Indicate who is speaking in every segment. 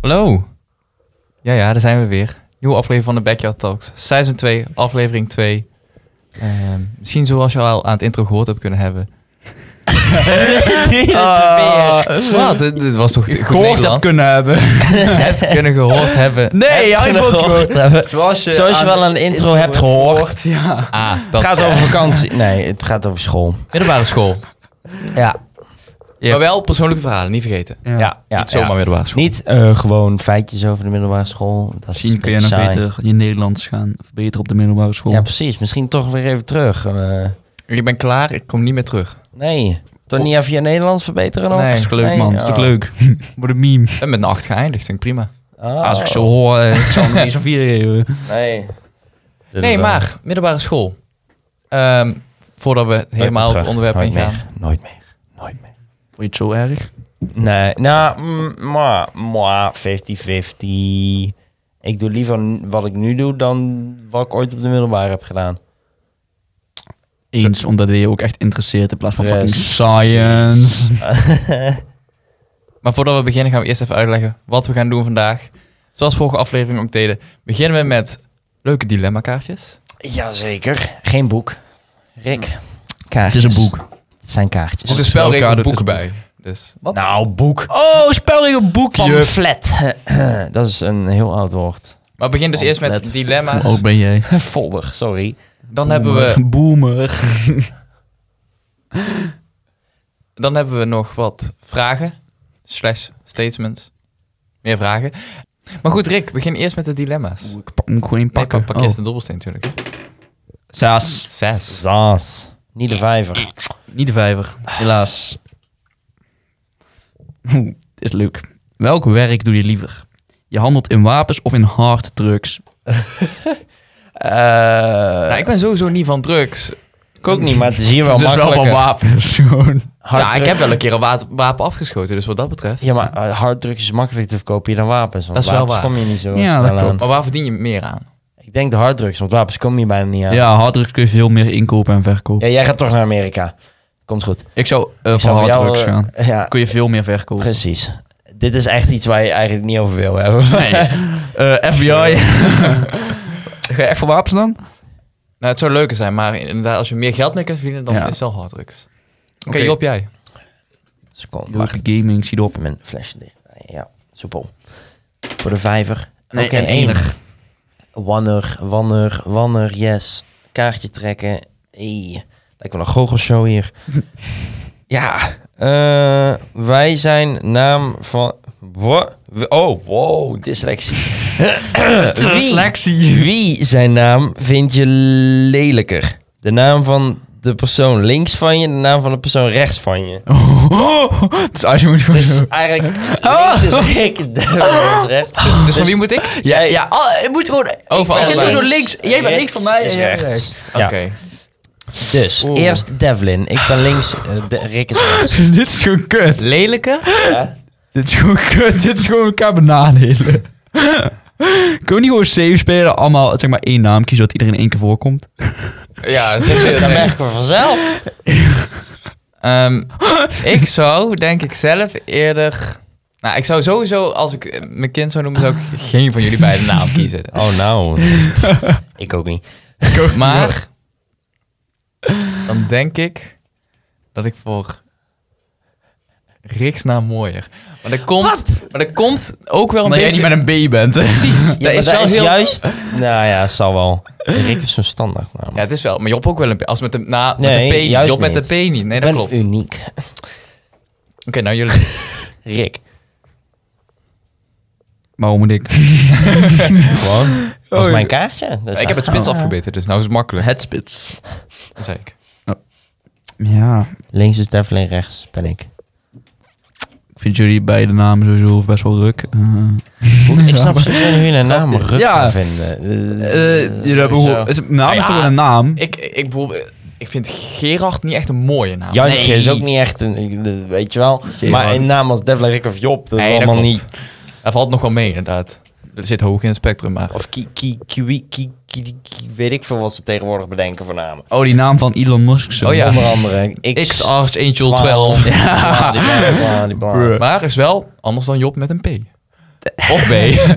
Speaker 1: Hallo. Ja, ja, daar zijn we weer. Nieuwe aflevering van de Backyard Talks. Seizoen 2, aflevering 2. Ehm, misschien zoals je al aan het intro gehoord hebt kunnen hebben.
Speaker 2: Ah.
Speaker 1: Wat? Dit, dit was toch goed
Speaker 2: Gehoord
Speaker 1: Nederlands?
Speaker 2: hebt kunnen hebben.
Speaker 1: Het kunnen gehoord hebben.
Speaker 2: Nee,
Speaker 1: Het
Speaker 2: ja, ik
Speaker 1: kunnen
Speaker 2: wil het
Speaker 1: gehoord
Speaker 2: gewoon.
Speaker 1: hebben. Zoals je,
Speaker 3: Zoals je
Speaker 1: aan-
Speaker 3: wel een intro hebt gehoord.
Speaker 2: Ja.
Speaker 1: Ah,
Speaker 3: Het
Speaker 1: dat
Speaker 3: gaat
Speaker 1: is-
Speaker 3: over vakantie. Nee, het gaat over school.
Speaker 1: middelbare school.
Speaker 3: Ja.
Speaker 1: Maar wel persoonlijke verhalen, niet vergeten.
Speaker 2: Ja.
Speaker 3: Ja, ja,
Speaker 1: niet zomaar
Speaker 3: ja.
Speaker 1: middelbare school.
Speaker 3: Niet eh, gewoon feitjes over de middelbare school. Dat is
Speaker 2: Misschien
Speaker 3: een
Speaker 2: kun je nog
Speaker 3: beetje saai.
Speaker 2: beter je Nederlands gaan verbeteren op de middelbare school.
Speaker 3: Ja, precies. Misschien toch weer even terug. eh.
Speaker 1: Ik ben klaar, ik kom niet meer terug.
Speaker 3: nee. Toch niet even je Nederlands verbeteren nog?
Speaker 1: Nee,
Speaker 2: dat is toch leuk, man. Dat is toch
Speaker 3: Oh.
Speaker 2: leuk? Wordt een meme.
Speaker 1: Ik ben met een 8 geëindigd, vind ik prima.
Speaker 3: Oh.
Speaker 2: Als ik zo hoor, eh, ik zal nog niet zo'n vier geven.
Speaker 3: Nee.
Speaker 1: Nee, maar middelbare school. Ehm, voordat we helemaal het onderwerp
Speaker 3: Nooit
Speaker 1: ingaan.
Speaker 3: meer. Nooit meer. Nooit meer.
Speaker 2: Vond je het zo erg?
Speaker 3: Nee, nou, mm, maar, maar 50-50. Ik doe liever n- wat ik nu doe dan wat ik ooit op de middelbare heb gedaan.
Speaker 2: Eens, omdat het je ook echt interesseert in plaats van fucking
Speaker 3: Precies.
Speaker 2: science.
Speaker 1: Maar voordat we beginnen gaan we eerst even uitleggen wat we gaan doen vandaag. Zoals vorige aflevering ook deden, beginnen we met leuke dilemma kaartjes.
Speaker 3: Jazeker. Geen boek. Rick.
Speaker 2: Het
Speaker 3: Kaartjes.
Speaker 2: is een boek.
Speaker 3: Mm. Het zijn kaartjes.
Speaker 1: Er zit een spelregel boek bij. Dus wat?
Speaker 3: Nou, boek.
Speaker 2: Oh, spelregelboek, je.
Speaker 3: Pamflet. dat is een heel oud woord.
Speaker 1: Maar begin dus eerst met
Speaker 2: Hoe oud
Speaker 1: dilemma's.
Speaker 2: ben jij?
Speaker 3: Folder, sorry.
Speaker 1: Dan hebben, we,
Speaker 2: Boomer, Boomer.
Speaker 1: dan hebben we nog wat vragen. Slash statements. Meer vragen. Maar goed, Rick, begin eerst met de dilemma's.
Speaker 2: Ik pak hem gewoon
Speaker 1: Nee, pak,
Speaker 2: pakken.
Speaker 1: pak eerst
Speaker 2: Oh.
Speaker 1: de dobbelsteen natuurlijk.
Speaker 2: Saas.
Speaker 1: Zes.
Speaker 3: Zaas. Niet de vijver.
Speaker 2: Niet de vijver, helaas. Oeh, dit is leuk. Welk werk doe je liever? Je handelt in wapens of in hard drugs?
Speaker 1: Nou, ik ben sowieso niet van drugs.
Speaker 3: Eh, Ik ook niet, maar het is hier wel
Speaker 2: Dus wel
Speaker 3: makkelijker.
Speaker 2: van wapens, gewoon.
Speaker 3: Hard
Speaker 1: ja, ik
Speaker 3: druk-
Speaker 1: heb wel een keer een wat- wapen afgeschoten, dus wat dat betreft.
Speaker 3: Ja, maar eh, harddrugs is makkelijker te verkopen dan wapens. Want
Speaker 1: Dat is wel
Speaker 3: wapens
Speaker 1: waar.
Speaker 3: kom je niet zo
Speaker 2: Ja, dat
Speaker 3: snel aan.
Speaker 2: klopt.
Speaker 1: Maar waar verdien je meer aan?
Speaker 3: Ik denk de harddrugs, want wapens kom je bijna niet
Speaker 2: Ja.
Speaker 3: aan. Ja.
Speaker 2: hard drugs kun je veel meer inkopen en verkopen.
Speaker 3: jij gaat toch naar Amerika. Komt goed.
Speaker 2: Ik zou eh,
Speaker 3: Ik
Speaker 2: voor
Speaker 3: zou
Speaker 2: hard
Speaker 3: voor jou,
Speaker 2: drugs
Speaker 3: eh,
Speaker 2: gaan.
Speaker 3: Ja,
Speaker 2: Kun je veel meer verkopen.
Speaker 3: precies. Dit is echt iets waar je eigenlijk niet over wil hebben.
Speaker 2: Nee. Eh, FBI. Ga je echt voor wapens dan?
Speaker 1: Nou, het zou leuker zijn, maar inderdaad, als je meer geld mee kunt verdienen, dan
Speaker 2: Ja.
Speaker 1: is het wel harddrugs. Oké,
Speaker 2: Oké.
Speaker 1: Job, jij.
Speaker 3: Seconde, wacht.
Speaker 2: Wacht. Gaming, zie op.
Speaker 3: Even mijn flesje dicht. Ja, soepel. Voor de vijver.
Speaker 2: Nee,
Speaker 3: Oké,
Speaker 2: en enig.
Speaker 3: Wanner, wanner, wanner, yes. Kaartje trekken. Ey. Lijkt wel een goochelshow hier. ja. eh, wij zijn naam van... Wat? We- Oh, wow, dyslexie.
Speaker 2: Dyslexie.
Speaker 3: Wie, wie zijn naam vind je lelijker? De naam van de persoon links van je, de naam van de persoon rechts van je.
Speaker 2: dus als je moet gewoon zo-
Speaker 3: Dus eigenlijk,
Speaker 2: Oh.
Speaker 3: links is Rick, links is rechts.
Speaker 1: Dus, van wie moet ik?
Speaker 2: Ja, ja. Oh, het moet gewoon...
Speaker 1: Over
Speaker 2: Ik
Speaker 1: allebei.
Speaker 2: zit sowieso links. Jij bent
Speaker 3: Rechts
Speaker 2: links van mij.
Speaker 3: is
Speaker 2: en jij
Speaker 3: rechts.
Speaker 2: rechts.
Speaker 1: Oké.
Speaker 3: Ja. Dus,
Speaker 1: Oeh.
Speaker 3: eerst Devlin. Ik ben links, eh, de- Rick is rechts.
Speaker 2: Dit is gewoon kut.
Speaker 1: Lelijke?
Speaker 2: Dit is gewoon kut. Dit is gewoon elkaar benadelen. Kun je niet gewoon safe spelen? Allemaal zeg maar één naam kiezen, dat iedereen één keer voorkomt.
Speaker 1: Ja, dat is heel
Speaker 3: Dat
Speaker 1: leuk.
Speaker 3: merken we vanzelf.
Speaker 1: Ehm, Ik zou, denk ik zelf, eerder... Nou, ik zou sowieso, als ik eh, mijn kind zou noemen, zou ik geen van jullie beiden naam kiezen.
Speaker 3: Oh nou, ik ook niet.
Speaker 1: Maar, dan denk ik dat ik voor Riksnaam mooier. Maar dat komt, maar dat komt ook wel een
Speaker 2: Omdat jij niet
Speaker 1: beetje...
Speaker 2: met een B bent.
Speaker 1: Precies,
Speaker 3: Ja,
Speaker 1: dat
Speaker 3: maar
Speaker 1: is wel heel...
Speaker 3: juist... Nou ja, zal wel. Rick is zo'n standaard naam.
Speaker 1: Ja, het is wel. Maar Job ook wel een P. Als met de, na,
Speaker 3: Nee,
Speaker 1: met de P niet.
Speaker 3: juist
Speaker 1: Job met
Speaker 3: niet.
Speaker 1: de P niet. Nee,
Speaker 3: ik
Speaker 1: dat
Speaker 3: ben
Speaker 1: klopt. Oké,
Speaker 3: uniek.
Speaker 1: nou jullie.
Speaker 3: Rick.
Speaker 2: Maar hoe moet ik?
Speaker 3: Gewoon. Dat is
Speaker 1: Oh,
Speaker 3: mijn kaartje. Dat is
Speaker 1: ik heb het
Speaker 3: waar.
Speaker 1: spits afgebeten, dus nou is het makkelijk.
Speaker 2: Het spits.
Speaker 1: Dat zei ik.
Speaker 2: Ja.
Speaker 3: Links is Devlin, rechts ben ik.
Speaker 2: Ik vind jullie beide namen sowieso best wel Eh, ruk.
Speaker 3: Ik snap sowieso niet hoe jullie een naam ruk
Speaker 2: Ja.
Speaker 3: kan vinden.
Speaker 2: Eh, jullie hebben
Speaker 3: Sowieso.
Speaker 2: gewoon... is- Naam
Speaker 1: Ja.
Speaker 2: is toch wel een naam?
Speaker 1: Ik, ik, bijvoorbeeld, ik vind Gerard niet echt een mooie naam.
Speaker 3: Jantje
Speaker 2: Nee.
Speaker 3: is ook niet echt een, weet je wel.
Speaker 2: Jee,
Speaker 3: maar
Speaker 2: man.
Speaker 3: een naam als Devlin, Rick of Job, dat is
Speaker 1: Nee, dat
Speaker 3: allemaal niet.
Speaker 1: klopt. Hij valt nog wel mee, inderdaad. Er zit hoog in het spectrum, maar...
Speaker 3: Of ki, ki, kiwi, ki, ki- ki- weet ik veel wat ze tegenwoordig bedenken voor namen.
Speaker 2: Oh, die naam van Elon Musk. zo.
Speaker 1: Oh ja.
Speaker 3: Onder andere X,
Speaker 1: X, Ars, Angel
Speaker 3: Twaalf.
Speaker 1: 12.
Speaker 3: bla, bla, bla, bla, bla.
Speaker 2: Bruh.
Speaker 1: Maar is wel anders dan Job met een P. Of B.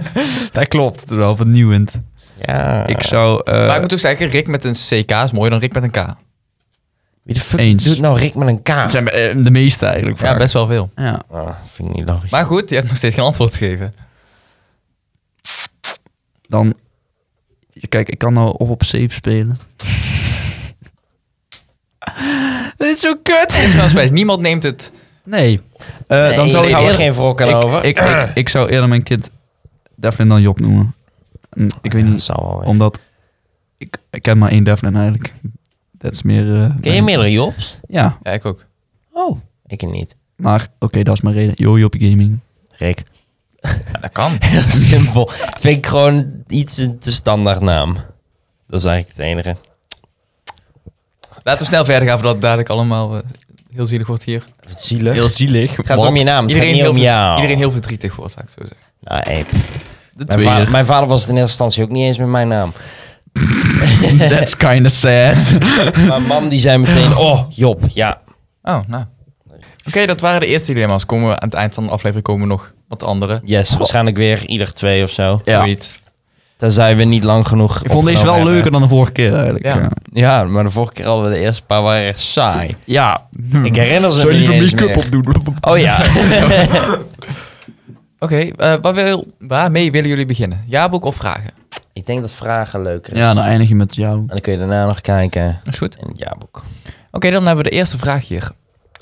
Speaker 2: Dat klopt. Het is wel vernieuwend.
Speaker 3: Ja.
Speaker 2: Ik zou... eh,
Speaker 1: maar ik moet ook zeggen, Rick met een CK is mooier dan Rick met een K.
Speaker 3: Wie de fuck
Speaker 2: Eens.
Speaker 3: doet nou Rick met een K?
Speaker 2: het zijn eh, de meeste eigenlijk
Speaker 1: Ja,
Speaker 2: vaak.
Speaker 1: best wel veel.
Speaker 2: Ja.
Speaker 3: Ah, vind ik niet logisch.
Speaker 1: Maar goed, je hebt nog steeds geen antwoord gegeven.
Speaker 2: Dan... Kijk, ik kan nou of op safe spelen. Dit is zo kut.
Speaker 1: Het is wel spijs. Niemand neemt het.
Speaker 2: Nee. Eh,
Speaker 3: Nee,
Speaker 2: dan zou
Speaker 3: jullie
Speaker 2: ik
Speaker 3: houden
Speaker 2: eerder,
Speaker 3: geen wrokken over.
Speaker 2: Ik, ik, ik zou eerder mijn kind Devlin dan Job noemen. Mm, Ik weet
Speaker 3: dat
Speaker 2: niet,
Speaker 3: zou wel. weer.
Speaker 2: omdat ik, ik ken maar één Devlin eigenlijk. Dat is meer... eh,
Speaker 3: Ken je
Speaker 2: mijn-
Speaker 3: meerdere Jobs?
Speaker 2: Ja,
Speaker 1: Ja, ik ook.
Speaker 3: Oh, ik niet.
Speaker 2: maar oké, dat is mijn reden. Yo, Job Gaming.
Speaker 3: Rick.
Speaker 1: Ja, dat kan.
Speaker 3: Heel simpel. Vind ik gewoon iets een te standaard naam. Dat is eigenlijk het enige.
Speaker 1: Laten we snel verder gaan, voordat het dadelijk allemaal eh, heel zielig wordt hier.
Speaker 3: Wat zielig.
Speaker 1: zielig.
Speaker 3: het gaat om je naam. Het
Speaker 1: Iedereen,
Speaker 3: gaat niet
Speaker 1: heel
Speaker 3: om
Speaker 1: ver-
Speaker 3: jou.
Speaker 1: iedereen heel verdrietig wordt, laat ik het zo zeggen.
Speaker 3: Nou, hey, pff.
Speaker 2: De
Speaker 3: mijn, vader, mijn vader was het in eerste instantie ook niet eens met mijn naam.
Speaker 2: That's kinda sad.
Speaker 3: Mijn mam die zei meteen, oh Job, ja.
Speaker 1: Oh, nou. Oké, dat waren de eerste dilemma's. Komen we aan het eind van de aflevering komen nog wat andere.
Speaker 3: Yes, waarschijnlijk weer ieder twee of zo.
Speaker 2: Ja.
Speaker 1: Zoiets.
Speaker 3: Daar zijn we niet lang genoeg
Speaker 2: ik vond deze wel
Speaker 3: opgenomen
Speaker 2: leuker dan de vorige keer eigenlijk.
Speaker 1: Ja.
Speaker 2: Ja.
Speaker 3: Ja, maar de vorige keer hadden we de eerste paar waren echt saai.
Speaker 2: ja.
Speaker 3: Hmm. Ik herinner ze me niet eens meer.
Speaker 2: opdoen?
Speaker 3: Oh ja.
Speaker 1: Oké, eh, waar wil, waarmee willen jullie beginnen? Jaarboek of vragen?
Speaker 3: ik denk dat vragen leuker is.
Speaker 2: Ja, dan eindig je met jou.
Speaker 3: En dan kun je daarna nog kijken
Speaker 1: Dat is goed. Oké,
Speaker 3: in het jaarboek.
Speaker 1: dan hebben we de eerste vraag hier.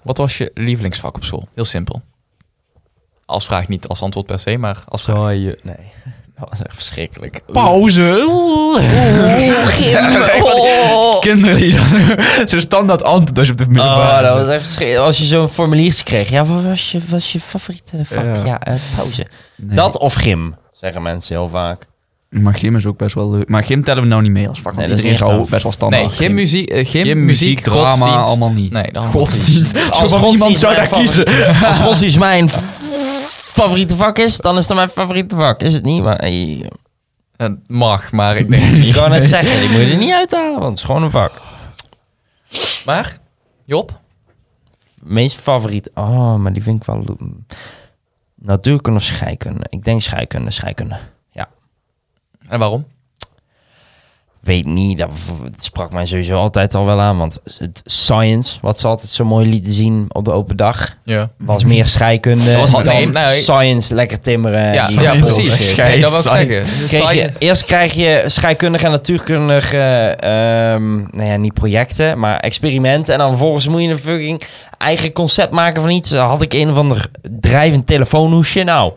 Speaker 1: Wat was je lievelingsvak op school? Heel simpel. Als vraag niet als antwoord per se, maar als vraag.
Speaker 3: je. Nee. Dat was echt verschrikkelijk.
Speaker 2: Pauze.
Speaker 3: Oh,
Speaker 2: Kinderen die dat... Zo'n standaard antwoord als je op de middelbare...
Speaker 3: dat was echt verschrikkelijk. Als je zo'n formuliertje kreeg. Ja, wat was je, was je favoriete vak?
Speaker 2: Ja.
Speaker 3: Ja, eh, pauze.
Speaker 2: Nee.
Speaker 3: Dat of gym, zeggen mensen heel vaak.
Speaker 2: Maar gym is ook best wel leuk. Maar gym tellen we nou niet mee als vak.
Speaker 3: Nee,
Speaker 2: Want
Speaker 3: dat is
Speaker 2: iedereen
Speaker 3: echt
Speaker 2: zou
Speaker 3: een-
Speaker 2: best wel standaard.
Speaker 1: Nee, geen muziek, eh, geen
Speaker 2: Geen
Speaker 1: muziek,
Speaker 2: muziek, drama,
Speaker 1: godsdienst.
Speaker 2: allemaal niet.
Speaker 1: Nee, dat allemaal niet.
Speaker 2: Godsdienst. Als
Speaker 3: godsdienst
Speaker 2: iemand zou
Speaker 3: mijn
Speaker 2: daar kiezen.
Speaker 3: Als godsdienst mijn favoriete vak is, dan is dat mijn favoriete vak. Is het niet? Maar eh,
Speaker 1: Eh, mag, maar ik denk het
Speaker 3: je
Speaker 1: niet.
Speaker 3: kan het zeggen. Die moet je er niet uithalen, want het is gewoon een vak.
Speaker 1: Maar, Job?
Speaker 3: Meest favoriet. Oh, maar die vind ik wel. Natuurkunde of scheikunde? Ik denk scheikunde, scheikunde.
Speaker 1: En waarom?
Speaker 3: Weet niet, dat v- het sprak mij sowieso altijd al wel aan. Want het science, wat ze altijd zo mooi lieten zien op de open dag,
Speaker 1: Ja.
Speaker 3: was meer scheikunde.
Speaker 1: Dat was
Speaker 3: dan
Speaker 1: gewoon- nee, nee.
Speaker 3: science, lekker timmeren.
Speaker 1: Ja,
Speaker 3: die
Speaker 1: ja
Speaker 3: bullshit.
Speaker 1: precies.
Speaker 2: Scheid,
Speaker 1: Nee, dat wil ik
Speaker 2: saai.
Speaker 1: zeggen.
Speaker 3: Kreeg je,
Speaker 1: Saai-
Speaker 3: eerst krijg je scheikundige en natuurkundige, ehm, nou ja, niet projecten, maar experimenten. En dan vervolgens moet je een fucking eigen concept maken van iets. Dan had ik een of ander drijvend telefoonhoesje. Nou,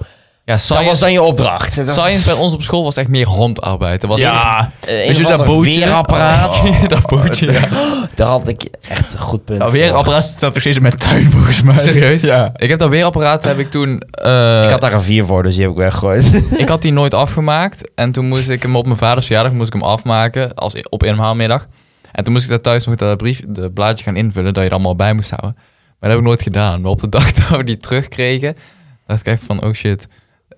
Speaker 1: Ja,
Speaker 3: dat was
Speaker 1: science,
Speaker 3: dan je opdracht. Dat-
Speaker 1: science bij ons op school was echt meer handarbeid. Dat was
Speaker 2: Ja.
Speaker 3: eh, een
Speaker 2: Weet je
Speaker 3: of
Speaker 2: dat
Speaker 3: ander
Speaker 2: bootje? Oh.
Speaker 3: weerapparaat.
Speaker 1: dat bootje. Ja.
Speaker 3: Daar had ik echt een goed punt
Speaker 2: Nou, weer
Speaker 3: voor.
Speaker 2: apparaat staat precies met tuin volgens mij.
Speaker 1: Serieus?
Speaker 2: Ja.
Speaker 1: Ik heb dat weerapparaat, heb ik toen... eh,
Speaker 3: Ik had daar een vier voor, dus die heb ik weggegooid.
Speaker 1: ik had die nooit afgemaakt. En toen moest ik hem op mijn vaders verjaardag moest ik hem afmaken als, op inhaalmiddag. En toen moest ik daar thuis nog dat brief, de blaadje gaan invullen dat je er allemaal bij moest houden. Maar dat heb ik nooit gedaan. Maar op de dag dat we die terugkregen, dacht ik echt van, oh shit.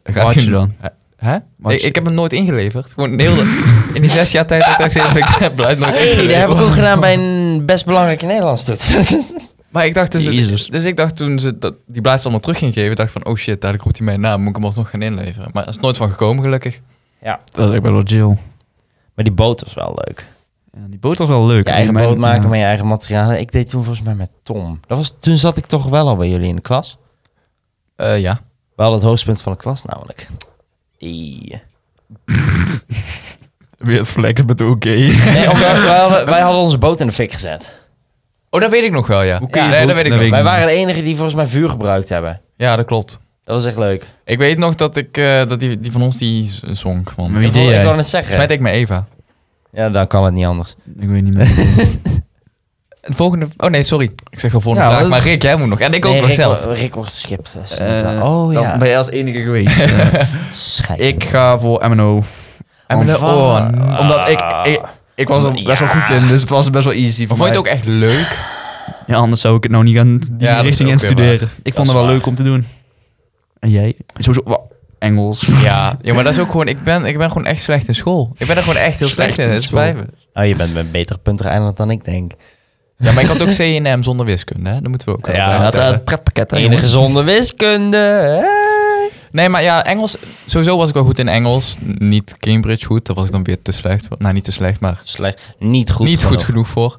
Speaker 1: Gaat
Speaker 2: Wat
Speaker 1: die- Eh,
Speaker 2: je dan?
Speaker 1: Hè?
Speaker 2: Wat
Speaker 1: Ik,
Speaker 2: je-
Speaker 1: ik heb hem nooit ingeleverd. Gewoon heel de- in die zes jaar tijd dat ik daar zit, heb ik dat blijft nooit
Speaker 3: hey, dat
Speaker 1: ingeleverd.
Speaker 3: heb ik ook gedaan bij een best belangrijke Nederlands toets.
Speaker 1: Maar ik dacht dus,
Speaker 2: Jezus.
Speaker 1: dus ik dacht toen ze dat, die blaadjes allemaal terug ging geven, dacht ik van, oh shit, dadelijk roept hij mijn naam, moet ik hem alsnog gaan inleveren. Maar er is nooit van gekomen, gelukkig.
Speaker 2: Dat is echt best wel chill.
Speaker 3: Maar die boot was wel leuk.
Speaker 2: Ja, die boot was wel leuk.
Speaker 3: Je eigen
Speaker 2: Mijn-
Speaker 3: boot maken
Speaker 2: ja.
Speaker 3: met je eigen materialen. Ik deed toen volgens mij met Tom. Dat was, toen zat ik toch wel al bij jullie in de klas.
Speaker 1: Eh, ja.
Speaker 3: We hadden het hoogtepunt van de klas namelijk. Ie.
Speaker 2: Weer het vlekken met de oké.
Speaker 3: Nee, ook, wij, wij hadden, wij hadden onze boot in de fik gezet.
Speaker 1: Oh, dat weet ik nog wel, ja.
Speaker 2: kun je
Speaker 1: ja, nee,
Speaker 2: boot-
Speaker 1: dat weet ik
Speaker 2: dat
Speaker 1: nog.
Speaker 3: Wij
Speaker 2: weet
Speaker 3: waren de enigen die volgens mij vuur gebruikt hebben.
Speaker 1: Ja, dat klopt.
Speaker 3: Dat was echt leuk.
Speaker 1: Ik weet nog dat ik, eh, dat die, die van ons die z- zonk, want
Speaker 2: Wie
Speaker 1: volgens
Speaker 3: Ik
Speaker 2: deed
Speaker 3: wil- Ik
Speaker 2: jij?
Speaker 3: kan het
Speaker 1: mij
Speaker 3: zeggen.
Speaker 1: deed ik met Eva.
Speaker 3: Ja, dan kan het niet anders.
Speaker 2: Ik weet niet meer.
Speaker 1: Het volgende, oh nee, sorry. Ik zeg wel volgende
Speaker 2: Ja,
Speaker 1: vraag,
Speaker 2: dat-
Speaker 1: maar Rick, jij moet nog. En ik ook
Speaker 3: Nee,
Speaker 1: nog
Speaker 3: Rick,
Speaker 1: zelf.
Speaker 3: wordt- Rick wordt geschipt. Dat is niet
Speaker 2: Eh,
Speaker 3: waar. oh
Speaker 2: Dan
Speaker 3: ja.
Speaker 2: ben je als enige geweest. Eh,
Speaker 3: Schijt.
Speaker 2: ik ga voor MNO.
Speaker 1: En we-
Speaker 3: van-
Speaker 1: oh, nee.
Speaker 2: Omdat ik... ik ik was er best wel goed in, dus het was best wel easy voor
Speaker 1: Maar vond je het ook
Speaker 2: mij.
Speaker 1: echt leuk?
Speaker 2: Ja, anders zou ik het nou niet gaan die
Speaker 1: Ja, dat is
Speaker 2: richting
Speaker 1: ook
Speaker 2: in
Speaker 1: weer
Speaker 2: studeren. Ik
Speaker 3: is
Speaker 2: vond het wel
Speaker 3: waar.
Speaker 2: leuk om te doen. En jij? Sowieso... wa- Engels.
Speaker 1: Ja. ja, maar dat is ook gewoon, ik ben, ik ben gewoon echt slecht in school. Ik ben er gewoon echt heel slecht,
Speaker 2: Slecht
Speaker 1: in,
Speaker 2: in
Speaker 1: het
Speaker 2: school.
Speaker 1: spijt me.
Speaker 3: Oh, je bent een betere puntereiland dan ik denk.
Speaker 1: Ja, maar ik had ook CNM zonder wiskunde, hè? Dat moeten we ook wel
Speaker 3: Ja,
Speaker 1: bij
Speaker 3: dat-
Speaker 1: vertellen.
Speaker 2: pretpakket.
Speaker 3: Enige gezonde wiskunde. hè?
Speaker 1: Nee, maar ja, Engels. Sowieso was ik wel goed in Engels. Niet Cambridge goed. Daar was ik dan weer te slecht. voor. Nou, niet te slecht, maar
Speaker 3: Slecht. Niet goed.
Speaker 1: niet goed genoeg
Speaker 3: genoeg.
Speaker 1: voor.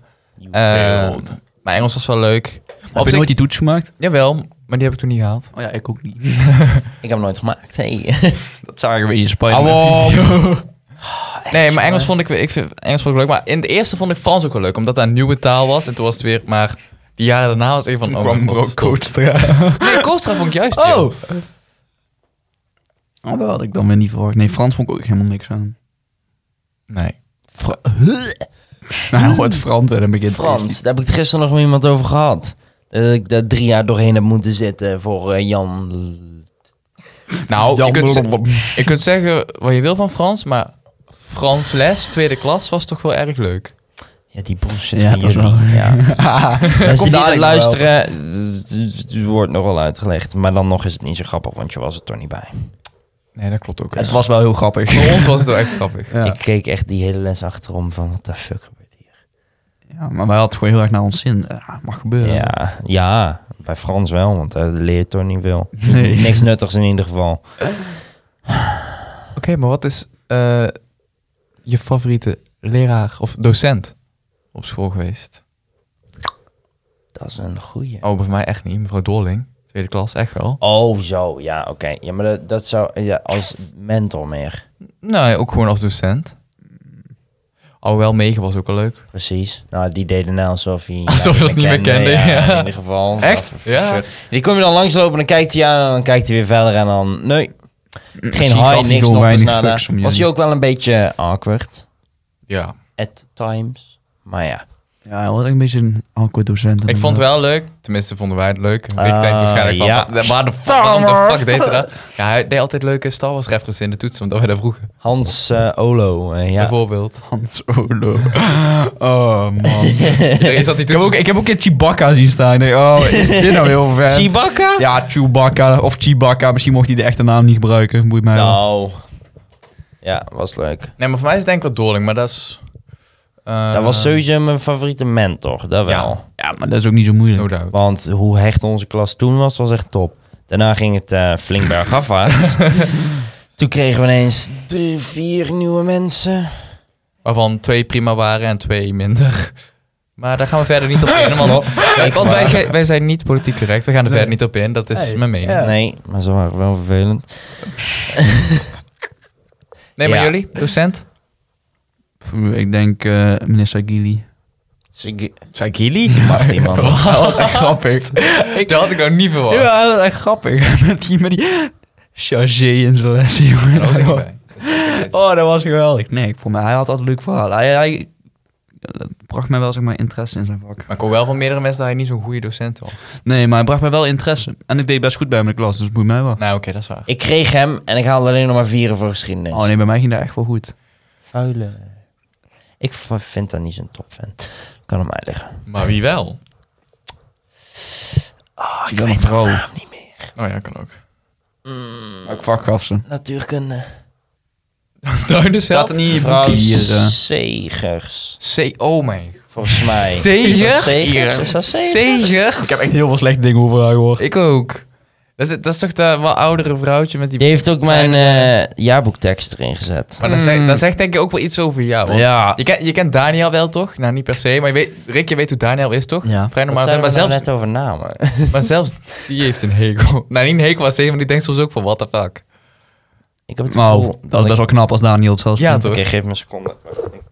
Speaker 1: Eh,
Speaker 3: Ehm,
Speaker 1: maar Engels was wel leuk.
Speaker 2: Heb
Speaker 1: Op
Speaker 2: je
Speaker 1: zich,
Speaker 2: nooit die toets gemaakt?
Speaker 1: Jawel, maar die heb ik toen niet gehaald.
Speaker 2: Oh ja, ik ook niet.
Speaker 3: Ik heb hem nooit gemaakt. Hey.
Speaker 2: Dat zagen we in
Speaker 1: Oh,
Speaker 2: Spanje.
Speaker 1: Nee, maar Engels vond ik, ik vind, Engels vond ik leuk. Maar in de eerste vond ik Frans ook wel leuk, omdat dat een nieuwe taal was. En toen was het weer, maar die jaren daarna was ik van... Oh, mijn god, stop. Nee, Koostra vond ik juist chill.
Speaker 2: Oh! Oh, dat had ik dan weer niet verwacht. Nee, Frans vond ik ook helemaal niks aan.
Speaker 1: Nee.
Speaker 2: Nou, het Frans en dan begint
Speaker 3: Frans, daar heb ik het gisteren nog met iemand over gehad. Dat ik daar drie jaar doorheen heb moeten zitten voor eh, Jan.
Speaker 1: Nou, je
Speaker 2: Jan
Speaker 1: kunt, ze-
Speaker 2: Blom.
Speaker 1: je kunt zeggen wat je wil van Frans, maar Frans les, tweede klas, was toch wel erg leuk.
Speaker 3: Ja, die bullshit
Speaker 2: Ja,
Speaker 3: van
Speaker 2: dat is
Speaker 3: jullie. Ja. Als je
Speaker 2: Komt
Speaker 3: die
Speaker 2: dadelijk
Speaker 3: gaat luisteren, het wordt nog wel uitgelegd. Maar dan nog is het niet zo grappig, want je was er toch niet bij.
Speaker 1: Nee, dat klopt ook.
Speaker 2: Het was wel heel grappig.
Speaker 1: Voor ons was het wel echt grappig.
Speaker 2: Ja.
Speaker 3: Ik keek echt die hele les achterom van, wat de fuck gebeurt hier?
Speaker 2: Ja, maar wij hadden gewoon heel erg naar ons zin. Ja, mag gebeuren.
Speaker 3: Ja, ja, bij Frans wel, want daar leer je toch niet veel.
Speaker 2: Nee.
Speaker 3: Niks nuttigs in ieder geval.
Speaker 1: Oké, maar wat is eh, je favoriete leraar of docent op school geweest?
Speaker 3: Dat is een goeie.
Speaker 1: Oh, bij mij echt niet. Mevrouw Dorling, tweede klas, echt wel.
Speaker 3: Oh, zo, ja, oké. Ja, maar dat, dat zou, ja, als mentor meer.
Speaker 1: Nou, ja, ook gewoon als docent. Alhoewel, Megen was ook wel leuk.
Speaker 3: Precies. Nou, die deden nou alsof hij...
Speaker 1: Alsof
Speaker 3: ja,
Speaker 1: hij ons niet meer kende,
Speaker 3: Ja,
Speaker 1: ja.
Speaker 3: in ieder geval.
Speaker 1: Echt?
Speaker 3: Dat-
Speaker 1: Ja.
Speaker 3: Die kom je dan langslopen, dan kijkt hij aan en dan kijkt hij weer verder en dan...
Speaker 1: Mm,
Speaker 3: Nee, geen high, niks, nog eens nada. Was hij ook wel een beetje awkward
Speaker 1: Ja.
Speaker 3: at times. Maar ja.
Speaker 2: Ja, hij was echt een beetje een awkward docent. eh,
Speaker 1: Ik vond het wel leuk. Tenminste, vonden wij het leuk. Ik denk
Speaker 3: Ah,
Speaker 1: waarschijnlijk wel.
Speaker 3: ja.
Speaker 1: wa- Waar de fuck, waarom de fuck deed hij dat? Ja, hij deed altijd leuke Star Wars references in de toetsen, omdat wij dat vroegen.
Speaker 3: Hans eh, Olo, eh, ja.
Speaker 1: Bijvoorbeeld.
Speaker 2: Hans Olo. Oh man.
Speaker 1: Iedereen zat die
Speaker 2: ik, heb ook,
Speaker 1: toetsen.
Speaker 2: ik heb ook een Chewbacca zien staan. Ik denk, oh, is dit nou heel ver?
Speaker 3: Chewbacca?
Speaker 2: ja, Chewbacca of Chewbacca. Misschien mocht hij de echte naam niet gebruiken. Moet mij wel.
Speaker 3: Nou. Ja, was leuk.
Speaker 1: Nee, maar voor mij is het denk ik wel Dorling, maar dat is... eh,
Speaker 3: dat was sowieso mijn favoriete mentor, dat wel.
Speaker 1: Ja.
Speaker 2: Ja, maar dat is ook niet zo moeilijk.
Speaker 1: No doubt.
Speaker 3: Want hoe hecht onze klas toen was, was echt top. Daarna ging het eh flink bergafwaarts. toen kregen we ineens drie, vier nieuwe mensen.
Speaker 1: Waarvan twee prima waren en twee minder. Maar daar gaan we verder niet op in. Want, Kijk, want wij, ge- wij zijn niet politiek correct. We gaan er verder niet op in. Dat is
Speaker 2: Hey,
Speaker 1: mijn mening.
Speaker 2: ja.
Speaker 3: Nee, maar ze waren wel vervelend.
Speaker 1: Nee, maar
Speaker 3: Ja.
Speaker 1: jullie? Docent?
Speaker 2: Pff, Ik denk eh meneer Sagili.
Speaker 3: Dus ik
Speaker 1: Sagili?
Speaker 3: wacht iemand.
Speaker 2: Dat was echt grappig.
Speaker 1: Dat had ik nou niet verwacht.
Speaker 2: Ja, dat was echt grappig. Met die, met die chargé in zijn les, jongen.
Speaker 1: Daar was ik niet bij. Dus-
Speaker 2: Oh, dat was geweldig. Nee, ik vond me, hij had altijd een leuk verhaal. Hij, hij eh, bracht mij wel zeg maar interesse in zijn vak.
Speaker 1: Maar ik hoor wel van meerdere mensen dat hij niet zo'n goede docent was.
Speaker 2: Nee, maar hij bracht mij wel interesse. En ik deed best goed bij hem in de klas, dus het moet mij wel.
Speaker 1: Nou, oké, dat is waar.
Speaker 3: Ik kreeg hem en ik haalde alleen nog maar vieren voor geschiedenis.
Speaker 2: Oh nee, bij mij ging dat echt wel goed.
Speaker 3: Vuile. Ik v- vind dat niet zo'n topfan. Kan hem uitleggen.
Speaker 1: Maar wie wel?
Speaker 3: Oh,
Speaker 2: Ik ben een vrouw.
Speaker 3: niet meer.
Speaker 1: Oh ja, kan ook.
Speaker 2: Ook vak gaf ze.
Speaker 3: Natuurkunde.
Speaker 1: Duinenveld?
Speaker 2: niet in je
Speaker 3: Mevrouw
Speaker 2: boekje hier, eh?
Speaker 3: Oh, Segers.
Speaker 1: C. Oh mijn.
Speaker 3: Volgens mij.
Speaker 1: Segers?
Speaker 3: Segers? Is dat Segers?
Speaker 1: Zegers?
Speaker 2: Ik heb echt heel veel slechte dingen over haar gehoord.
Speaker 1: Ik ook. Dat is, dat is toch dat wel oudere vrouwtje met die...
Speaker 3: Die heeft ook mijn eh, jaarboektekst erin gezet.
Speaker 1: Maar dat zegt,
Speaker 2: Mm.
Speaker 1: dat zegt denk ik ook wel iets over jou. want
Speaker 2: Ja.
Speaker 1: Je, kent, je kent Daniel wel, toch? Nou, niet per se, maar je weet, Rick, je weet hoe Daniel is, toch?
Speaker 2: Ja.
Speaker 1: Vrij
Speaker 3: Wat
Speaker 1: normaal.
Speaker 3: zijn
Speaker 1: Maar,
Speaker 3: we nou
Speaker 1: zelfs,
Speaker 3: net over namen?
Speaker 1: maar zelfs die heeft een hekel. Nou, niet een hekel, maar zeker, maar die denkt soms ook van, what the fuck.
Speaker 3: Ik heb het
Speaker 2: Nou,
Speaker 3: gevoel...
Speaker 2: dat is best wel knap als Daniel het zelfs
Speaker 1: Ja,
Speaker 2: vindt.
Speaker 1: toch?
Speaker 3: Oké, geef me een seconde.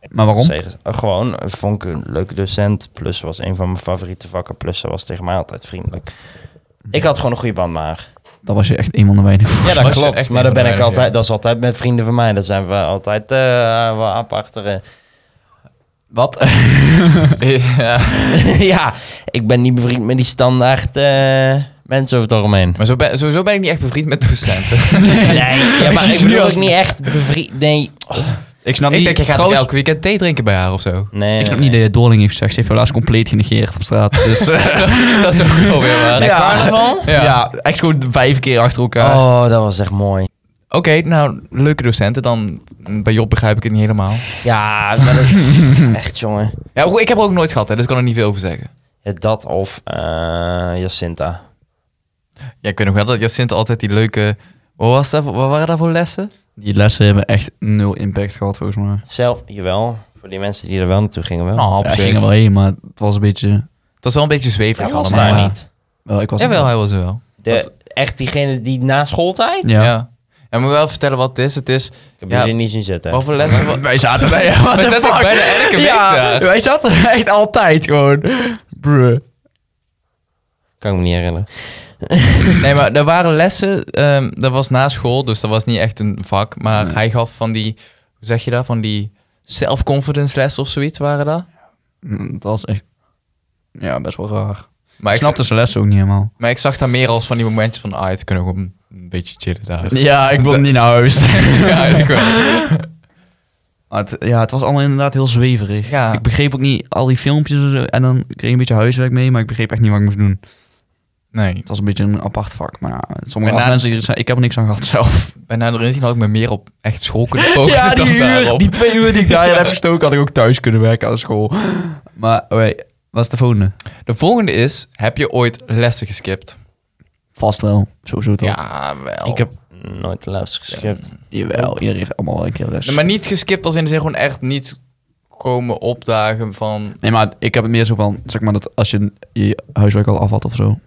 Speaker 2: Maar waarom?
Speaker 3: Segers. Eh, gewoon, eh, vond ik een leuke docent. Plus ze was een van mijn favoriete vakken. Plus ze was tegen mij altijd vriendelijk. Ik had gewoon een goede band, maar...
Speaker 2: Dat was je echt een van de weinigen.
Speaker 3: Ja, dat
Speaker 1: was je
Speaker 3: klopt.
Speaker 1: echt
Speaker 3: Maar
Speaker 1: een
Speaker 3: dat, ben
Speaker 1: van
Speaker 3: ik
Speaker 1: de weinigen.
Speaker 3: altijd, dat is altijd met vrienden van mij. Daar zijn we altijd eh wel eh. ap achteren.
Speaker 2: Wat?
Speaker 1: ja.
Speaker 3: ja, ik ben niet bevriend met die standaard eh, mensen over het algemeen.
Speaker 1: Maar zo ben, sowieso ben ik niet echt bevriend met docenten.
Speaker 3: Nee, ja, maar
Speaker 2: zie
Speaker 3: ik
Speaker 2: ze nu
Speaker 3: bedoel
Speaker 2: als-
Speaker 3: ook niet echt bevriend. Nee.
Speaker 2: Ik snap
Speaker 1: ik
Speaker 2: niet...
Speaker 1: denk, je gaat
Speaker 2: trouwens-
Speaker 1: elke weekend thee drinken bij haar of zo.
Speaker 3: nee.
Speaker 2: Ik snap niet dat je Dorling heeft gezegd. Ze heeft jou laatst compleet genegeerd op straat. Dus...
Speaker 1: dat is ook wel weer waar.
Speaker 3: Bij
Speaker 2: Ja.
Speaker 3: carnaval?
Speaker 2: Ja. echt gewoon eh, vijf keer achter elkaar.
Speaker 3: Oh, dat was echt mooi.
Speaker 1: Oké, nou, leuke docenten. Dan bij Job begrijp ik het niet helemaal.
Speaker 3: Ja, dat is echt, jongen.
Speaker 1: Ja, goed, ik heb er ook nooit gehad, hè, dus ik kan er niet veel over zeggen.
Speaker 3: Ja, dat of eh Jacinta.
Speaker 1: Ja, ik weet nog wel dat Jacinta altijd die leuke Wat, was dat, voor- wat waren dat voor lessen?
Speaker 2: Die lessen hebben echt nul impact gehad, volgens mij.
Speaker 3: Zelf, jawel. Voor die mensen die er wel naartoe gingen wel.
Speaker 1: Nou, op
Speaker 2: Ja,
Speaker 1: zich.
Speaker 2: gingen wel heen, maar het was een beetje...
Speaker 1: Het was wel een beetje zweverig
Speaker 3: Hij was
Speaker 1: allemaal.
Speaker 3: daar
Speaker 2: Ja.
Speaker 3: niet.
Speaker 2: Wel, ik was
Speaker 1: Jawel, hij was er wel.
Speaker 3: De,
Speaker 1: Wat?
Speaker 3: Echt diegene die na schooltijd?
Speaker 1: Ja.
Speaker 2: Ja.
Speaker 1: En moet ik wel vertellen wat het is. Het is...
Speaker 3: Ik heb
Speaker 1: Ja.
Speaker 3: jullie niet zien zitten.
Speaker 1: Wat voor lessen... wa-
Speaker 2: Wij zaten bij hem.
Speaker 1: We zaten bijna elke week daar.
Speaker 2: wij zaten er echt altijd gewoon. Bruh.
Speaker 3: Kan ik me niet herinneren.
Speaker 1: Nee, maar er waren lessen. ehm, dat was na school, dus dat was niet echt een vak. Maar hij gaf van die, hoe zeg je dat? Van die self-confidence les of zoiets waren dat.
Speaker 2: Dat was echt... Ja, best wel raar.
Speaker 1: Maar
Speaker 2: Ik
Speaker 1: ik,
Speaker 2: snapte zijn lessen ook niet helemaal.
Speaker 1: maar ik zag daar meer als van die momentjes van, ah, het kunnen we gewoon een beetje chillen daar.
Speaker 2: Ja, ik wil niet naar huis.
Speaker 1: ja, ik wel.
Speaker 2: Maar het- ja, het was allemaal inderdaad heel zweverig.
Speaker 1: Ja.
Speaker 2: Ik begreep ook niet al die filmpjes en zo. En dan kreeg ik een beetje huiswerk mee, maar ik begreep echt niet wat ik moest doen.
Speaker 1: Nee,
Speaker 2: Het was een beetje een apart vak. Maar ja, sommige
Speaker 1: Maar na-
Speaker 2: mensen die zeiden, ik heb er niks aan gehad zelf.
Speaker 1: bijna erin zien had ik me meer op echt school kunnen focussen dan daarop.
Speaker 2: twee uur die ik daarin heb gestoken, had ik ook thuis kunnen werken aan school. Maar, oké, wat is de volgende?
Speaker 1: De volgende is, heb je ooit lessen geskipt?
Speaker 2: Vast wel, sowieso toch?
Speaker 1: Ja, wel.
Speaker 3: Ik heb Oh, nooit de les geschipt.
Speaker 2: Jawel, iedereen heeft allemaal wel een keer les.
Speaker 1: Nee, maar niet geskipt als in de zin gewoon echt niet komen opdagen van...
Speaker 2: Nee, maar ik heb het meer zo van, zeg maar, dat als je je huiswerk al af had of zo.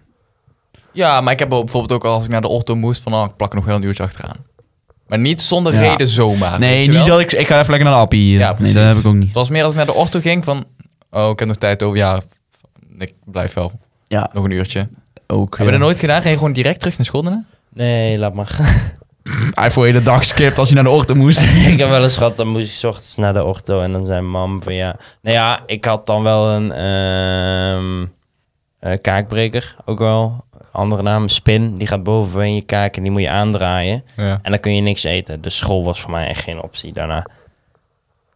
Speaker 1: Ja, maar ik heb bijvoorbeeld ook als ik naar de ortho moest van, oh, ik plak er nog wel een uurtje achteraan. Maar niet zonder
Speaker 2: Ja.
Speaker 1: reden zomaar. weet
Speaker 2: nee,
Speaker 1: je
Speaker 2: niet
Speaker 1: wel?
Speaker 2: dat ik, ik ga even lekker naar de appie hier.
Speaker 1: Ja,
Speaker 2: nee,
Speaker 1: precies.
Speaker 2: dat heb ik ook niet.
Speaker 1: Het was meer als ik naar de ortho ging van, oh, ik heb nog tijd over, ja, ik blijf wel
Speaker 2: Ja,
Speaker 1: nog een uurtje.
Speaker 2: ook.
Speaker 1: Hebben we
Speaker 2: ja.
Speaker 1: dat nooit gedaan? Ging je gewoon direct terug naar school daarna?
Speaker 3: Nee, laat maar.
Speaker 2: Hij heeft voor de hele dag skipt als hij naar de ochtend moest.
Speaker 3: ik heb wel eens gehad, dan moest ik 's ochtends naar de ortho en dan zei mam van ja... Nou ja, ik had dan wel een ehm, eh, kaakbreker, ook wel. Andere naam, spin. Die gaat boven in je kaak en die moet je aandraaien.
Speaker 1: Ja.
Speaker 3: En dan kun je niks eten. Dus school was voor mij echt geen optie daarna.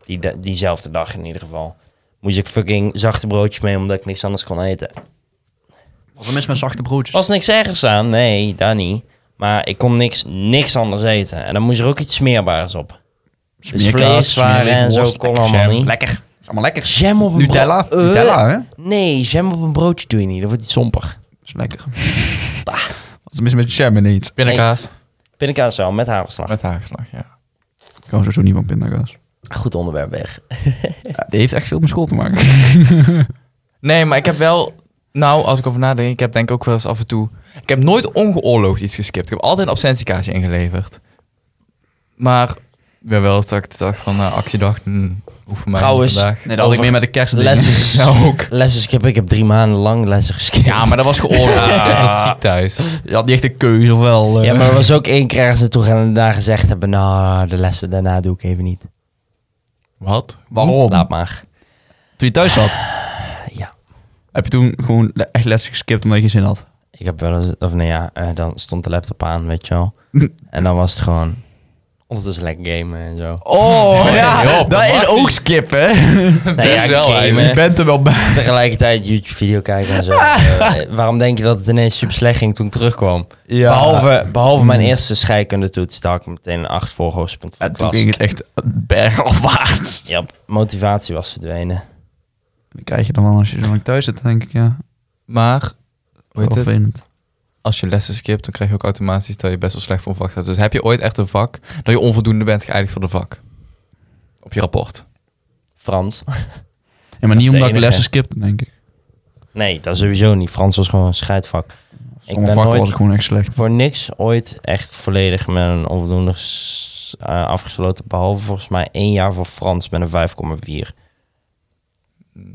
Speaker 3: Die, da- diezelfde dag in ieder geval. Moest ik fucking zachte broodjes mee omdat ik niks anders kon eten.
Speaker 2: Wat een mis met zachte broodjes.
Speaker 3: was niks ergens aan, nee, daar niet. Maar ik kon niks, niks anders eten. En dan moest er ook iets smeerbaars op. Dus vlees, waren en zo kon allemaal niet.
Speaker 2: Lekker. Is allemaal lekker.
Speaker 3: Jam op een
Speaker 2: Nutella.
Speaker 3: brood- Eh,
Speaker 2: Nutella, hè?
Speaker 3: Nee, jam op een broodje doe je niet. Dat wordt iets sompig.
Speaker 2: Is lekker. Wat is mis met jam ineens?
Speaker 1: Pindakaas
Speaker 3: Pindakaas wel, met hagelslag.
Speaker 1: met haagslag, ja.
Speaker 2: Ik hou sowieso niet van pindakaas.
Speaker 3: Goed onderwerp weg.
Speaker 2: die heeft echt veel met school te maken.
Speaker 1: Nee, maar ik heb wel, nou, als ik over nadenk, ik heb denk ik ook wel eens af en toe, ik heb nooit ongeoorloofd iets geskipt. Ik heb altijd een absentiekaartje ingeleverd. Maar, ik ben wel eens dat ik dacht van, nou, actiedag, hm, hoeft voor mij niet
Speaker 3: Trouwens,
Speaker 1: vandaag.
Speaker 2: Nee,
Speaker 3: dat had ik meer
Speaker 2: met de kerst.
Speaker 3: Lessen.
Speaker 1: Nou ook.
Speaker 3: Lessen skippen. Ik heb drie maanden lang lessen geskipt.
Speaker 1: Ja, maar dat was geoorloofd, dus dat zie ik thuis.
Speaker 2: Je had niet echt een keuze, of wel? eh?
Speaker 3: Ja, maar er was ook één keer ergens naartoe gaan en daar gezegd hebben... Nou, de lessen daarna doe ik even niet.
Speaker 1: Wat?
Speaker 2: Waarom?
Speaker 3: Laat maar.
Speaker 2: Toen je thuis zat,
Speaker 3: Nou. Ja.
Speaker 2: heb je toen gewoon le- echt lessen geskipt omdat je geen zin had?
Speaker 3: Ik heb wel eens, of nee ja, eh, dan stond de laptop aan, weet je wel. en dan was het gewoon ondertussen lekker gamen en zo.
Speaker 2: Oh,
Speaker 1: ja, dat is ook
Speaker 2: skip, hè?
Speaker 3: Nee, ja,
Speaker 1: wel
Speaker 3: gamen,
Speaker 1: eigenlijk.
Speaker 2: bent er wel bij.
Speaker 3: Tegelijkertijd YouTube-video kijken en zo. Eh, eh, waarom denk je dat het ineens super slecht ging toen ik terugkwam?
Speaker 2: Ja. Mm.
Speaker 3: Behalve, behalve mijn eerste scheikundetoets, daar had ik meteen een 8 voor hoogtepunt van
Speaker 2: En
Speaker 3: de
Speaker 2: toen
Speaker 3: klas.
Speaker 2: ging het echt bergafwaarts.
Speaker 3: Ja, motivatie was verdwenen.
Speaker 2: Dat krijg je dan wel als je zo lang thuis zit, denk ik, ja.
Speaker 1: Maar, hoe heet
Speaker 2: Wel
Speaker 1: het?
Speaker 2: vervelend.
Speaker 1: als je lessen skipt, dan krijg je ook automatisch dat je best wel slecht voor een vak staat. Dus heb je ooit echt een vak dat je onvoldoende bent geëindigd voor de vak? Op je rapport.
Speaker 3: Frans?
Speaker 2: Ja, maar niet
Speaker 3: de
Speaker 2: omdat ik
Speaker 3: enige.
Speaker 2: lessen skipte, denk ik.
Speaker 3: Nee, dat sowieso niet. Frans was gewoon een scheidvak. ben
Speaker 2: Sommige vakken
Speaker 3: nooit-
Speaker 2: was ik gewoon echt slecht.
Speaker 3: Voor niks ooit echt volledig met een onvoldoende s- eh, afgesloten. Behalve volgens mij één jaar voor Frans met een 5,4.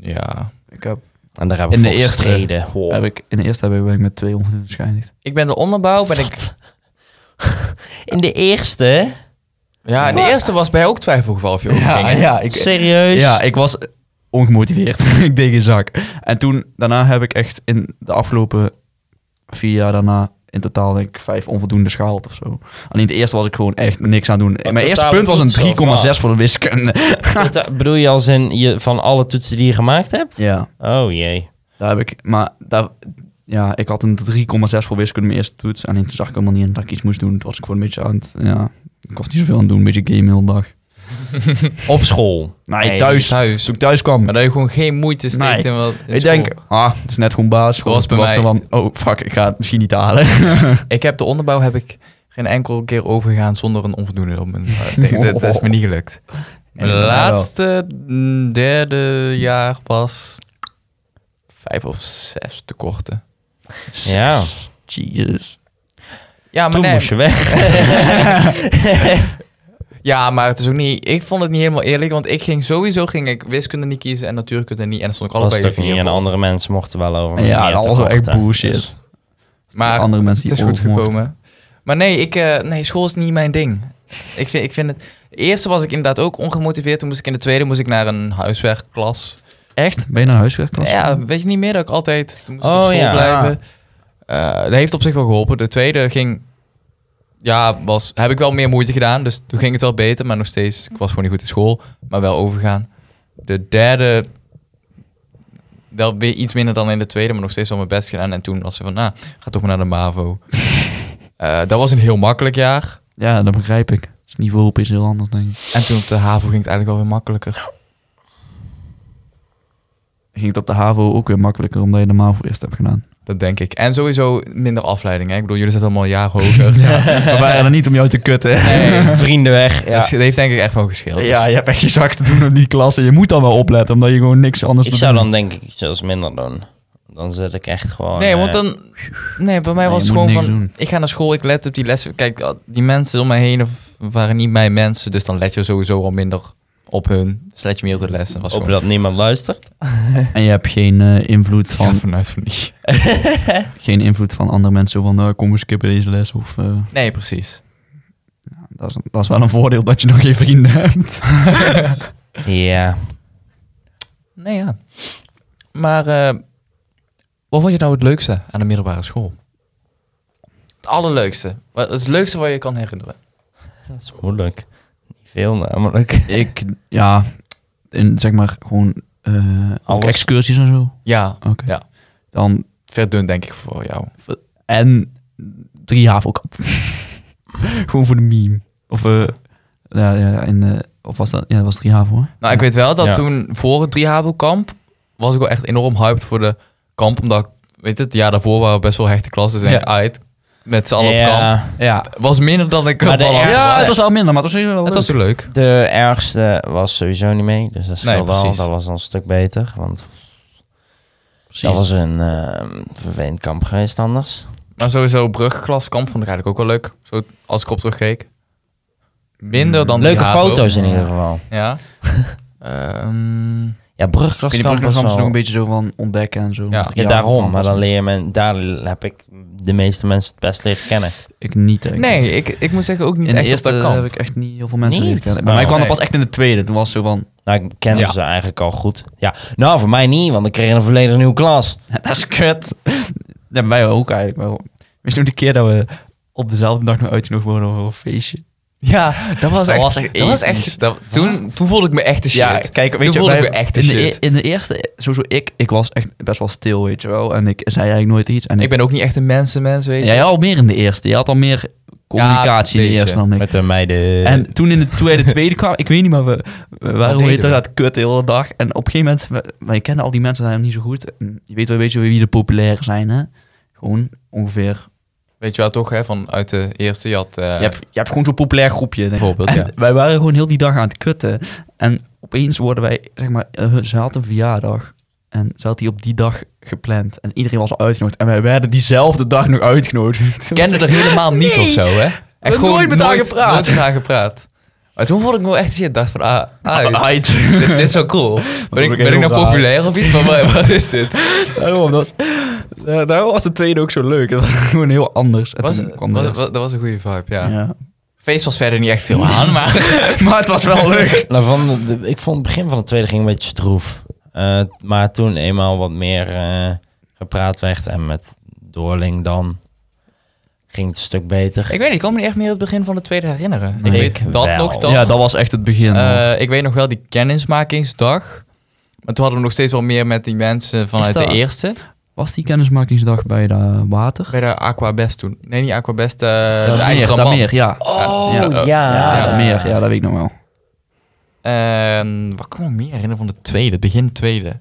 Speaker 1: Ja.
Speaker 2: Ik heb...
Speaker 3: En daar heb ik
Speaker 2: In de
Speaker 3: voor
Speaker 2: eerste
Speaker 3: gestreden. Wow.
Speaker 2: Heb ik, in de eerste heb ik, ben ik met twee onvoldoende geëindigd.
Speaker 1: Ik ben de onderbouw, ben ik...
Speaker 3: Wat? In de eerste?
Speaker 1: Ja, en de eerste was bij jou ook twijfelgeval of je ook ging. hè?
Speaker 2: ja,
Speaker 3: Serieus?
Speaker 2: Ja, ik was ongemotiveerd. ik deed geen zak. En toen, daarna heb ik echt in de afgelopen vier jaar daarna in totaal denk ik vijf onvoldoendes gehaald of zo. Alleen de eerste was ik gewoon echt niks aan doen. Mijn eerste
Speaker 3: totale
Speaker 2: punt was
Speaker 3: toets, of
Speaker 2: een 3,6 voor de wiskunde.
Speaker 3: Tot- eh, bedoel je als in je, van alle toetsen die je gemaakt hebt?
Speaker 2: Ja,
Speaker 3: Oh jee.
Speaker 2: daar heb ik. Maar daar, ja, ik had een 3,6 voor wiskunde mijn eerste toets. En toen zag ik helemaal niet in dat ik iets moest doen. Toen was ik gewoon een beetje aan het, ja, ik was niet zoveel aan het doen. Een beetje game heel de dag.
Speaker 3: Op school.
Speaker 2: Nee,
Speaker 1: Nee,
Speaker 2: thuis.
Speaker 1: thuis.
Speaker 2: Toen ik thuis kwam.
Speaker 1: Maar dat je gewoon geen moeite steekt in
Speaker 2: Nee.
Speaker 1: wat... in
Speaker 2: ik
Speaker 1: school.
Speaker 2: denk, ah, het is net gewoon baas.
Speaker 1: Zoals bij
Speaker 2: Toen was er
Speaker 1: mij.
Speaker 2: van, oh fuck, ik ga het misschien niet halen.
Speaker 1: Ik heb de onderbouw, heb ik geen enkel keer overgegaan zonder een onvoldoende op mijn eh, ding. Dat, dat is me niet gelukt. Mijn
Speaker 2: En-
Speaker 1: laatste mm, derde jaar was vijf of zes tekorten.
Speaker 3: Ja.
Speaker 2: Jesus.
Speaker 1: Ja, maar
Speaker 3: Toen
Speaker 1: nee,
Speaker 3: moest je weg.
Speaker 1: Ja, maar het is ook niet. Ik vond het niet helemaal eerlijk, want ik ging sowieso ging ik wiskunde niet kiezen en natuurkunde niet. En dan stond ik
Speaker 3: Was
Speaker 1: allebei
Speaker 3: het
Speaker 1: de
Speaker 3: ook niet.
Speaker 1: vier.
Speaker 3: En
Speaker 1: voor.
Speaker 3: andere mensen mochten wel over me
Speaker 2: Ja,
Speaker 3: meer
Speaker 2: dat
Speaker 3: te
Speaker 2: was wel echt
Speaker 3: wachten.
Speaker 2: bullshit.
Speaker 3: Dus-
Speaker 1: Maar
Speaker 2: Andere mensen die
Speaker 1: het is goed
Speaker 2: oorlog mochten.
Speaker 1: gekomen. Maar nee, ik, eh, nee, school is niet mijn ding. Ik vind, ik vind het. De eerste was ik inderdaad ook ongemotiveerd. Toen moest ik in de tweede moest ik naar een huiswerkklas.
Speaker 2: Echt? Ben je naar huiswerk?
Speaker 1: Ja, weet je niet meer dat ik altijd. Toen moest ik
Speaker 3: Oh,
Speaker 1: op school
Speaker 3: ja.
Speaker 1: blijven. Eh, dat heeft op zich wel geholpen. De tweede ging. Ja, was, heb ik wel meer moeite gedaan. Dus toen ging het wel beter. Maar nog steeds. Ik was gewoon niet goed in school. Maar wel overgaan. De derde. Wel weer iets minder dan in de tweede. Maar nog steeds wel mijn best gedaan. En toen was ze van. Nou, ga toch maar naar de MAVO. Eh, dat was een heel makkelijk jaar.
Speaker 2: Ja, dat begrijp ik. Het niveau op is heel anders, denk ik.
Speaker 1: En toen op de HAVO ging het eigenlijk wel weer makkelijker.
Speaker 2: Ging het op de HAVO ook weer makkelijker, omdat je de MAVO eerst hebt gedaan.
Speaker 1: Dat denk ik. En sowieso minder afleiding. Hè? Ik bedoel, jullie zitten allemaal een jaar hoger.
Speaker 2: We waren er niet om jou te kutten. hè?
Speaker 3: Hey, vrienden weg.
Speaker 1: Dat
Speaker 3: Ja.
Speaker 1: is- dat heeft denk ik echt wel gescheeld. Dus-
Speaker 2: Ja, je hebt echt je zak te doen op die klas. En je moet dan wel opletten, omdat je gewoon niks anders
Speaker 3: Ik
Speaker 2: te
Speaker 3: zou
Speaker 2: doen
Speaker 3: dan denk ik zelfs minder doen. Dan zit ik echt gewoon...
Speaker 1: Nee, want
Speaker 3: eh,
Speaker 1: dan... Nee, bij mij
Speaker 2: Nee,
Speaker 1: was
Speaker 2: je
Speaker 1: het
Speaker 2: moet
Speaker 1: gewoon van...
Speaker 2: niks doen.
Speaker 1: Ik ga naar school, ik let op die lessen. Kijk, ah, die mensen om mij heen of- waren niet mijn mensen. Dus dan let je sowieso al minder op hun. Dus let je meer op de lessen. Was
Speaker 3: Hopen
Speaker 1: gewoon,
Speaker 3: dat niemand luistert.
Speaker 2: En je hebt geen eh, invloed
Speaker 1: ik ga
Speaker 2: van...
Speaker 1: vanuit van niet.
Speaker 2: Geen invloed van andere mensen, zo van nou, kom we skippen deze les. Of, eh,
Speaker 1: Nee, precies.
Speaker 2: dat, is, dat is wel een voordeel dat je nog geen vrienden hebt.
Speaker 3: Ja.
Speaker 1: Nee, ja. Maar eh, wat vond je nou het leukste aan de middelbare school? Het allerleukste. Wat- Het leukste wat je kan herinneren.
Speaker 3: Dat is moeilijk. Niet veel namelijk.
Speaker 2: Ik, ja, in, zeg maar gewoon eh ook
Speaker 3: Alles.
Speaker 2: excursies en zo.
Speaker 1: Ja,
Speaker 2: Oké.
Speaker 1: Ja.
Speaker 2: Dan,
Speaker 1: verdun denk ik voor jou.
Speaker 2: en drie havelkamp. gewoon voor de meme. Of, eh, ja, ja, en, eh, of was dat, ja, dat was drie haven hoor.
Speaker 1: Nou, ik weet wel dat
Speaker 3: Ja.
Speaker 1: toen voor het Driehavelkamp was ik wel echt enorm hyped voor de kamp. Omdat, ik- weet het, ja, daarvoor waren we best wel hechte klassen. Dus ik
Speaker 2: Ja.
Speaker 1: denk, uit, met z'n allen op kamp.
Speaker 2: Ja.
Speaker 1: Was minder dan ik
Speaker 3: Maar de
Speaker 1: ervan had
Speaker 3: ergste-
Speaker 2: ja,
Speaker 1: verwacht.
Speaker 2: het was al minder, maar het was heel wel
Speaker 1: Het was
Speaker 2: leuk.
Speaker 1: zo leuk.
Speaker 3: De ergste was sowieso niet mee. Dus dat
Speaker 1: Nee,
Speaker 3: scheelde al.
Speaker 1: precies.
Speaker 3: Dat was al een stuk beter. Want dat was een eh, vervelend kamp geweest anders.
Speaker 1: Maar sowieso brugklaskamp vond ik eigenlijk ook wel leuk. Zo, als ik op terugkeek. Minder dan
Speaker 3: Leuke
Speaker 1: Driehavel.
Speaker 3: foto's in ieder geval.
Speaker 1: Ja. Ehm,
Speaker 3: Ja,
Speaker 2: In die
Speaker 3: brugklaskamp was
Speaker 2: programma's
Speaker 3: wel...
Speaker 2: nog een beetje zo van ontdekken en zo.
Speaker 1: Ja.
Speaker 2: Drie
Speaker 3: Ja,
Speaker 2: havenkamp
Speaker 3: daarom. Maar
Speaker 2: was
Speaker 3: dan
Speaker 2: het.
Speaker 3: leer je men... Daar heb ik de meeste mensen het best leren kennen.
Speaker 2: Ik niet, denk ik.
Speaker 1: nee, ik, ik moet zeggen ook niet
Speaker 2: In de
Speaker 1: echt
Speaker 2: eerste
Speaker 1: op dat kamp.
Speaker 2: heb ik echt niet heel veel mensen
Speaker 3: Niet?
Speaker 2: leren kennen. Bij
Speaker 3: Oh,
Speaker 2: mij kwam
Speaker 1: nee.
Speaker 2: dat pas echt in de tweede. Toen was het zo van...
Speaker 3: Nou, ik kende
Speaker 1: Ja.
Speaker 3: ze eigenlijk al goed. Ja, nou, voor mij niet, want ik kreeg een volledig nieuwe klas.
Speaker 2: Dat is kut. Ja, wij ook eigenlijk wel. Wist je nog de keer dat we op dezelfde dag nog uitgenodigd worden voor een feestje?
Speaker 1: Ja, dat was
Speaker 2: Dat
Speaker 1: echt...
Speaker 2: was echt
Speaker 1: dat was
Speaker 2: episch.
Speaker 1: echt dat- toen, toen voelde ik me echt de shit.
Speaker 2: kijk,
Speaker 1: Toen voelde
Speaker 2: wij-
Speaker 1: ik me echt de
Speaker 2: in,
Speaker 1: shit.
Speaker 2: De, e- in de eerste, sowieso ik, ik was echt best wel stil, weet je wel. En ik zei eigenlijk nooit iets. En
Speaker 1: ik ben ook niet echt een mensenmens, weet je.
Speaker 2: jij al meer in de eerste. Je had al meer communicatie in de
Speaker 1: beetje.
Speaker 2: eerste dan ik.
Speaker 3: Met de meiden.
Speaker 2: En toen in de tweede, tweede kwam, ik weet niet, maar we, we waren
Speaker 1: deden
Speaker 2: hoe heet dat,
Speaker 1: we?
Speaker 2: dat kut de hele dag. En op een gegeven moment, we, wij kennen al die mensen helemaal niet zo goed. En je weet wel een beetje wie de populair zijn, hè? Gewoon ongeveer.
Speaker 1: Weet je wel toch, hè, van uit de eerste, je had... eh,
Speaker 2: je, hebt, je hebt gewoon zo'n populair groepje. denk ik.
Speaker 1: Bijvoorbeeld,
Speaker 2: En
Speaker 1: ja.
Speaker 2: Wij waren gewoon heel die dag aan het kutten. En opeens worden wij, zeg maar, eh, ze had een verjaardag. En ze had die op die dag gepland. En iedereen was al uitgenodigd. En wij werden diezelfde dag nog uitgenodigd.
Speaker 1: kende er helemaal niet
Speaker 2: Nee.
Speaker 1: of zo, hè? Echt
Speaker 2: hebben nooit met haar gepraat.
Speaker 1: Nooit met haar gepraat. Maar toen vond ik me echt shit. dacht van, ah, ah,
Speaker 2: Ah, uit.
Speaker 1: dit, dit is wel cool. Ben ik,
Speaker 2: ook echt
Speaker 1: ben ik
Speaker 2: heel
Speaker 1: nou
Speaker 2: raar.
Speaker 1: populair of iets? Maar wat- wat is dit?
Speaker 2: Daarom, dat was, eh, daarom was de tweede ook zo leuk. Dat was gewoon heel anders. En
Speaker 1: Was,
Speaker 2: toen
Speaker 1: was,
Speaker 2: kwam de
Speaker 1: was-
Speaker 2: rest.
Speaker 1: dat was een goede vibe, ja.
Speaker 2: Ja.
Speaker 1: Feest was verder niet echt veel aan, maar...
Speaker 2: maar het was wel leuk.
Speaker 3: Nou, van de- de- ik vond het begin van de tweede ging een beetje stroef. Eh, maar toen eenmaal wat meer eh, gepraat werd en met Doorling dan ging het een stuk beter.
Speaker 1: ik weet niet, ik kan me niet echt meer het begin van de tweede herinneren.
Speaker 2: Nee.
Speaker 1: ik
Speaker 3: Ik
Speaker 1: weet dat
Speaker 3: wel.
Speaker 1: nog dan.
Speaker 2: Ja, dat was echt het begin. hoor.
Speaker 1: Eh, ik weet nog wel die kennismakingsdag. Maar toen hadden we nog steeds wel meer met die mensen vanuit
Speaker 2: dat-
Speaker 1: de eerste.
Speaker 2: was die kennismakingsdag bij de water?
Speaker 1: Bij de Aquabest toen. Nee, niet Aquabest, eh de
Speaker 2: Dat meer,
Speaker 1: IJzeren
Speaker 2: dat
Speaker 1: Man.
Speaker 2: meer, ja.
Speaker 3: Oh,
Speaker 2: ja.
Speaker 3: ja.
Speaker 2: Ja, dat meer. Ja, dat weet ik nog wel.
Speaker 1: En Ehm, wat kan ik me meer herinneren van de tweede, begin tweede?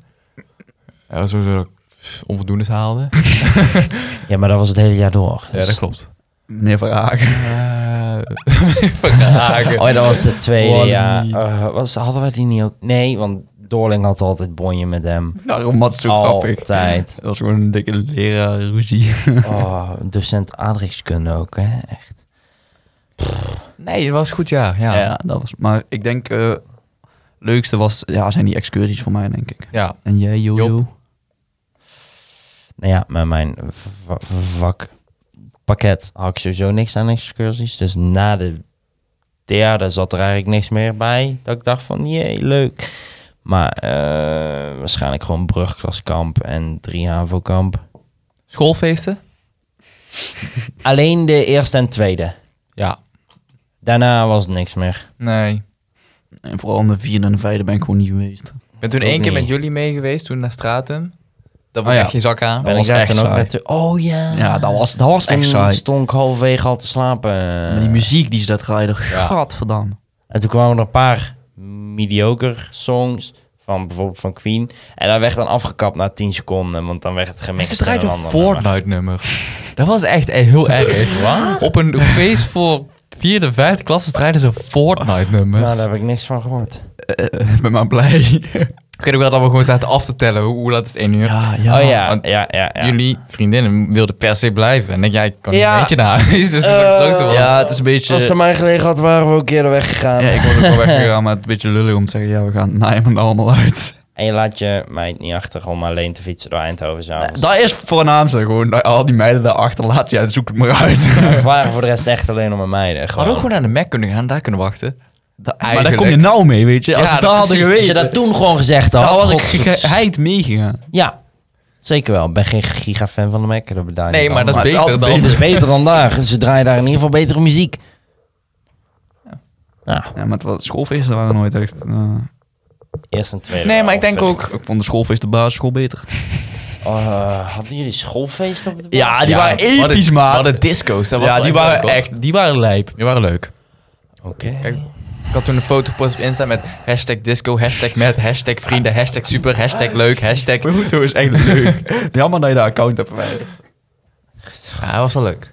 Speaker 1: Er was sowieso dat ik onvoldoendes haalde.
Speaker 3: Ja, maar dat was het hele jaar door.
Speaker 1: Ja,
Speaker 3: Dus
Speaker 1: dat klopt.
Speaker 2: Meneer Verhagen.
Speaker 1: Eh, Verhagen.
Speaker 3: Oh, ja, dat was de tweede,
Speaker 2: One.
Speaker 3: ja. Eh, was, hadden wij die niet ook? Nee, want Doorling had altijd bonje met hem.
Speaker 2: Daarom was het zo grappig.
Speaker 3: Altijd.
Speaker 2: Dat was gewoon een dikke leraar ruzie.
Speaker 3: Oh, docent aardrijkskunde ook, hè? Echt.
Speaker 1: Nee, dat was een goed jaar. Ja.
Speaker 2: Ja,
Speaker 1: Ja.
Speaker 2: dat was... Maar ik denk... eh leukste was... Ja, zijn die excursies voor mij, denk ik. En jij, Jojo?
Speaker 3: Nou ja, met mijn v- v- vakpakket had ik sowieso niks aan excursies. Dus na de derde zat er eigenlijk niks meer bij. Dat ik dacht van, jee, leuk. Maar eh, waarschijnlijk gewoon brugklaskamp en drie HAVO-kamp.
Speaker 1: Schoolfeesten?
Speaker 3: Alleen de eerste en tweede.
Speaker 1: Ja.
Speaker 3: Daarna was het niks meer.
Speaker 1: Nee.
Speaker 2: En vooral aan de vierde en vijfde ben ik gewoon niet geweest.
Speaker 1: Ik ben toen
Speaker 3: Ook
Speaker 1: één keer
Speaker 3: niet.
Speaker 1: met jullie mee geweest, toen naar Stratum. Dat
Speaker 2: Oh
Speaker 1: was
Speaker 2: ja.
Speaker 1: echt geen zak aan.
Speaker 3: Ben ik
Speaker 2: was
Speaker 3: daar
Speaker 2: echt
Speaker 3: toen ook
Speaker 2: saai.
Speaker 3: met de... Oh ja.
Speaker 2: Ja, dat was, dat was
Speaker 3: Toen
Speaker 2: echt saai.
Speaker 3: stond ik halverwege al te slapen.
Speaker 2: Met die muziek die ze dat draaiden. Gadverdamme.
Speaker 3: En toen kwamen er een paar mediocre songs. Van bijvoorbeeld van Queen. En dat werd dan afgekapt na 10 seconden. Want dan werd het
Speaker 1: En
Speaker 3: gemixt.
Speaker 1: ze
Speaker 3: in
Speaker 1: draaiden
Speaker 3: een
Speaker 1: een
Speaker 3: ander
Speaker 1: Fortnite-nummer. Dat was echt
Speaker 2: eh,
Speaker 1: heel erg.
Speaker 3: nummer.
Speaker 1: Op een feest voor vierde, vijfde klasse draaiden ze Fortnite-nummers.
Speaker 3: Nou, daar heb ik niks van gehoord.
Speaker 2: Eh, ben maar blij.
Speaker 1: Ik weet ook wel dat we gewoon zaten af te tellen. Hoe, hoe laat is het één uur?
Speaker 2: ja,
Speaker 3: oh ja,
Speaker 1: want
Speaker 3: ja, ja, ja.
Speaker 1: Jullie vriendinnen wilden per se blijven. En ik, ja, ik kan
Speaker 3: Ja.
Speaker 1: niet eentje naar huis. Dus dat
Speaker 3: Eh,
Speaker 1: is ook zo van-
Speaker 2: Ja, het is een beetje...
Speaker 3: Als het aan mij gelegen had, waren we ook eerder weggegaan.
Speaker 2: Ja, ik was ook wel weggegaan, maar het is een beetje lullig om te zeggen... Ja, we gaan na hem allemaal uit.
Speaker 3: En je laat je meid niet achter om alleen te fietsen door Eindhoven. 's avonds.
Speaker 2: Dat is voornaamste gewoon. dat Al die meiden daarachter laat je en zoek het maar uit.
Speaker 3: Het waren voor de rest echt alleen om mijn
Speaker 1: We
Speaker 3: meiden.
Speaker 1: hadden ook
Speaker 3: Gewoon.
Speaker 1: gewoon naar de Mac kunnen gaan, daar kunnen wachten.
Speaker 2: maar daar kom je nou mee, weet je. Als
Speaker 1: Ja,
Speaker 2: we
Speaker 1: dat
Speaker 2: dat hadden
Speaker 1: precies.
Speaker 3: Als
Speaker 2: geweten,
Speaker 3: je dat toen gewoon gezegd had,
Speaker 2: dan Nou, was ik
Speaker 3: godsdienst.
Speaker 2: geheid meegegaan.
Speaker 3: Ja, zeker wel. Ik ben geen gigafan van de Mac, dat bedoel ik
Speaker 1: Nee,
Speaker 3: niet
Speaker 1: maar
Speaker 3: van.
Speaker 1: dat is
Speaker 2: Maar het is
Speaker 1: beter
Speaker 2: altijd
Speaker 1: dan...
Speaker 3: Het is beter dan daar. Ze draaien daar in ieder geval betere muziek. Nou, Ja,
Speaker 2: Ja, maar het was, schoolfeesten waren nooit echt... eh,
Speaker 3: eerst en tweede.
Speaker 1: Nee, maar
Speaker 3: wel.
Speaker 1: ik denk
Speaker 3: Of-
Speaker 1: ook...
Speaker 2: ik vond de schoolfeest de basisschool beter.
Speaker 3: Eh, hadden jullie schoolfeest op de
Speaker 2: Ja, die waren
Speaker 1: we hadden-
Speaker 2: episch,
Speaker 1: we
Speaker 2: maat.
Speaker 1: hadden disco's, dat was
Speaker 2: ja,
Speaker 1: wel
Speaker 2: die
Speaker 1: echt
Speaker 2: waren
Speaker 1: leuk, hoor.
Speaker 2: echt... Die waren lijp.
Speaker 1: Die waren leuk.
Speaker 3: Oké.
Speaker 1: Kijk, ik had toen een foto gepost op Insta met hashtag disco, hashtag met, hashtag vrienden, hashtag super, hashtag leuk, hashtag...
Speaker 2: De foto is echt leuk. Jammer dat je dat account hebt verwijderd.
Speaker 1: Ja, dat was wel leuk.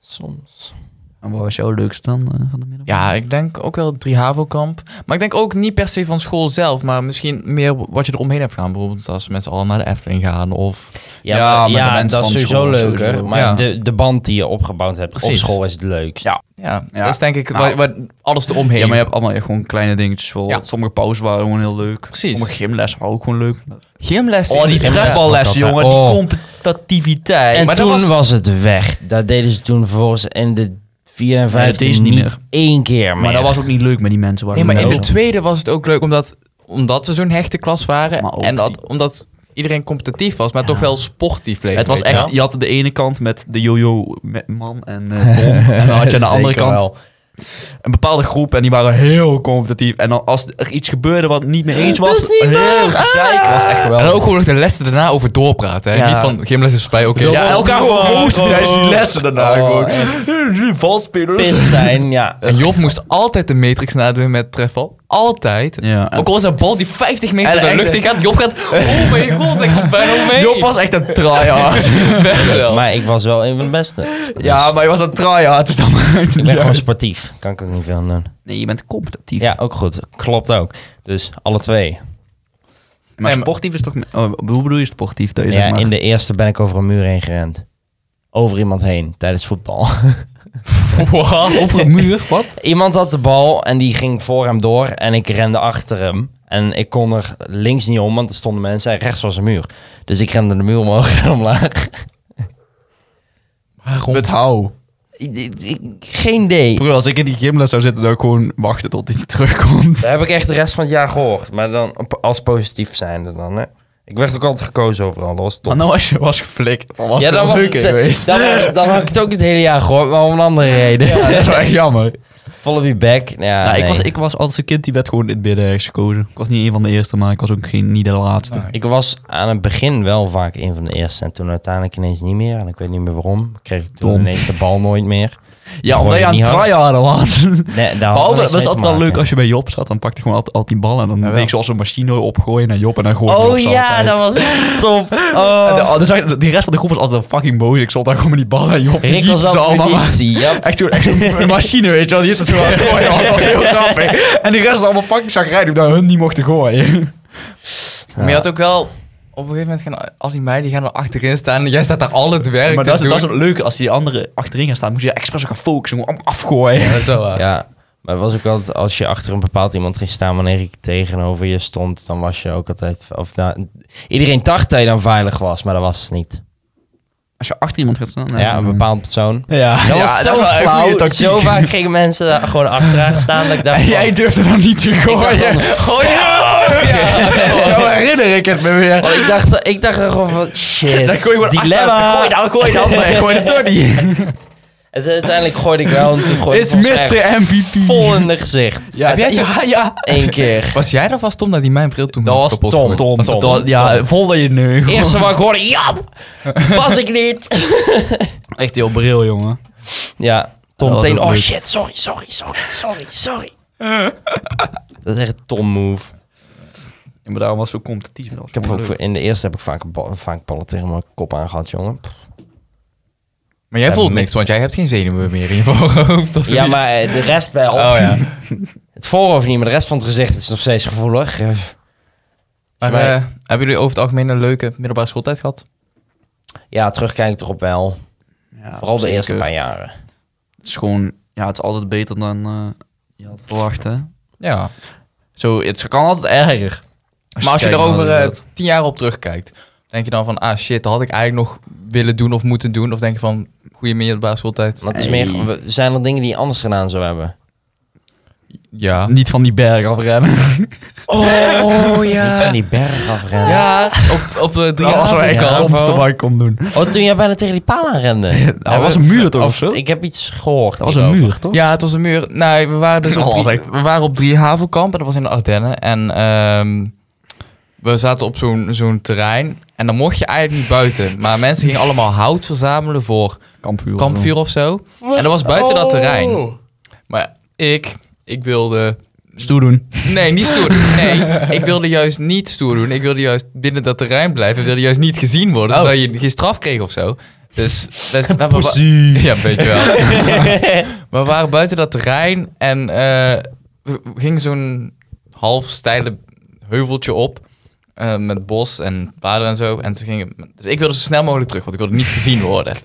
Speaker 3: Soms.
Speaker 2: En wat was jouw leukste dan eh, van de middag?
Speaker 1: Ja, ik denk ook wel drie HAVO-kamp. Maar ik denk ook niet per se van school zelf, maar misschien meer wat je eromheen hebt gaan. Bijvoorbeeld als we met z'n allen naar de Efteling gaan of...
Speaker 3: Ja,
Speaker 2: Ja,
Speaker 3: maar,
Speaker 2: maar de
Speaker 3: ja
Speaker 2: mensen
Speaker 3: dat is
Speaker 2: van
Speaker 3: sowieso
Speaker 2: school
Speaker 3: leuker.
Speaker 2: sowieso.
Speaker 3: Maar
Speaker 1: Ja.
Speaker 3: de, de band die je opgebouwd hebt op
Speaker 1: Precies.
Speaker 3: school is het leukst. Ja.
Speaker 1: Ja,
Speaker 2: Ja.
Speaker 1: dat is denk ik
Speaker 2: Nou.
Speaker 1: wat, wat- alles eromheen.
Speaker 2: Ja, maar je hebt allemaal echt gewoon kleine dingetjes. Voor.
Speaker 1: Ja.
Speaker 2: Sommige pauzen waren gewoon heel leuk.
Speaker 1: Precies.
Speaker 2: Sommige gymlessen waren ook gewoon leuk.
Speaker 1: Gymlessen.
Speaker 2: Oh, die
Speaker 1: Gymles-
Speaker 2: trefballessen,
Speaker 3: Ja.
Speaker 2: jongen.
Speaker 3: Oh.
Speaker 2: Die competitiviteit.
Speaker 3: En
Speaker 1: maar dat
Speaker 3: toen was...
Speaker 1: was-
Speaker 3: het weg. Dat deden ze toen volgens in de 4 en
Speaker 2: dat
Speaker 3: 5
Speaker 2: deden ze
Speaker 3: niet
Speaker 2: niet meer.
Speaker 3: één keer meer.
Speaker 2: Maar dat was ook niet leuk met die mensen. Waar
Speaker 1: Nee, maar in
Speaker 2: ik
Speaker 1: de tweede was het ook leuk omdat, omdat we zo'n hechte klas
Speaker 2: Maar
Speaker 1: waren.
Speaker 2: ook
Speaker 1: En dat, omdat iedereen competitief was, maar toch wel sportief bleef.
Speaker 2: Het was
Speaker 1: weet je wel?
Speaker 2: echt, je had de ene kant met de jojo met man en eh, Tom. en dan had je aan de andere
Speaker 3: Zeker
Speaker 2: kant
Speaker 3: wel.
Speaker 2: een bepaalde groep en die waren heel competitief. En dan als er iets gebeurde wat niet mee eens was, heel gezeik. was echt
Speaker 1: En dan
Speaker 2: geweldig.
Speaker 1: ook gewoon nog de lessen daarna over doorpraten. Hè?
Speaker 2: Ja.
Speaker 1: Niet van gymles is bij, oké.
Speaker 2: ja,
Speaker 1: Ja.
Speaker 2: elkaar gewoon
Speaker 3: Oh,
Speaker 2: roosten
Speaker 3: oh,
Speaker 2: tijdens die
Speaker 3: oh.
Speaker 2: lessen daarna.
Speaker 3: Oh,
Speaker 2: gewoon. Valspelers.
Speaker 3: Pis zijn, ja.
Speaker 1: En Job moest altijd de matrix nadoen met trefval. Altijd.
Speaker 2: Ja, en-
Speaker 1: Ook al was dat bal die 50 meter
Speaker 2: En
Speaker 1: de
Speaker 2: echt-
Speaker 1: lucht in gaat. Job gaat, oh mijn god, ik kom bijna mee.
Speaker 2: Job was echt een tryhard.
Speaker 1: best wel.
Speaker 3: Maar ik was wel een van de beste. Dus
Speaker 2: ja, maar je was een tryhard. Dus dat maakt
Speaker 3: ik
Speaker 2: niet
Speaker 3: ben gewoon
Speaker 2: uit.
Speaker 3: sportief. Kan ik ook niet veel aan doen.
Speaker 2: Nee, je bent competitief.
Speaker 3: Ja, ook goed. Klopt ook. Dus alle twee.
Speaker 2: Maar
Speaker 1: Nee, maar-
Speaker 2: sportief is toch... Oh, hoe bedoel je sportief? Dat je
Speaker 3: Ja,
Speaker 2: zeg maar-
Speaker 3: in de eerste ben ik over een muur heen gerend. Over iemand heen tijdens voetbal.
Speaker 1: Wow, over een muur, wat?
Speaker 3: iemand had de bal en die ging voor hem door en ik rende achter hem. En ik kon er links niet om, want er stonden mensen en rechts was een muur. Dus ik rende de muur omhoog en omlaag.
Speaker 1: Waarom?
Speaker 2: Het hou.
Speaker 3: Ik- ik- ik- Geen idee.
Speaker 2: Broer, als ik in die gymles zou zitten, dan ook gewoon wachten tot hij terugkomt.
Speaker 3: Dat heb ik echt de rest van het jaar gehoord. Maar dan op- als positief zijnde dan, hè. Ik werd ook altijd gekozen overal, dat was top.
Speaker 2: Maar nou, als je was geflikt, dan was
Speaker 3: ja,
Speaker 2: het
Speaker 3: dan,
Speaker 2: wel
Speaker 3: was
Speaker 2: leuk
Speaker 3: het, eh,
Speaker 2: geweest.
Speaker 3: dan, was- dan had ik het ook het hele jaar gehoord, maar om een andere reden.
Speaker 2: Ja, dat is wel echt jammer.
Speaker 3: Follow me back. Ja,
Speaker 2: nou, ik,
Speaker 3: Ah, nee.
Speaker 2: was, ik was als een kind, die werd gewoon in het midden ergens gekozen. Ik was niet een van de eerste, maar ik was ook geen, niet de laatste.
Speaker 1: Nee.
Speaker 3: Ik was aan het begin wel vaak een van de eerste en toen uiteindelijk ineens niet meer. En ik weet niet meer waarom. Ik kreeg toen
Speaker 2: Dom.
Speaker 3: ineens de bal nooit meer.
Speaker 2: Ja,
Speaker 3: Gooi
Speaker 2: omdat je
Speaker 3: je
Speaker 2: aan
Speaker 3: niet
Speaker 2: het
Speaker 3: harder.
Speaker 2: tryharden was.
Speaker 3: Nee, daar hadden
Speaker 2: Behalve,
Speaker 3: we
Speaker 2: dat is
Speaker 3: niks
Speaker 2: altijd
Speaker 3: mee te
Speaker 2: wel leuk
Speaker 3: maken.
Speaker 2: als je bij Job zat. Dan pakte hij gewoon altijd al die ballen. En dan
Speaker 1: Jawel.
Speaker 2: deed ik zoals een machine opgooien naar Job. En dan gooide
Speaker 3: Oh ja, dat was echt top.
Speaker 2: En de,
Speaker 3: Oh.
Speaker 2: dus eigenlijk- die rest van de groep was altijd fucking boos. Ik stond daar gewoon met die ballen en Job.
Speaker 3: Rick
Speaker 2: liet
Speaker 3: was
Speaker 2: ze
Speaker 3: al
Speaker 2: allemaal maar-
Speaker 3: politie. Ja,
Speaker 2: Echt zo'n echt zo'n machine, weet je wel. Die hitte zo aan het gooien. was. Dat was heel grappig. En die rest was allemaal fucking chagrijnig omdat hun niet mochten gooien.
Speaker 1: Maar je had ook wel... Op een gegeven moment gaan al die meiden die gaan er achterin staan. En jij staat daar al het werk
Speaker 2: maar
Speaker 1: te
Speaker 2: dat is,
Speaker 1: doen.
Speaker 2: dat is het leuke. Als die anderen achterin gaan staan, moet je daar expres op gaan focussen. Gewoon allemaal afgooien.
Speaker 1: Ja, dat is wel waar.
Speaker 3: ja, maar het was ook altijd als je achter een bepaald iemand ging staan wanneer ik tegenover je stond, dan was je ook altijd of nou, iedereen dacht dat je dan veilig was, maar dat was het niet.
Speaker 2: Als je achter iemand gaat staan...
Speaker 3: Ja, een bepaald persoon.
Speaker 2: Ja,
Speaker 3: Dat
Speaker 2: ja,
Speaker 3: was
Speaker 2: is
Speaker 3: zo
Speaker 2: wel een goede
Speaker 3: flauw.
Speaker 2: tactiek.
Speaker 3: Zo vaak gingen mensen daar gewoon achteraan staan dat ik dacht
Speaker 2: En
Speaker 3: van,
Speaker 2: jij durfde dan niet te
Speaker 3: dacht
Speaker 2: gooien.
Speaker 3: dan,
Speaker 2: Gooi Zo herinner ik het me weer.
Speaker 3: want Oh, ik dacht, ik dacht er gewoon van shit,
Speaker 2: Dan gooi je Oh, gewoon
Speaker 3: dilemma.
Speaker 2: achter. Gooi dan, gooi dan. maar gooi het door niet.
Speaker 3: En toen uiteindelijk gooide ik wel en toen gooide
Speaker 2: It's
Speaker 3: ik ons echt
Speaker 2: Mr. MVP.
Speaker 3: vol in de gezicht.
Speaker 2: Ja,
Speaker 1: Heb jij
Speaker 2: ja, ja.
Speaker 3: Eén keer.
Speaker 1: Was jij dat was Tom dat die mijn bril toen had kapot
Speaker 2: Tom,
Speaker 1: gegooid?
Speaker 2: Tom,
Speaker 1: Was dat
Speaker 2: Tom, Ja, vol in je neus.
Speaker 3: Eerste wat ik hoorde, ja, was ik niet.
Speaker 2: Echt heel bril, jongen.
Speaker 3: Ja, Tom
Speaker 2: Oh,
Speaker 3: meteen.
Speaker 2: dat
Speaker 3: Oh
Speaker 2: leuk.
Speaker 3: shit, sorry, sorry, sorry, sorry, sorry. dat is echt een Tom move.
Speaker 2: Ja, maar daarom was het zo competitief.
Speaker 3: Ik heb ook, in de eerste heb ik vaak een bal- vaak ballen tegen mijn kop aangehad, jongen.
Speaker 1: Maar jij
Speaker 3: Ja,
Speaker 1: voelt
Speaker 3: niks.
Speaker 1: niks, want jij hebt geen zenuwen meer in je voorhoofd of zoiets.
Speaker 3: Ja, maar eh, de rest wel.
Speaker 1: Oh ja.
Speaker 3: Het voorhoofd niet, maar de rest van het gezicht is nog steeds gevoelig. Eh,
Speaker 1: Maar
Speaker 3: Wij-
Speaker 1: eh, hebben jullie over het algemeen een leuke middelbare schooltijd gehad?
Speaker 3: Ja, terugkijkend erop wel. Vooral de eerste
Speaker 2: bij.
Speaker 3: paar jaren.
Speaker 2: Het is gewoon... Ja, het is altijd beter dan eh, je had verwacht, hè.
Speaker 1: Ja.
Speaker 2: Zo, het kan altijd erger.
Speaker 1: maar als je,
Speaker 2: kijkt
Speaker 1: er
Speaker 2: naar
Speaker 1: over
Speaker 2: de
Speaker 1: eh,
Speaker 2: wereld.
Speaker 1: tien jaar op terugkijkt, denk je dan van, ah shit, dat had ik eigenlijk nog willen doen of moeten doen? Of denk je van, goede middelbare schooltijd?
Speaker 3: Maar het is meer, we- zijn er dingen die je anders gedaan zou hebben?
Speaker 1: Ja.
Speaker 2: Ah. Niet van die berg afrennen.
Speaker 1: Oh
Speaker 3: Niet van die berg afrennen.
Speaker 1: Ja, op, op eh, drie
Speaker 2: Dat was wel echt
Speaker 1: avond-
Speaker 3: Bravo.
Speaker 2: het domste wat ik kon doen. Nou,
Speaker 3: Oh, toen jij bijna tegen die paal aanrende.
Speaker 2: Dat was een muur toch of zo?
Speaker 3: Ik heb iets gehoord.
Speaker 2: Dat was een
Speaker 3: hierover.
Speaker 2: muur, toch?
Speaker 1: Ja, het was een muur. Nee, we waren dus
Speaker 2: Dat
Speaker 1: op
Speaker 2: was
Speaker 1: drie,
Speaker 2: echt-
Speaker 1: we waren op drie havelkamp en dat was in de Ardennen. En ehm, we zaten op zo'n zo'n terrein en dan mocht je eigenlijk niet buiten. Maar mensen gingen allemaal hout verzamelen voor
Speaker 2: Kampvuur.
Speaker 1: kampvuur of zo. En dat was buiten dat terrein. Maar ik, ik wilde...
Speaker 2: Stoer doen.
Speaker 1: Nee, niet stoer doen. Nee, ik wilde juist niet stoer doen. Ik wilde juist binnen dat terrein blijven. Ik wilde juist niet gezien worden, zodat je geen straf kreeg of zo. Dus... dus we hebben- ja, weet je wel. maar we waren buiten dat terrein en eh, we we gingen zo'n half steile heuveltje op. eh, met bos en paarden en zo. En ze gingen, dus ik wilde zo snel mogelijk terug, want ik wilde niet gezien worden.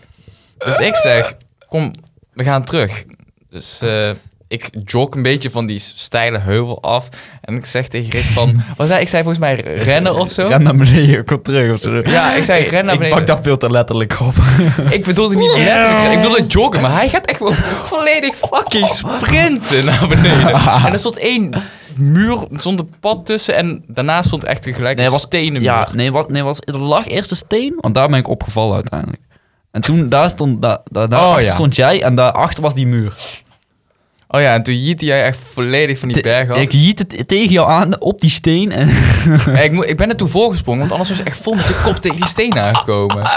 Speaker 1: Dus ik zeg, kom, we gaan terug. Dus eh, ik jog een beetje van die steile heuvel af. En ik zeg tegen Rick van... Wat zei, ik zei volgens mij rennen of zo.
Speaker 2: Ga naar beneden, kom terug of zo.
Speaker 1: Ja, ik zei rennen naar
Speaker 2: ik
Speaker 1: beneden.
Speaker 2: pak dat veel te letterlijk op.
Speaker 1: Ik bedoelde niet letterlijk, ik bedoelde joggen, maar hij gaat echt gewoon volledig fucking sprinten naar beneden. En er stond één muur, er stond een pad tussen en daarna stond echt tegelijk
Speaker 2: Nee,
Speaker 1: een
Speaker 2: was-
Speaker 1: stenen muur.
Speaker 2: Ja, nee, wat, nee was, er lag eerst een steen, want daar ben ik opgevallen uiteindelijk. En toen, daar stond, daar daar daarachter
Speaker 1: ja.
Speaker 2: stond jij en daarachter was die muur.
Speaker 1: Oh ja, en toen jiette jij echt volledig van die berg af.
Speaker 2: Ik
Speaker 1: Ik,
Speaker 2: hiet het tegen jou aan op die steen en
Speaker 1: ik, moet- ik ben er toen voorgesprongen, want anders was je echt vol met je kop tegen die steen aangekomen.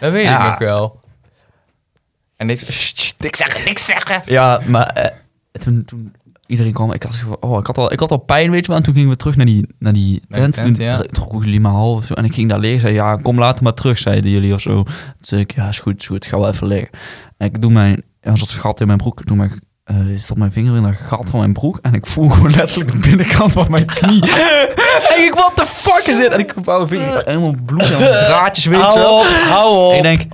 Speaker 1: Dat weet
Speaker 2: Ja.
Speaker 1: ik nog wel. En ik, sst, sst, niks zeggen, niks zeggen.
Speaker 2: Ja, maar eh, toen, toen iedereen kwam, ik had, zo van, oh, ik, had al, ik had al pijn, weet je wel. En toen gingen we terug naar die, naar die
Speaker 1: Naar die
Speaker 2: tent.
Speaker 1: tent,
Speaker 2: toen
Speaker 1: ja.
Speaker 2: dro- droegen jullie maar half of zo. En ik ging daar liggen. Zei, ja, kom later maar terug, zeiden jullie of zo. Toen zei ik, ja, is goed, is goed. Ga wel even liggen. En ik doe mijn... Er zat een gat in mijn broek. Ik doe mijn... eh is op mijn vinger in dat gat van mijn broek. En ik voel gewoon letterlijk de binnenkant van mijn knie. en ik, what the fuck is dit? En ik vouw mijn vinger. Helemaal bloed en draadjes, weet je
Speaker 3: Hou
Speaker 2: wel.
Speaker 3: op, hou op.
Speaker 2: En ik denk,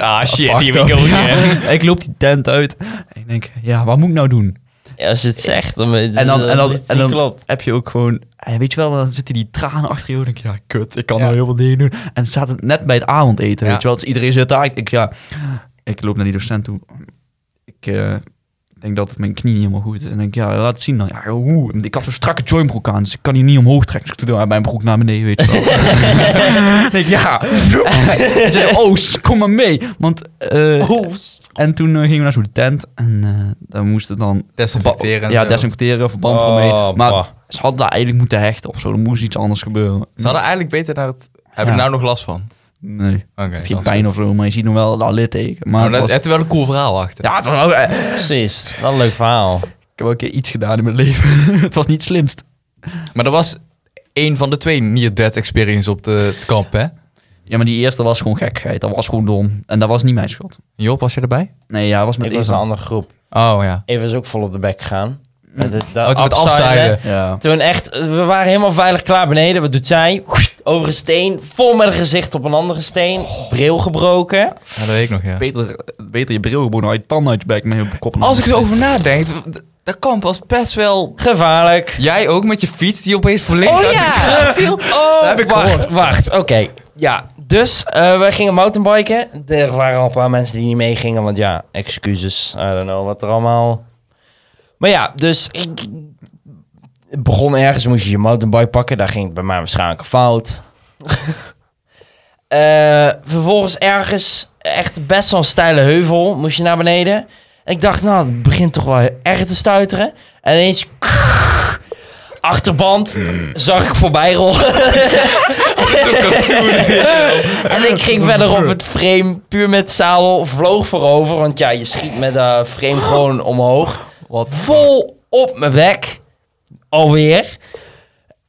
Speaker 1: Ah shit,
Speaker 2: fuck dat. Ja. Ik loop die tent uit. En ik denk, ja, wat moet ik nou doen?
Speaker 3: Ja, als je het zegt, dan
Speaker 2: En dan, en dan, en dan
Speaker 3: klopt.
Speaker 2: heb je ook gewoon... eh, Weet je wel, dan zitten die tranen achter je. En denk je, ja, kut, ik kan
Speaker 1: Ja.
Speaker 2: nou heel veel dingen doen. En ze zaten net bij het avondeten,
Speaker 1: Ja.
Speaker 2: weet je wel. Dus iedereen zit daar. Ik denk, ja, ik loop naar die docent toe. Ik eh, denk dat mijn knie niet helemaal goed is. En denk, ja, laat het zien dan. Ja, hoe? Ik had zo'n strakke joinbroek aan, dus ik kan die niet omhoog trekken. Dus ik doe dan mijn broek naar beneden, weet je wel. Ik denk, ja. En zei, oh, s- kom maar mee. Want, eh, En toen eh, gingen we naar zo'n tent. En eh daar moesten dan
Speaker 1: Desinfecteren. en
Speaker 2: ja,
Speaker 1: zo.
Speaker 2: desinfecteren, verband
Speaker 3: Oh,
Speaker 2: eromee. Maar
Speaker 3: bah.
Speaker 2: ze hadden daar eigenlijk moeten hechten of zo. Er moest iets anders gebeuren.
Speaker 1: Ze hadden eigenlijk beter naar het... Hebben we
Speaker 2: Ja.
Speaker 1: nou nog last van?
Speaker 2: Nee.
Speaker 1: Oké.
Speaker 2: Het geen
Speaker 1: dat is-
Speaker 2: pijn of zo, maar je ziet nog wel dat litteken. Maar
Speaker 1: Maar
Speaker 2: het
Speaker 1: dat
Speaker 2: was-
Speaker 1: heeft wel een cool verhaal achter.
Speaker 2: ja, het was ook, eh,
Speaker 3: Precies, wat een leuk verhaal.
Speaker 2: ik heb ook een keer iets gedaan in mijn leven. het was niet het slimst.
Speaker 1: Maar dat was één van de twee Near Dead Experience op de, het kamp, hè?
Speaker 2: Ja, maar die eerste was gewoon gekheid. Dat was gewoon dom. En dat was niet mijn schuld.
Speaker 1: Job, was je erbij?
Speaker 2: Nee, ja, dat was met
Speaker 3: Ik was in
Speaker 2: Ethan.
Speaker 3: een andere groep.
Speaker 1: Oh ja.
Speaker 3: Even is ook vol op de bek gegaan. Met het,
Speaker 1: Oh,
Speaker 3: dat
Speaker 1: toen het afzeilen.
Speaker 2: Ja.
Speaker 3: Toen echt, we waren helemaal veilig klaar beneden. Wat doet zij? Over een steen, vol met een gezicht op een andere steen. Bril gebroken.
Speaker 1: Ja, dat weet ik nog, ja.
Speaker 2: Beter, beter je bril gewoon uit je tanden uit je bek met je kop. en
Speaker 1: Als ik
Speaker 2: dan-
Speaker 1: zo over nadenk, d- dat kamp was best wel...
Speaker 3: Gevaarlijk.
Speaker 1: Jij ook met je fiets die opeens volledig uit de kraan viel?
Speaker 3: Oh,
Speaker 1: Dat heb ik
Speaker 3: wacht,
Speaker 1: gehoord.
Speaker 3: wacht. Oké, ja. Dus eh we gingen mountainbiken. Er waren al een paar mensen die niet meegingen, want ja, excuses. I don't know wat er allemaal. Maar ja, dus ik het begon ergens, moest je je mountainbike pakken. Daar ging het bij mij waarschijnlijk fout. Eh, vervolgens ergens, echt best wel een steile heuvel, moest je naar beneden. En ik dacht, nou, het begint toch wel erg te stuiteren. En ineens achterband zag ik voorbij rollen. en ik ging verder op het frame, puur met zadel, vloog voorover. Want ja, je schiet met dat frame gewoon omhoog. Wat vol op mijn bek. Alweer.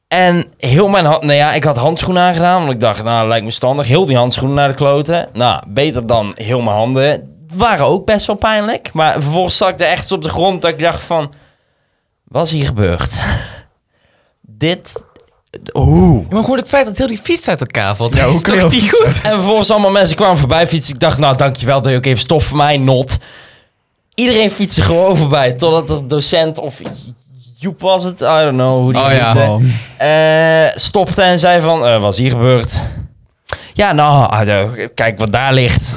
Speaker 3: En heel mijn hand... Nou ja, ik had handschoenen aangedaan. Want ik dacht, nou, lijkt me standig. Heel die handschoenen naar de kloten. Nou, beter dan heel mijn handen. Waren ook best wel pijnlijk. Maar vervolgens zat ik er echt op de grond dat ik dacht van... Wat is hier gebeurd? Dit... Hoe?
Speaker 1: Maar gewoon het feit dat heel die fiets uit elkaar valt,
Speaker 2: Ja,
Speaker 1: dat
Speaker 2: hoe
Speaker 1: is
Speaker 2: kun je
Speaker 1: toch
Speaker 2: op
Speaker 1: niet
Speaker 2: fietsen?
Speaker 1: goed?
Speaker 3: En vervolgens allemaal mensen kwamen voorbij fietsen. Ik dacht, nou dankjewel dat je ook even stof voor mij, not. Iedereen fietste gewoon voorbij. Totdat de docent of Joep was het, I don't know hoe die
Speaker 1: Oh
Speaker 3: heette,
Speaker 1: ja,
Speaker 2: Oh.
Speaker 3: eh, stopte en zei van, eh, wat is hier gebeurd? Ja, nou, ah, eh, kijk wat daar ligt.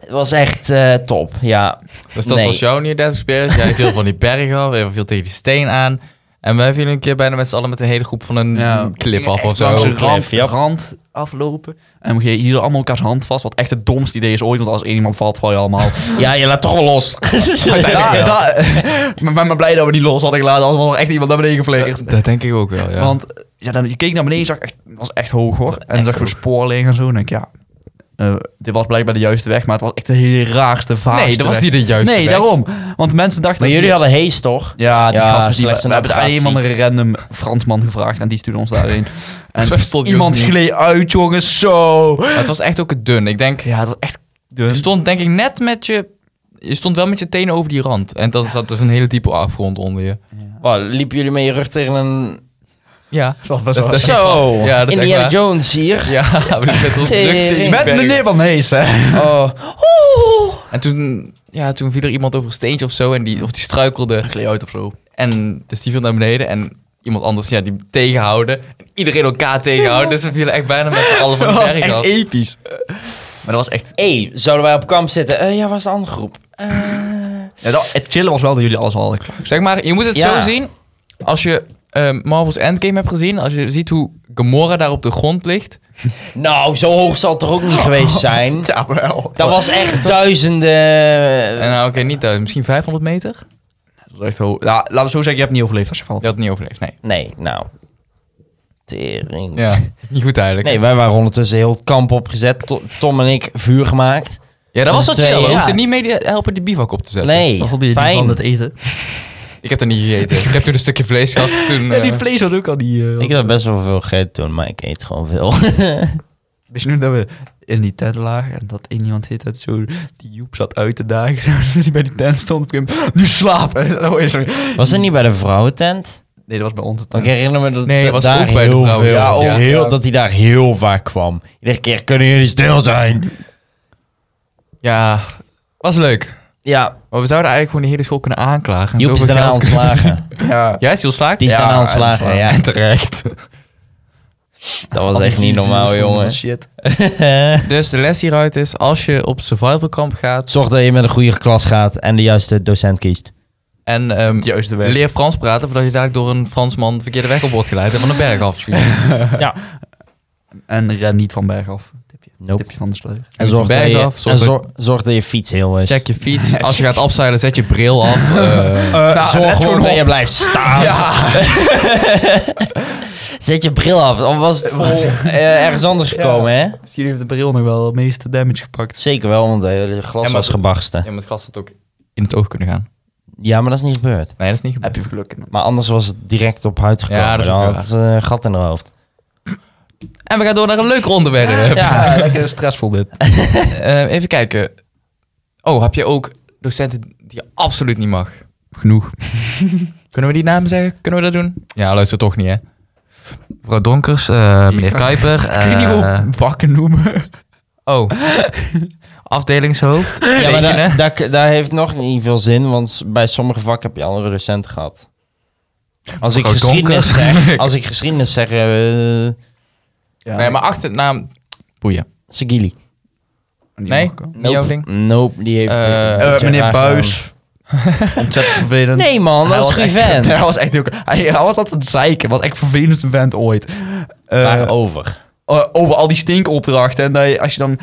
Speaker 3: Het was echt eh, top, ja.
Speaker 1: Dus dat
Speaker 3: Nee.
Speaker 1: was jouw Near Dead Experience. Jij viel van die berg af, jij viel tegen die steen aan. En wij vielen een keer bijna met z'n allen met een hele groep van een
Speaker 2: Ja.
Speaker 1: klif af of
Speaker 2: Langs
Speaker 1: zo.
Speaker 2: een rand,
Speaker 3: ja.
Speaker 2: rand aflopen. En we hielden allemaal elkaars hand vast. Wat echt het domste idee is ooit. Want als één iemand valt, val je allemaal.
Speaker 3: Ja, je laat toch wel los.
Speaker 1: Uiteindelijk
Speaker 2: Ja,
Speaker 1: wel.
Speaker 2: da- maar, maar- maar blij dat we die los hadden gelaten. Anders was er echt iemand naar beneden gevleegd.
Speaker 1: Dat, dat denk ik ook wel, ja.
Speaker 2: Want eh, ja, dan, je keek naar beneden je zag echt, het was echt hoog hoor. En dan zag je spoor liggen en zo. En denk ik, ja, eh, dit was blijkbaar de juiste weg. Maar het was echt de hele raarste, vaagste
Speaker 1: nee, dat was
Speaker 2: weg.
Speaker 1: niet de juiste
Speaker 2: Nee,
Speaker 1: weg.
Speaker 2: daarom. Want mensen dachten...
Speaker 3: Maar
Speaker 2: dat
Speaker 3: jullie
Speaker 2: je-
Speaker 3: hadden hees, toch?
Speaker 2: Ja, die
Speaker 3: Ja,
Speaker 2: gasten die,
Speaker 3: slechte
Speaker 2: we hebben het aan een of
Speaker 3: navigatie.
Speaker 2: andere random Fransman gevraagd. En die stuurde ons daarheen. En
Speaker 1: Zo stond die
Speaker 2: iemand
Speaker 1: ons niet.
Speaker 2: gleed uit, jongens. Zo.
Speaker 1: Maar het was echt ook het dun. Ik denk,
Speaker 2: Ja, dat was echt...
Speaker 1: je
Speaker 2: Dus
Speaker 1: stond denk ik net met je... Je stond wel met je tenen over die rand. En dat zat dus een hele diepe afgrond onder je.
Speaker 3: Wow, liepen jullie met je rug tegen een...
Speaker 1: Ja.
Speaker 2: dat
Speaker 1: Dat is
Speaker 2: was-
Speaker 1: echt
Speaker 3: Zo,
Speaker 1: waar. Ja, dat is echt
Speaker 3: Indiana
Speaker 1: waar.
Speaker 3: Jones hier.
Speaker 1: Ja, we liepen met ons
Speaker 3: Tering.
Speaker 2: Met
Speaker 1: berg.
Speaker 2: meneer Oh. Van Hees, hè.
Speaker 3: Oh. Oeh.
Speaker 1: En toen, ja, toen viel er iemand over een steentje of zo. En die, of die struikelde.
Speaker 2: Gleed uit of zo.
Speaker 1: En dus die viel naar beneden. En iemand anders, ja, die tegenhouden. En iedereen elkaar tegenhouden. Dus we vielen echt bijna met z'n allen van
Speaker 2: Dat
Speaker 1: de
Speaker 2: was
Speaker 1: berg
Speaker 2: echt
Speaker 1: af.
Speaker 2: episch. Maar dat was echt...
Speaker 3: Hé, zouden wij op kamp zitten? Eh, ja, waar is de andere groep? Eh,
Speaker 2: Ja, dat, het chillen was wel dat jullie alles hadden.
Speaker 1: Zeg maar, je moet het
Speaker 3: Ja.
Speaker 1: zo zien. Als je ehm, Marvel's Endgame hebt gezien. Als je ziet hoe Gamora daar op de grond ligt.
Speaker 3: nou, zo hoog zal het er ook niet geweest zijn.
Speaker 2: Ja, wel.
Speaker 3: Dat was echt duizenden...
Speaker 1: En nou, oké, niet duizend. Misschien 500 meter.
Speaker 2: Dat is echt ho- Ja, laten we zo zeggen, je hebt niet overleefd als je valt.
Speaker 1: Je had het niet overleefd, nee.
Speaker 3: Nee, nou. Tering.
Speaker 1: Ja, is niet goed eigenlijk.
Speaker 3: Nee, wij waren ondertussen heel het kamp opgezet. To- Tom en ik vuur gemaakt.
Speaker 1: Ja, dat was wel
Speaker 3: Dus, eh,
Speaker 1: chill. Je
Speaker 3: ja.
Speaker 1: hoefde niet mee te helpen die bivak op te zetten.
Speaker 3: Nee, fijn.
Speaker 2: eten?
Speaker 1: Ik heb dat niet gegeten. ik heb toen een stukje vlees gehad. Toen, eh,
Speaker 2: die vlees had ook al die... eh,
Speaker 3: Ik heb best wel veel gegeten toen, maar ik eet gewoon veel.
Speaker 2: Wist je nu dat we in die tent lagen en dat één iemand heet dat zo... Die Joep zat uit te dagen. die bij die tent stond. Ik hem, nu slapen. Oh, is er-
Speaker 3: Was dat niet bij de vrouwentent?
Speaker 2: Nee, dat was bij onze
Speaker 3: Want
Speaker 2: tent.
Speaker 3: ik herinner me dat
Speaker 1: Nee,
Speaker 3: dat
Speaker 1: het was
Speaker 3: daar
Speaker 1: ook bij de
Speaker 3: heel
Speaker 1: vrouwen.
Speaker 3: veel...
Speaker 1: Ja,
Speaker 3: Ja,
Speaker 1: ook
Speaker 3: ook heel,
Speaker 2: ja.
Speaker 3: dat hij daar heel vaak kwam. Iedere keer, kunnen jullie stil zijn?
Speaker 1: Ja, was leuk.
Speaker 3: Ja,
Speaker 1: Maar we zouden eigenlijk gewoon de hele school kunnen aanklagen. en
Speaker 3: Joep is
Speaker 1: zoveel
Speaker 3: daarna
Speaker 1: geld kunnen-
Speaker 3: ontslagen.
Speaker 2: Ja.
Speaker 1: Jij is ontslagen?
Speaker 3: Die is
Speaker 2: Ja,
Speaker 3: daarna ontslagen,
Speaker 2: dat is
Speaker 3: ja.
Speaker 2: waar.
Speaker 3: terecht. Dat was
Speaker 2: Al die
Speaker 3: echt niet
Speaker 2: vier
Speaker 3: normaal,
Speaker 2: vliezen,
Speaker 3: jongen.
Speaker 2: dat Shit.
Speaker 1: Dus de les hieruit is, als je op survival kamp gaat
Speaker 3: Zorg dat je met een goede klas gaat en de juiste docent kiest.
Speaker 1: en ehm,
Speaker 2: Juiste weg.
Speaker 1: leer Frans praten, voordat je dadelijk door een Fransman de verkeerde weg op wordt geleid en van een berg afvielt.
Speaker 2: En ren niet van berg af. Tipje,
Speaker 3: Nope.
Speaker 2: tipje van de sleutel.
Speaker 3: En
Speaker 1: Moet
Speaker 3: zorg,
Speaker 1: je
Speaker 3: dat
Speaker 1: berg
Speaker 3: je,
Speaker 1: af, zorg
Speaker 3: en zorg, zorg dat je fiets heel is.
Speaker 1: Check je fiets. Als je gaat afzeilen, zet je bril af. eh.
Speaker 3: Eh,
Speaker 2: Nou, let
Speaker 3: zorg gewoon
Speaker 2: gewoon
Speaker 3: dat
Speaker 2: op.
Speaker 3: je blijft staan.
Speaker 1: ja.
Speaker 3: Zet je bril af. Dan was het vol eh, ergens anders gekomen, hè?
Speaker 2: Misschien heeft de bril nog wel het meeste damage gepakt.
Speaker 3: Zeker wel, want het hele glas
Speaker 1: Ja, maar-
Speaker 3: was gebarsten.
Speaker 1: Ja, maar het glas had ook in het oog kunnen gaan.
Speaker 3: Ja, maar dat is niet gebeurd.
Speaker 1: Nee, dat is niet gebeurd.
Speaker 2: Heb je geluk in.
Speaker 3: Maar anders was het direct op huid gekomen.
Speaker 1: Ja, dat is
Speaker 3: dan
Speaker 1: ook
Speaker 3: had ze een gat in haar hoofd.
Speaker 1: En we gaan door naar een leuker onderwerp.
Speaker 2: Ja, Ah, lekker stressvol dit.
Speaker 1: Eh, even kijken. Oh, heb je ook docenten die je absoluut niet mag?
Speaker 2: Genoeg.
Speaker 1: Kunnen we die namen zeggen? Kunnen we dat doen? Ja, luister toch niet, hè? Mevrouw Donkers, eh, meneer Kuiper.
Speaker 2: Kun je die
Speaker 1: eh,
Speaker 2: wel wakken noemen?
Speaker 1: Oh, afdelingshoofd.
Speaker 3: Ja, maar
Speaker 1: rekenen.
Speaker 3: daar, daar, daar heeft nog niet veel zin, want bij sommige vakken heb je andere docenten gehad. Als ik
Speaker 1: Mevrouw
Speaker 3: geschiedenis
Speaker 1: Donkers.
Speaker 3: zeg, als ik geschiedenis zeg, eh
Speaker 2: Ja,
Speaker 1: Nee, maar achternaam... Boeien.
Speaker 3: Sagili.
Speaker 1: Nee? Niet jouw ding?
Speaker 3: Nope, die heeft...
Speaker 1: Eh,
Speaker 3: eh,
Speaker 1: eh,
Speaker 3: iets
Speaker 2: meneer
Speaker 3: raars
Speaker 2: Buis. Ontzettend vervelend.
Speaker 3: gedaan. Nee man,
Speaker 2: Hij
Speaker 3: dat is
Speaker 2: was echt-
Speaker 3: Griven.
Speaker 2: Hij was echt heel... Hij, hij was altijd zeiken. Was echt de vervelendste vent ooit. Eh,
Speaker 3: Waarover?
Speaker 2: eh, over al die stinkopdrachten. En dat je, als je dan...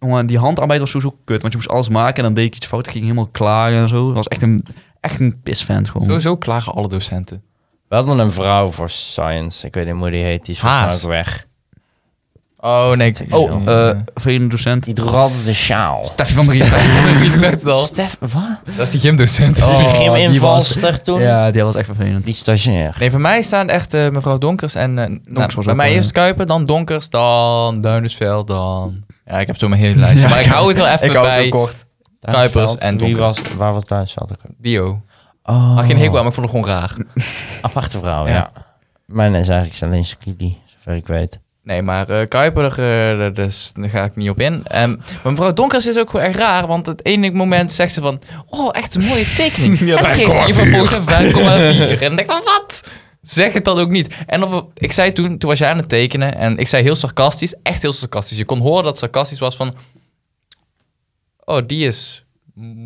Speaker 2: Jongen, die handarbeid was sowieso kut. Want je moest alles maken en dan deed ik iets fout. Dan ging je helemaal klagen en zo. Dat was echt een, echt een pisvent gewoon.
Speaker 1: Sowieso klagen alle docenten.
Speaker 3: We hadden een vrouw voor science. Ik weet niet hoe die heet. Die is volgens mij
Speaker 1: Haas.
Speaker 3: ook weg.
Speaker 1: Oh, nee. ik-
Speaker 2: Oh, eh vervelende docent.
Speaker 3: Die droeg altijd de sjaal.
Speaker 2: Steffi van Drieën.
Speaker 1: ik dacht het al.
Speaker 3: Stef, wat?
Speaker 1: Dat is die gymdocent.
Speaker 3: die
Speaker 2: Oh, die was-
Speaker 3: gyminvalster toen?
Speaker 2: Ja, die was echt vervelend.
Speaker 3: Die stagiair.
Speaker 1: Nee, voor mij staan echt eh, mevrouw Donkers en... eh, nou,
Speaker 2: was
Speaker 1: bij
Speaker 2: ook,
Speaker 1: mij
Speaker 2: eh,
Speaker 1: eerst Kuiper, dan Donkers, dan Duinersveld, dan... Ja, ik heb zo mijn hele lijst. maar ik hou het wel even
Speaker 2: ik hou het
Speaker 1: bij
Speaker 2: ook kort.
Speaker 1: Kuipers en
Speaker 3: Wie
Speaker 1: Donkers.
Speaker 3: was, waar was Duinsveld ook?
Speaker 1: bio.
Speaker 3: Oh.
Speaker 1: Had geen hekel aan, maar ik vond het gewoon raar.
Speaker 3: Aparte vrouw,
Speaker 1: Ja.
Speaker 3: ja. Mijn is eigenlijk alleen Skibli, zover ik weet.
Speaker 1: Nee, maar eh, Kuiper, eh, daar- dus, daar ga ik niet op in. Ehm, maar mevrouw Donkers is ook gewoon echt raar, want het ene moment zegt ze van... Oh, echt een mooie tekening. en dan geeft ze je vervolgens een 5,4. En dan denk ik van, wat? Zeg het dan ook niet. En of, ik zei toen, toen was jij aan het tekenen... en ik zei heel sarcastisch, echt heel sarcastisch. Je kon horen dat het sarcastisch was van... Oh, die is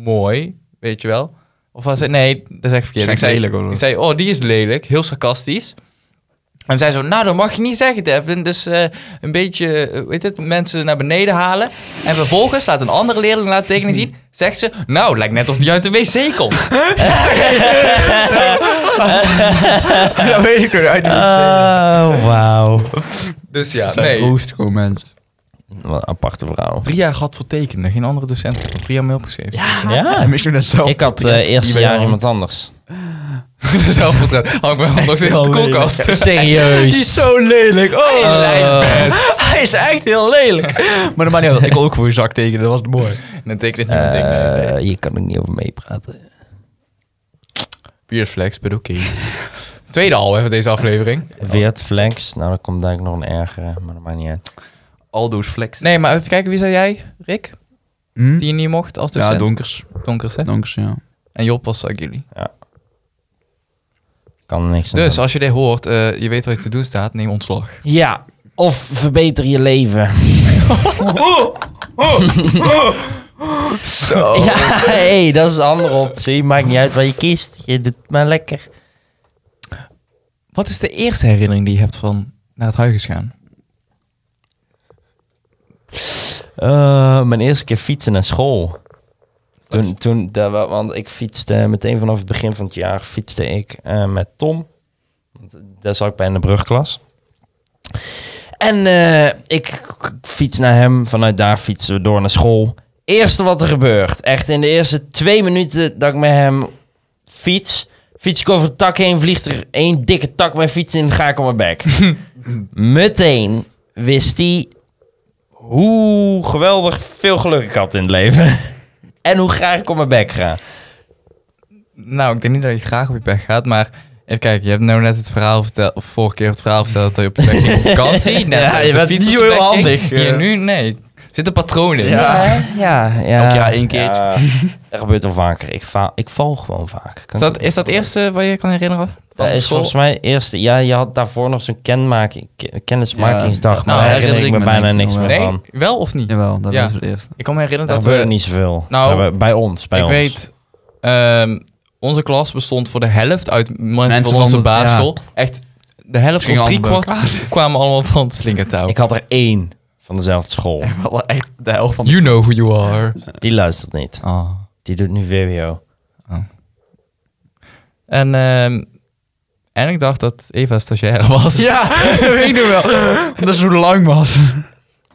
Speaker 1: mooi, weet je wel. Of was het... Nee, dat is echt verkeerd. Ik
Speaker 2: Waarschijnlijk
Speaker 1: zei,
Speaker 2: lelijk of zo.
Speaker 1: ik zei, oh, die is lelijk. Heel sarcastisch. En zij zo, nou, dat mag je niet zeggen, Devin. Dus eh, een beetje, eh, weet het, mensen naar beneden halen. En vervolgens laat een andere leerling laat tekening zien. Zegt ze, nou, het lijkt net of die uit de wc komt.
Speaker 2: dat weet ik uit
Speaker 3: Oh, wauw.
Speaker 1: Eh, Dus ja, nee.
Speaker 2: Oost gewoon mensen.
Speaker 3: Wat een aparte vrouw.
Speaker 1: Drie jaar gehad voor tekenen. Geen andere docent. Ik heb Drie jaar mee opgeschreven. Ja.
Speaker 3: Ja,
Speaker 2: misschien dat zelf.
Speaker 3: ik had eh eerste jaar iemand anders.
Speaker 1: Dus Zelfportret. Hang ik me nog steeds op de koelkast.
Speaker 3: Serieus.
Speaker 2: zo lelijk. Oh,
Speaker 3: Eh,
Speaker 2: hij is echt heel lelijk. maar dat maakt niet uit. Ik wil ook voor je zak tekenen. Dat was mooi.
Speaker 1: Nee, tekenen is niet mijn ding. nee, nee.
Speaker 3: eh, je kan er niet over meepraten.
Speaker 1: Weird flex, but oké. Tweede al hè, van deze aflevering.
Speaker 3: Weert flex. Nou, dan komt eigenlijk nog een ergere, maar dat maakt niet uit.
Speaker 2: Aldo's flex.
Speaker 1: Nee, maar even kijken. Wie zei jij, Rick?
Speaker 2: Hm?
Speaker 1: Die je niet mocht als docent?
Speaker 2: Ja, donkers.
Speaker 1: Donkers, hè?
Speaker 2: Donkers, ja.
Speaker 1: En Job was Agili.
Speaker 3: Kan er niks aan
Speaker 1: Dus
Speaker 3: doen.
Speaker 1: als je dit hoort, eh, je weet wat je te doen staat, neem ontslag.
Speaker 3: Ja, of verbeter je leven.
Speaker 2: Zo.
Speaker 3: Ja, hey, dat is een andere optie. Maakt niet uit wat je kiest. Je doet maar lekker.
Speaker 1: Wat is de eerste herinnering die je hebt van naar het huis gaan?
Speaker 3: Eh, mijn eerste keer fietsen naar school. Toen, toen, daar wa- want ik fietste meteen vanaf het begin van het jaar fietste ik eh, met Tom. Want eh, Daar zat ik bij in de brugklas. En eh, ik k- fiets naar hem. Vanuit daar fietsen we door naar school. Eerste wat er gebeurt. Echt in de eerste twee minuten dat ik met hem fiets. Fiets ik over de tak heen. Vliegt er één dikke tak mijn fiets in. Ga ik op mijn bek. meteen wist hij hoe geweldig veel geluk ik had in het leven. en hoe graag ik op mijn bek ga.
Speaker 1: Nou, ik denk niet dat je graag op je pech gaat, maar even kijken. Je hebt nou net het verhaal verteld, of vorige keer het verhaal verteld dat je op je pech ging op vakantie. Net
Speaker 2: Ja,
Speaker 1: op
Speaker 2: je
Speaker 1: de
Speaker 2: bent
Speaker 1: fiets
Speaker 2: niet
Speaker 1: op de
Speaker 2: heel
Speaker 1: pech ging.
Speaker 2: handig, eh.
Speaker 1: Hier nu, nee. Er zitten patronen in.
Speaker 2: Ja.
Speaker 3: ja, ja.
Speaker 2: Elk jaar één keertje.
Speaker 3: Ja, dat gebeurt al vaker. Ik, faal, ik val gewoon vaak. Kan
Speaker 1: Is dat, is dat eerste wat je kan herinneren? Van
Speaker 3: Dat
Speaker 1: de
Speaker 3: is
Speaker 1: school?
Speaker 3: volgens mij eerste. Ja, je had daarvoor nog zo'n kenmaking, ke- kennismakingsdag.
Speaker 2: Ja,
Speaker 3: maar
Speaker 1: nou,
Speaker 3: daar
Speaker 1: herinner
Speaker 3: herinner ik
Speaker 1: ik
Speaker 3: me,
Speaker 2: me
Speaker 3: bijna
Speaker 2: denk ik
Speaker 3: niks
Speaker 2: nog
Speaker 3: meer
Speaker 2: wel.
Speaker 1: Nee,
Speaker 3: van.
Speaker 1: wel of niet?
Speaker 2: Jawel, dat
Speaker 1: Ja.
Speaker 2: was het eerste.
Speaker 1: Ik kan me herinneren
Speaker 3: Daar
Speaker 1: dat
Speaker 3: gebeurde
Speaker 1: we...
Speaker 3: niet zoveel.
Speaker 1: Nou,
Speaker 3: Daar we- bij ons, bij
Speaker 1: ik
Speaker 3: ons.
Speaker 1: weet, ehm, onze klas bestond voor de helft uit mensen,
Speaker 2: Mensen
Speaker 1: van
Speaker 2: van
Speaker 1: onze
Speaker 2: de-
Speaker 1: basisschool. Echt, de helft
Speaker 2: Gingen
Speaker 1: of drie
Speaker 2: allemaal bij
Speaker 1: kwart kwamen allemaal van het slinkertouw.
Speaker 3: Ik had er één van dezelfde school.
Speaker 2: Wel echt de helft van
Speaker 1: You know who you are.
Speaker 3: Die luistert niet. Die doet nu VWO.
Speaker 1: En, ehm, En ik dacht dat Eva stagiaire was.
Speaker 2: Ja, dat weet ik nog wel. Dat is hoe lang was.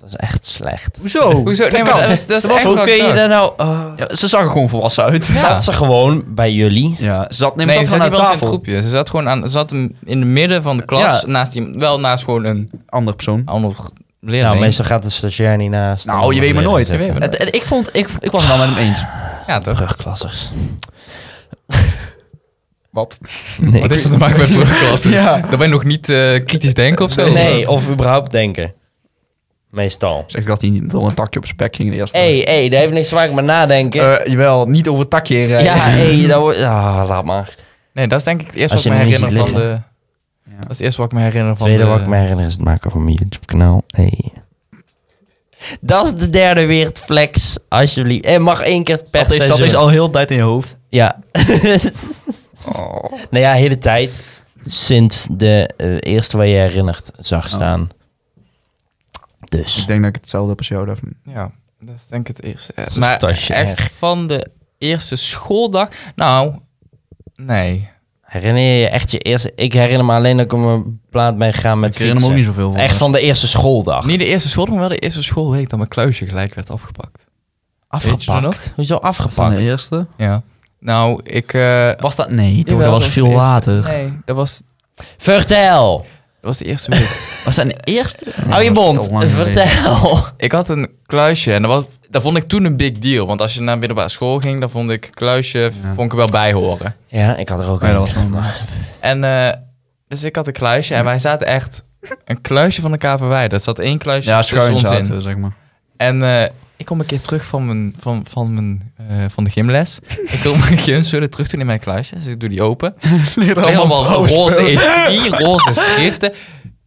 Speaker 3: Dat is echt slecht.
Speaker 2: Hoezo?
Speaker 1: Oh. Hoezo? Nee, maar
Speaker 2: kan.
Speaker 1: dat is, dat is echt
Speaker 3: Hoe
Speaker 1: wat
Speaker 3: kun
Speaker 1: ik
Speaker 3: je
Speaker 1: dacht.
Speaker 3: daar nou... oh.
Speaker 2: Ja, ze zag er gewoon volwassen uit.
Speaker 3: Zat ze gewoon bij jullie?
Speaker 2: Ja, ze zat, nee, maar
Speaker 1: Nee, ze
Speaker 2: zat
Speaker 1: zat niet
Speaker 2: gewoon aan
Speaker 1: bij ons in het
Speaker 2: tafel.
Speaker 1: groepje. Ze zat gewoon aan, ze zat in in het midden van de klas,
Speaker 2: Ja.
Speaker 1: naast die, wel naast gewoon een
Speaker 2: Andere persoon.
Speaker 1: ander leraar.
Speaker 3: Nou, meestal gaat de stagiair niet naast.
Speaker 1: oh,
Speaker 2: Nou, je weet maar nooit.
Speaker 1: Je weet maar nooit.
Speaker 2: Het- het- ik, vond, ik, ik was het wel met hem eens.
Speaker 1: Ja, toch?
Speaker 3: Brugklassers.
Speaker 2: Wat?
Speaker 1: Wat heeft
Speaker 3: Niks.
Speaker 1: dat te maken met brugklassen?
Speaker 2: Ja.
Speaker 1: Dan ben je nog niet eh, kritisch denken of zo?
Speaker 3: Nee, of überhaupt denken. Meestal.
Speaker 2: Zeg dat hij niet door een takje op zijn bek ging de eerste
Speaker 3: Hé, hey, hey, dat heeft niks te maken met nadenken.
Speaker 2: keer. Eh, jawel, niet over het takje eh, heen rijden.
Speaker 3: ja, hé, dat wordt... Ah, laat maar.
Speaker 1: Nee, dat is denk ik het eerste
Speaker 3: Als
Speaker 1: wat ik me
Speaker 3: je hem niet
Speaker 1: herinner van
Speaker 3: ziet
Speaker 1: de...
Speaker 2: Ja.
Speaker 1: Dat is het eerste wat ik me herinner van
Speaker 3: tweede
Speaker 1: de...
Speaker 3: wat ik me herinner is het maken van mijn YouTube-kanaal. Hey. Dat is de derde wereldflex, alsjeblieft. En mag één keer per
Speaker 2: Dat is,
Speaker 3: seizoen.
Speaker 2: dat is al heel de tijd in je hoofd.
Speaker 3: Ja.
Speaker 1: Oh,
Speaker 3: nou ja, hele tijd. Sinds de eh, eerste waar je herinnert
Speaker 2: Oh.
Speaker 3: zag staan. Dus.
Speaker 2: Ik denk dat ik hetzelfde heb als jou, Daphne.
Speaker 1: Ja, dat is denk ik het eerste. Eh,
Speaker 3: is
Speaker 1: Maar
Speaker 3: stagiair.
Speaker 1: echt van de eerste schooldag... Nou, nee.
Speaker 3: Herinner je je echt je eerste... Ik herinner me alleen dat ik op een plaat ben gegaan met
Speaker 2: Ik herinner me ook
Speaker 3: fietsen.
Speaker 2: niet zoveel van.
Speaker 3: Echt van de eerste schooldag.
Speaker 1: Niet de eerste schooldag, maar wel de eerste schoolweek dat mijn kluisje gelijk werd afgepakt. Weet je dat
Speaker 3: afgepakt.
Speaker 1: nog?
Speaker 3: Hoezo
Speaker 2: Van de
Speaker 3: afgepakt?
Speaker 2: eerste?
Speaker 1: Ja. Nou, ik... eh,
Speaker 2: Was dat? Nee, toch,
Speaker 1: jawel,
Speaker 2: dat was veel
Speaker 1: de eerste-
Speaker 2: later.
Speaker 1: Nee, dat was,
Speaker 3: Vertel!
Speaker 1: dat was de eerste week.
Speaker 2: Was dat een eerste?
Speaker 3: Hou je mond. Vertel.
Speaker 1: Ik had een kluisje en dat, was, dat vond ik toen een big deal. Want als je naar middelbare school ging, dan vond ik kluisje vond ik er wel bij horen.
Speaker 3: Ja, ik had er ook
Speaker 2: Nee,
Speaker 3: een.
Speaker 2: dat was nog maar.
Speaker 1: En eh, dus ik had een kluisje en wij zaten echt een kluisje van elkaar verwijderd. Er zat één kluisje
Speaker 2: Ja,
Speaker 1: tussen
Speaker 2: schuin
Speaker 1: ons
Speaker 2: zaten,
Speaker 1: in.
Speaker 2: zeg maar.
Speaker 1: En eh, ik kom een keer terug van, mijn, van, van, mijn, eh, van de gymles. ik wil mijn gymspullen terug doen in mijn kluisje. Dus ik doe die open.
Speaker 2: Leren
Speaker 1: Allemaal, allemaal roze etui, roze schriften.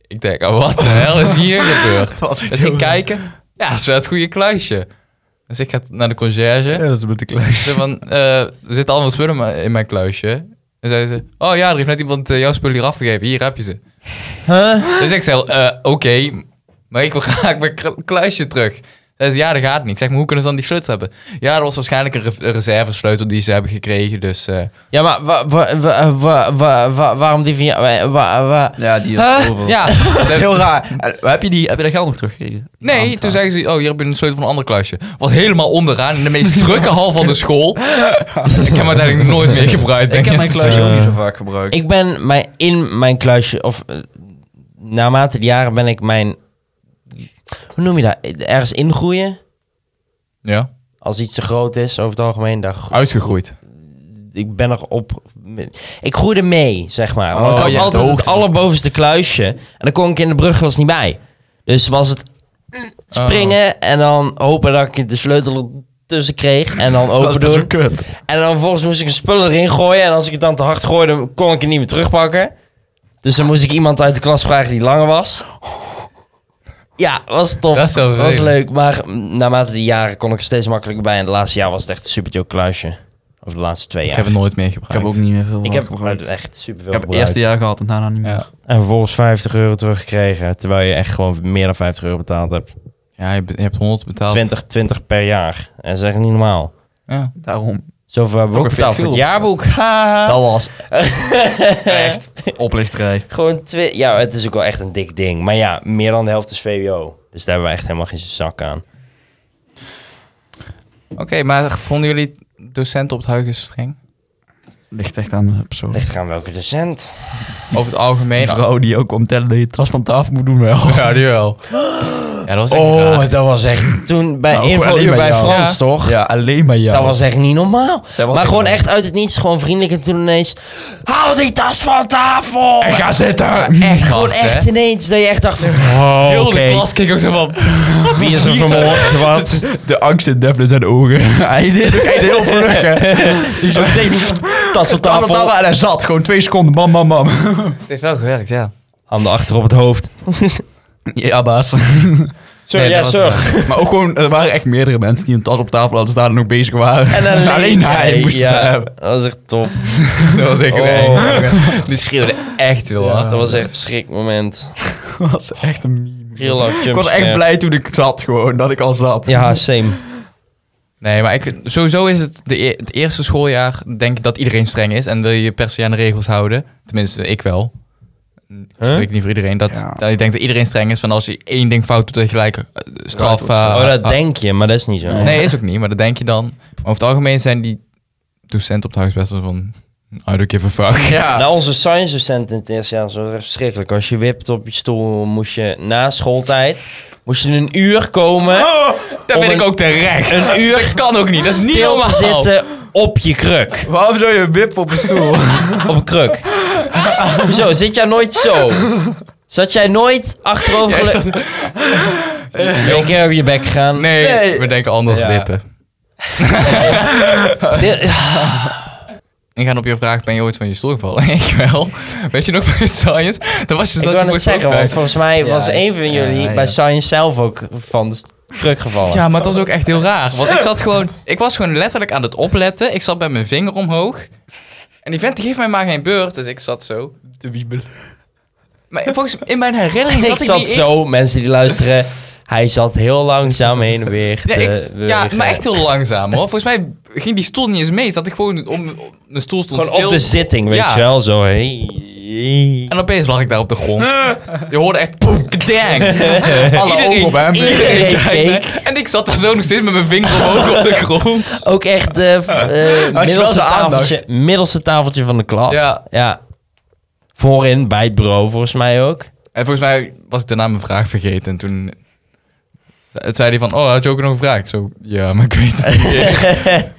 Speaker 1: Ik denk, oh, wat de hel is hier gebeurd? Dus ik kijken. Ja, dat is wel het goede kluisje. Dus ik ga naar de conciërge.
Speaker 2: dat is met de kluis.
Speaker 1: Ik zeg van, eh, er zitten allemaal spullen maar in mijn kluisje. En zei ze, oh ja, er heeft net iemand eh, jouw spullen hier afgegeven. Hier heb je ze. Dus ik zei, eh, oké, maar ik wil graag mijn kru- kluisje terug. Zei ze, ja, dat gaat niet. Ik zeg, maar hoe kunnen ze dan die sleutel hebben? Ja, dat was waarschijnlijk een, re- een reservesleutel die ze hebben gekregen. Dus eh,
Speaker 3: Ja, maar wa- wa- wa- wa- wa- wa- waarom die van jou... wa- wa- wa-
Speaker 2: Ja, die is
Speaker 3: Huh?
Speaker 2: overal.
Speaker 1: ja,
Speaker 2: Dat is
Speaker 1: dat-
Speaker 2: heel raar. En Heb je, die, heb je dat geld nog teruggekregen? Die
Speaker 1: Nee,
Speaker 2: aanvraag.
Speaker 1: toen zeiden ze, oh, hier heb je een sleutel van een ander kluisje. Was helemaal onderaan in de meest drukke hal van de school. Ik heb hem uiteindelijk nooit meer gebruikt, denk
Speaker 2: Ik heb mijn
Speaker 1: het.
Speaker 2: kluisje ook
Speaker 3: eh,
Speaker 2: niet zo vaak gebruikt.
Speaker 3: Ik ben mijn, in mijn kluisje... Of eh, naarmate de jaren ben ik mijn... Hoe noem je dat? Ergens ingroeien?
Speaker 1: Ja,
Speaker 3: Als iets te groot is, over het algemeen. Daar, gro-
Speaker 1: uitgegroeid.
Speaker 3: ik ben erop... Ik groeide mee, zeg maar. Want
Speaker 1: Oh,
Speaker 3: ik
Speaker 1: je hebt
Speaker 3: had altijd
Speaker 1: de
Speaker 3: het
Speaker 1: hoogte.
Speaker 3: allerbovenste kluisje. En dan kon ik in de brugglas niet bij. Dus was het springen
Speaker 1: Oh.
Speaker 3: en dan hopen dat ik de sleutel er tussen kreeg. En dan open doen.
Speaker 2: kut.
Speaker 3: En dan vervolgens moest ik een spullen erin gooien. En als ik het dan te hard gooide, kon ik het niet meer terugpakken. Dus dan moest ik iemand uit de klas vragen die langer was. Ja, was top.
Speaker 1: Dat is wel
Speaker 3: was
Speaker 1: vervelend.
Speaker 3: leuk. Maar mm, naarmate de jaren kon ik er steeds makkelijker bij. En het laatste jaar was het echt een super joke kluisje. Of de laatste twee
Speaker 1: Ik
Speaker 3: jaar.
Speaker 1: heb het nooit meer
Speaker 2: Ik
Speaker 1: gebruikt.
Speaker 2: heb ook niet meer veel
Speaker 3: Ik
Speaker 2: van
Speaker 3: heb
Speaker 2: gebruikt. Ik
Speaker 3: echt super veel
Speaker 2: heb het eerste jaar gehad en daarna niet meer.
Speaker 1: Ja.
Speaker 3: En vervolgens 50 euro teruggekregen. Terwijl je echt gewoon meer dan 50 euro betaald hebt.
Speaker 1: Ja, je, be- je hebt 100 betaald.
Speaker 3: 20, 20 per jaar. En dat is echt niet normaal.
Speaker 1: Ja.
Speaker 2: Daarom.
Speaker 3: Zoveel hebben we ook
Speaker 2: Toch een
Speaker 3: betaald voor het
Speaker 2: veel.
Speaker 3: jaarboek. Haha.
Speaker 2: Dat was echt oplichterij.
Speaker 3: Gewoon twee. Ja, het is ook wel echt een dik ding. Maar ja, meer dan de helft is VWO. Dus daar hebben we echt helemaal geen zak aan.
Speaker 1: Oké, maar vonden jullie docenten op het Huygens streng?
Speaker 2: Ligt echt aan de persoon.
Speaker 3: Ligt gaan welke docent?
Speaker 1: Over het algemeen?
Speaker 2: Die vrouw die ook om tellen dat je tas van tafel moet doen wel.
Speaker 1: Ja, die wel. Ja, dat was echt raar.
Speaker 3: Oh, dat was echt. Toen bij
Speaker 2: Nou, ook
Speaker 3: info
Speaker 2: alleen
Speaker 3: uur bij
Speaker 2: bij jou.
Speaker 3: Frans,
Speaker 1: Ja.
Speaker 3: toch?
Speaker 2: Ja, alleen maar jou.
Speaker 3: Dat was echt niet normaal.
Speaker 2: Zij was
Speaker 3: maar
Speaker 2: ook
Speaker 3: gewoon
Speaker 2: wel.
Speaker 3: echt uit het niets, gewoon vriendelijk. En toen ineens. Hou die tas van tafel!
Speaker 2: En ga zitten! Oh,
Speaker 1: Maar echt
Speaker 3: Gewoon
Speaker 1: hard, hè?
Speaker 3: echt ineens dat je echt dacht van,
Speaker 1: Heel de
Speaker 3: oké.
Speaker 1: klas keek ook zo van...
Speaker 3: wie is er vermoord, wat?
Speaker 2: De angst in Devlin zijn ogen. Hij deed ook echt heel vlug, hè. Die zo meteen
Speaker 3: Tas van
Speaker 2: tafel
Speaker 3: tafel.
Speaker 2: en hij zat. Gewoon twee seconden, bam, bam, bam.
Speaker 1: Het heeft wel gewerkt, ja.
Speaker 3: Handen achter op het hoofd.
Speaker 2: Ja, baas.
Speaker 3: Sir,
Speaker 1: Nee,
Speaker 3: ja,
Speaker 1: dat was
Speaker 3: sir.
Speaker 2: Maar ook gewoon, er waren echt meerdere mensen die een tas op tafel hadden staan en nog bezig waren.
Speaker 3: En alleen,
Speaker 2: hij moest ze
Speaker 3: ja,
Speaker 2: hebben.
Speaker 3: Dat was echt top.
Speaker 1: Dat was echt
Speaker 3: Oh.
Speaker 1: eng. Die schreeuwde echt heel
Speaker 2: Ja.
Speaker 1: hard.
Speaker 3: Dat was echt een schrikmoment.
Speaker 2: Dat was echt een meme.
Speaker 3: Real life
Speaker 2: Ik was echt blij toen ik zat gewoon, dat ik al zat.
Speaker 3: Ja, same.
Speaker 1: Nee, maar ik, sowieso is het de, e- het eerste schooljaar, denk ik, dat iedereen streng is. En wil je per se aan de regels houden. Tenminste, ik wel. Ik
Speaker 3: Huh?
Speaker 1: spreek niet voor iedereen. Dat,
Speaker 2: Ja.
Speaker 1: dat ik denk dat iedereen streng is. Van als je één ding fout doet, dat je gelijk eh, straf...
Speaker 2: wordt, ja.
Speaker 1: eh,
Speaker 3: oh, dat
Speaker 1: ah.
Speaker 3: denk je, maar dat is niet zo.
Speaker 1: Nee, is ook niet. Maar dat denk je dan. Maar over het algemeen zijn die docenten op het huis best wel van... I don't give a fuck.
Speaker 2: Ja.
Speaker 3: Nou, onze science docent in het eerste jaar was wel verschrikkelijk. Als je wipt op je stoel, moest je na schooltijd moest je een uur komen,
Speaker 1: dat
Speaker 3: Om
Speaker 1: vind
Speaker 3: een-
Speaker 1: ik ook terecht. Een uur kan ook niet. Dat is Oh, niet
Speaker 3: stil te
Speaker 1: normaal.
Speaker 3: zitten op je kruk.
Speaker 2: Waarom zou je wip op een stoel?
Speaker 3: Op een kruk. zo, zit jij nooit zo? Zat jij nooit achterover
Speaker 1: Jij
Speaker 3: gele- Ben je een keer op je bek gegaan?
Speaker 1: Nee,
Speaker 2: Nee.
Speaker 1: we denken anders
Speaker 2: Ja.
Speaker 1: wippen.
Speaker 3: Dit-
Speaker 1: Ik ga op je vraag, ben je ooit van je stoel gevallen? ik wel. Weet je nog bij science? Dat was je
Speaker 3: ik
Speaker 1: dat
Speaker 3: wou
Speaker 1: je
Speaker 3: net
Speaker 1: voor je
Speaker 3: zeggen,
Speaker 1: stoel
Speaker 3: want
Speaker 1: kwijt.
Speaker 3: volgens mij
Speaker 2: Ja,
Speaker 3: was
Speaker 2: is-
Speaker 3: een van jullie
Speaker 2: ja, ja.
Speaker 3: bij science zelf ook van de s- kruk gevallen.
Speaker 1: Ja, maar het was ook echt heel raar. Want ik zat gewoon... Ik was gewoon letterlijk aan het opletten. Ik zat met mijn vinger omhoog. En die vent die geeft mij maar geen beurt. Dus ik zat zo.
Speaker 2: Te wiebelen.
Speaker 1: Maar volgens in mijn herinnering
Speaker 3: ik
Speaker 1: zat ik,
Speaker 3: zat
Speaker 1: niet
Speaker 3: zo, mensen die luisteren. Hij zat heel langzaam heen en weer.
Speaker 1: Nee,
Speaker 3: te
Speaker 1: ik- ja,
Speaker 3: bewegen.
Speaker 1: maar echt heel langzaam hoor. Volgens mij ging die stoel niet eens mee. Zat ik gewoon om, om de stoel stond
Speaker 3: Gewoon op
Speaker 1: stil.
Speaker 3: de zitting, weet
Speaker 1: Ja.
Speaker 3: je wel. Zo, hey.
Speaker 1: En opeens lag ik daar op de grond. Je hoorde echt poem, dang.
Speaker 2: Alle ogen op hem.
Speaker 3: Iedereen keek.
Speaker 1: En ik zat daar zo nog steeds met mijn vinger omhoog op de grond.
Speaker 3: Ook echt de eh,
Speaker 2: wel
Speaker 3: middelste,
Speaker 2: zijn aandacht?
Speaker 3: tafeltje, middelste tafeltje van de klas.
Speaker 1: Ja.
Speaker 3: Voorin, bij het bureau volgens mij ook.
Speaker 1: En volgens mij was ik daarna mijn vraag vergeten. En toen ze- zei hij van, oh, had je ook nog een vraag? Ik Zo, ja, maar ik weet het niet.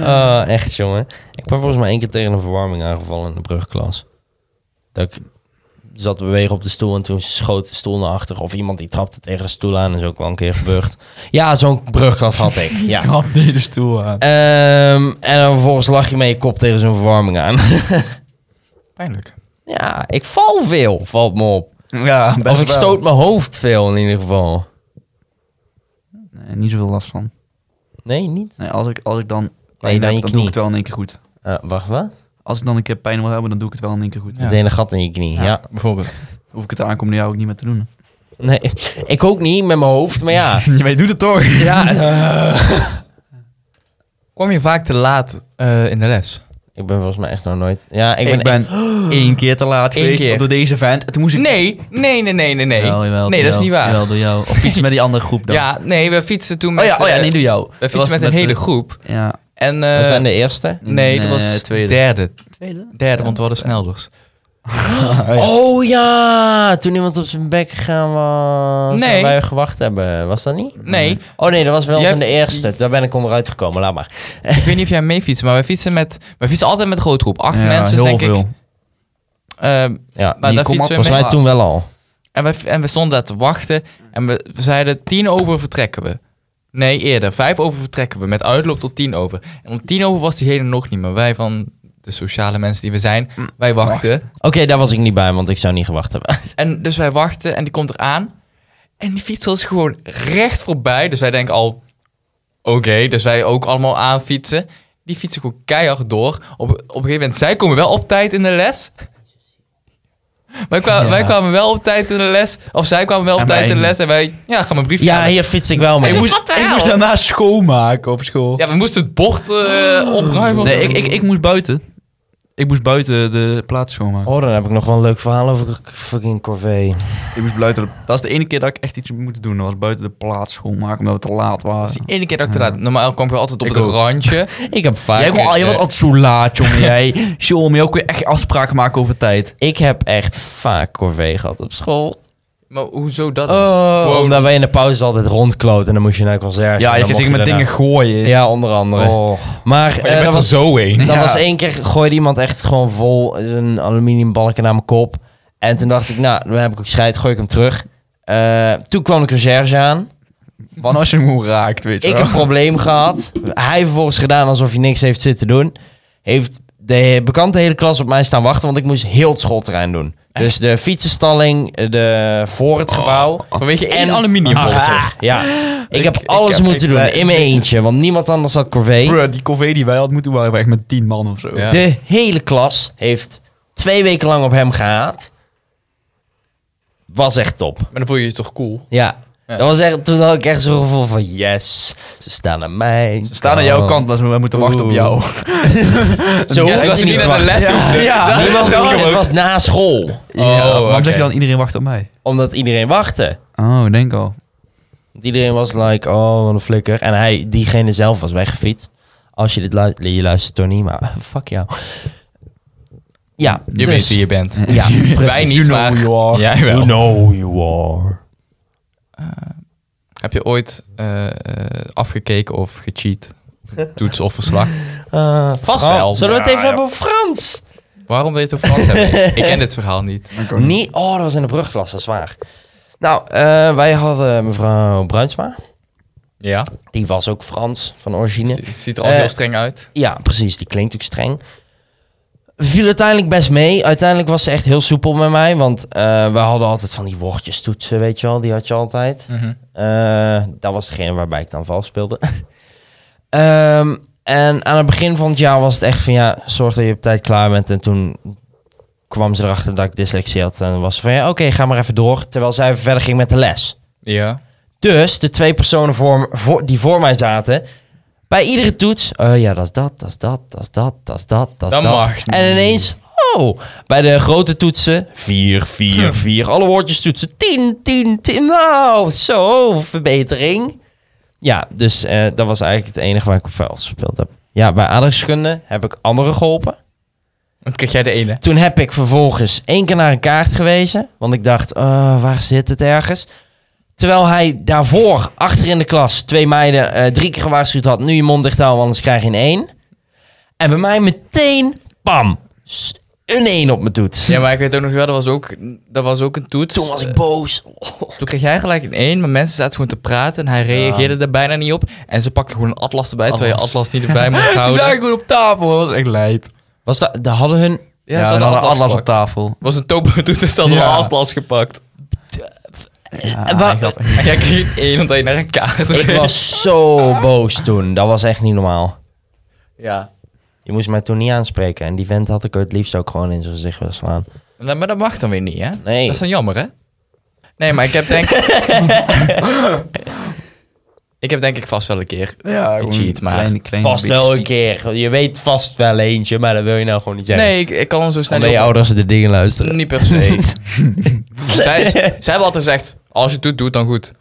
Speaker 3: Oh, echt jongen. Ik ben volgens mij één keer tegen een verwarming aangevallen in de brugklas. Dat ik zat te bewegen op de stoel en toen schoot de stoel naar achter. Of iemand die trapte tegen de stoel aan. Dat is ook wel een keer gebeurd. Ja, zo'n brugklas had ik. Ja.
Speaker 2: Trap nee de stoel aan.
Speaker 3: Ehm, en dan vervolgens lag je met je kop tegen zo'n verwarming aan.
Speaker 1: Pijnlijk.
Speaker 3: ja, ik val veel, valt me op.
Speaker 2: Ja,
Speaker 3: of ik stoot mijn hoofd veel in ieder geval.
Speaker 2: Nee, niet zoveel last van.
Speaker 3: Nee, niet.
Speaker 2: Nee, als ik, als ik dan pijn
Speaker 3: dan je
Speaker 2: heb, dan doe
Speaker 3: knie.
Speaker 2: ik het wel in één keer goed.
Speaker 3: Eh, wacht, wat?
Speaker 2: Als ik dan een keer pijn wil hebben, dan doe ik het wel in één keer goed.
Speaker 1: Ja.
Speaker 3: Het hele gat in je knie, ja.
Speaker 1: Bijvoorbeeld.
Speaker 2: Hoef ik het de aankomende jaar ook niet meer te doen.
Speaker 3: Nee, ik ook niet met mijn hoofd, maar ja.
Speaker 2: maar je doet het toch?
Speaker 3: ja eh.
Speaker 1: Kwam je vaak te laat eh, in de les?
Speaker 3: ik ben volgens mij echt nog nooit... Ja, ik
Speaker 2: Ik
Speaker 3: ben...
Speaker 2: ben, één keer te laat
Speaker 1: Eén
Speaker 2: geweest
Speaker 1: keer.
Speaker 2: door deze vent. En toen moest ik...
Speaker 1: Nee, nee, nee, nee, nee. Nee,
Speaker 2: Jawel, jawel,
Speaker 1: nee dat is
Speaker 2: jawel,
Speaker 1: niet waar.
Speaker 2: jawel, door jou. Of fietsen met die andere groep dan.
Speaker 1: Ja, nee, we fietsen toen
Speaker 2: oh
Speaker 1: met...
Speaker 2: ja, oh ja,
Speaker 1: eh,
Speaker 2: nee, door jou.
Speaker 1: We
Speaker 2: Dat was
Speaker 1: fietsen met een hele
Speaker 2: de-
Speaker 1: groep.
Speaker 2: Ja.
Speaker 1: En, eh,
Speaker 3: we zijn de eerste.
Speaker 1: nee, dat was
Speaker 2: tweede.
Speaker 1: derde.
Speaker 2: Tweede?
Speaker 1: Derde, want we hadden snelders. Nou,
Speaker 3: Oh ja, toen iemand op zijn bek gegaan was
Speaker 1: Nee.
Speaker 3: en wij gewacht hebben. Was dat niet?
Speaker 1: Nee,
Speaker 3: Oh nee, dat was wel
Speaker 1: Jij
Speaker 3: in de
Speaker 1: hebt-
Speaker 3: eerste. Daar ben ik onderuit gekomen, laat maar.
Speaker 1: ik weet niet of jij mee fietst, maar wij fietsen, met, wij fietsen altijd met een grote groep. Acht
Speaker 2: Ja,
Speaker 1: mensen,
Speaker 2: heel
Speaker 1: denk
Speaker 2: veel.
Speaker 1: ik. Ehm,
Speaker 3: Ja,
Speaker 1: maar
Speaker 2: Die
Speaker 1: daar
Speaker 2: kom
Speaker 1: fietsen we
Speaker 3: volgens
Speaker 1: mee.
Speaker 3: mij toen wel al.
Speaker 1: En we, en we stonden daar te wachten. En we, we zeiden, tien over vertrekken we. Nee, eerder. Vijf over vertrekken we. Met uitloop tot tien over. En om tien over was die hele nog niet. Maar wij van de sociale mensen die we zijn,
Speaker 2: Mm.
Speaker 1: wij wachten.
Speaker 3: Oké, daar was ik niet bij, want ik zou niet gewacht hebben.
Speaker 1: En dus wij wachten en die komt eraan. En die fietser is gewoon recht voorbij. Dus wij denken al, oké, dus wij ook allemaal aanfietsen. Die fietsen gewoon keihard door. Op, op een gegeven moment, zij komen wel op tijd in de les. Wij, kwa-
Speaker 2: Ja.
Speaker 1: wij kwamen wel op tijd in de les. Of zij kwamen wel op
Speaker 2: En
Speaker 1: tijd
Speaker 2: wij
Speaker 1: in de
Speaker 2: niet.
Speaker 1: les. En wij, ja, ga mijn briefje
Speaker 3: Ja,
Speaker 1: halen.
Speaker 3: hier fiets ik wel mee.
Speaker 1: Ik
Speaker 2: Ik
Speaker 1: moest-
Speaker 2: moest,
Speaker 1: ik
Speaker 2: ik
Speaker 1: moest
Speaker 2: moest daarna schoonmaken op school.
Speaker 1: Ja, we moesten het bord eh, opruimen. of
Speaker 2: Oh. Nee,
Speaker 1: zo.
Speaker 2: ik, ik, ik moest buiten. Ik moest buiten de plaats schoonmaken.
Speaker 3: Oh, dan heb ik nog wel een leuk verhaal over k- fucking corvée.
Speaker 2: Ik moest buiten de- Dat is de ene keer dat ik echt iets moet doen. Dat was buiten de plaats schoonmaken, omdat we te laat
Speaker 1: Dat is
Speaker 2: waren.
Speaker 1: die ene keer dat ik te laat... Normaal kwam ik wel altijd op
Speaker 2: Ik
Speaker 1: het
Speaker 2: ook.
Speaker 1: randje.
Speaker 3: Ik heb vaak...
Speaker 2: Jij, kon- je was
Speaker 1: eh,
Speaker 2: altijd zo laat, jongen. Jij, jongen, je ook weer echt afspraken maken over tijd.
Speaker 3: Ik heb echt vaak corvée gehad op school.
Speaker 1: Maar hoezo dat? dan?
Speaker 3: Oh,
Speaker 1: Gewoon-
Speaker 3: omdat wij in de pauze altijd rondkloten en dan moest je naar een concert.
Speaker 2: Ja,
Speaker 3: En
Speaker 2: je
Speaker 3: dan
Speaker 2: ging
Speaker 3: mocht
Speaker 2: met
Speaker 3: daarna-
Speaker 2: dingen gooien.
Speaker 3: Ja, onder andere.
Speaker 2: Oh.
Speaker 3: Maar,
Speaker 1: Maar
Speaker 3: eh,
Speaker 1: je
Speaker 3: dat
Speaker 1: bent er
Speaker 3: was
Speaker 1: zo heen.
Speaker 3: Dat
Speaker 2: Ja.
Speaker 3: was één keer, gooide iemand echt gewoon vol een aluminium balken naar mijn kop. En toen dacht ik, nou, dan heb ik ook scheid, gooi ik hem terug. Eh, toen kwam de concierge aan.
Speaker 2: Want als je hem gewoon raakt, weet je
Speaker 3: Ik
Speaker 2: wel.
Speaker 3: een probleem gehad. Hij vervolgens gedaan alsof hij niks heeft zitten doen. Heeft de bekante hele klas op mij staan wachten, want ik moest heel het schoolterrein doen. Dus de fietsenstalling, de, voor het gebouw.
Speaker 1: Vanwege één
Speaker 3: En- Ah.
Speaker 1: aluminiumbolter.
Speaker 3: Achter. Ja, ik heb
Speaker 2: ik
Speaker 3: alles
Speaker 2: heb-
Speaker 3: moeten
Speaker 2: ik
Speaker 3: doen
Speaker 2: ben-
Speaker 3: in mijn eentje, want niemand anders had corvée.
Speaker 2: Bruh, die corvée die wij hadden moeten doen, waren we echt met tien man of zo.
Speaker 1: Ja.
Speaker 3: De hele klas heeft twee weken lang op hem gehaat. Was echt top.
Speaker 1: Maar dan voel je je toch cool?
Speaker 3: Ja.
Speaker 1: Ja.
Speaker 3: Dat was echt, toen had ik echt zo'n gevoel van yes, ze staan aan mij.
Speaker 2: Ze staan aan jouw kant, dus we moeten wachten
Speaker 3: Oh.
Speaker 2: op
Speaker 3: Oeh.
Speaker 2: jou.
Speaker 3: Zo
Speaker 1: Yes,
Speaker 3: hoeft
Speaker 1: dat
Speaker 3: het
Speaker 1: je
Speaker 3: niet
Speaker 1: niet
Speaker 3: te
Speaker 1: naar de
Speaker 3: wachten.
Speaker 1: les hoeft.
Speaker 2: Ja.
Speaker 1: dat
Speaker 3: Niemand
Speaker 1: is
Speaker 3: hoefde-
Speaker 1: ook-
Speaker 3: het was na school.
Speaker 2: Ja, waarom zeg je
Speaker 1: oké.
Speaker 2: dan iedereen wacht op mij?
Speaker 3: Omdat iedereen wachtte.
Speaker 2: Oh, denk al.
Speaker 3: Want iedereen was like, oh, wat een flikker. En hij, diegene zelf was weggefietst. Als je dit luistert, je luistert toch niet, maar fuck jou. Ja,
Speaker 1: Je
Speaker 3: dus-
Speaker 1: weet wie je bent.
Speaker 3: Ja,
Speaker 1: Wij
Speaker 3: precies.
Speaker 1: niet, maar... Jij wel.
Speaker 3: You know who you are.
Speaker 1: Heb je ooit eh, eh, afgekeken of gecheat? Toets of verslag?
Speaker 3: Eh,
Speaker 1: Vast
Speaker 3: Fran-
Speaker 1: wel.
Speaker 3: Zullen we
Speaker 1: Ja,
Speaker 3: het even
Speaker 1: ja.
Speaker 3: hebben over Frans?
Speaker 1: Waarom weet je het over Frans hebben? Ik ken dit verhaal niet.
Speaker 3: Nee, oh, dat was in de brugklas, dat is waar. Nou, eh, wij hadden mevrouw Bruinsma.
Speaker 1: Ja?
Speaker 3: Die was ook Frans van origine.
Speaker 1: Het ziet er al
Speaker 3: Eh,
Speaker 1: heel streng uit.
Speaker 3: Ja, precies. Die klinkt ook streng. Viel uiteindelijk best mee. Uiteindelijk was ze echt heel soepel met mij. Want eh we hadden altijd van die woordjes toetsen, weet je wel. Die had je altijd.
Speaker 1: Mhm.
Speaker 3: Eh, dat was degene waarbij ik dan vals speelde. Ehm, en aan het begin van het jaar was het echt van ja, zorg dat je op tijd klaar bent. En toen kwam ze erachter dat ik dyslexie had. En was ze van ja, oké, ga maar even door. Terwijl zij even verder ging met de les.
Speaker 1: Ja.
Speaker 3: Dus de twee personen voor, m- voor- die voor mij zaten, bij iedere toets, eh, ja, dat is dat, dat is dat, dat is dat, dat is dat, dat is
Speaker 1: Dat
Speaker 3: dat.
Speaker 1: mag
Speaker 3: En ineens, oh, bij de grote toetsen, 4,
Speaker 1: Hm.
Speaker 3: 4, 4, alle woordjes toetsen, 10, 10, 10, nou, zo, verbetering. Ja, dus eh, dat was eigenlijk het enige waar ik op vuil gespeeld heb. Ja, bij aardrijkskunde heb ik anderen geholpen.
Speaker 1: Want krijg jij de ene.
Speaker 3: Toen heb ik vervolgens één keer naar een kaart gewezen. Want ik dacht, eh, waar zit het ergens? Terwijl hij daarvoor, achter in de klas, twee meiden eh, drie keer gewaarschuwd had. Nu je mond dicht houden, anders krijg je een één. En bij mij meteen, pam, s- een één op mijn toets.
Speaker 1: Ja, maar ik weet ook nog wel, dat was ook, dat was ook een toets.
Speaker 3: Toen was
Speaker 1: Eh,
Speaker 3: ik boos.
Speaker 1: Toen kreeg jij gelijk een 1, maar mensen zaten gewoon te praten en hij reageerde er bijna niet op. En ze pakten gewoon een atlas erbij, terwijl je
Speaker 3: Atlas.
Speaker 1: atlas niet erbij mocht houden.
Speaker 2: gewoon op tafel, dat was echt lijp.
Speaker 3: Was dat, daar hadden hun...
Speaker 2: Ja, ze hadden een atlas op
Speaker 1: gepakt.
Speaker 2: tafel.
Speaker 1: was een topo toen ze hadden
Speaker 2: Ja.
Speaker 1: een atlas gepakt.
Speaker 3: en
Speaker 2: Ja,
Speaker 3: waar-
Speaker 1: En jij kreeg een 1 omdat je naar een kaart
Speaker 3: ik
Speaker 1: reed.
Speaker 3: was zo boos toen. Dat was echt niet normaal.
Speaker 1: Ja.
Speaker 3: Je moest mij toen niet aanspreken. En die vent had ik het liefst ook gewoon in zijn gezicht willen slaan.
Speaker 1: Nou, maar dat mag dan weer niet, hè?
Speaker 3: Nee.
Speaker 1: Dat is dan jammer, hè? Nee, maar ik heb denk ik... heb denk ik vast wel een keer
Speaker 2: ja
Speaker 1: gewoon Gecheat, maar
Speaker 2: Klein, klein
Speaker 3: Vast
Speaker 2: beetje
Speaker 3: wel een
Speaker 2: sneak.
Speaker 3: keer. Je weet vast wel eentje, maar dat wil je nou gewoon niet zeggen.
Speaker 1: Nee, ik, ik kan hem zo snel
Speaker 3: Omdat je
Speaker 1: op-
Speaker 3: ouders de dingen luisteren.
Speaker 1: Niet per se. zij, zij hebben altijd gezegd, als je het doet, doe het dan goed.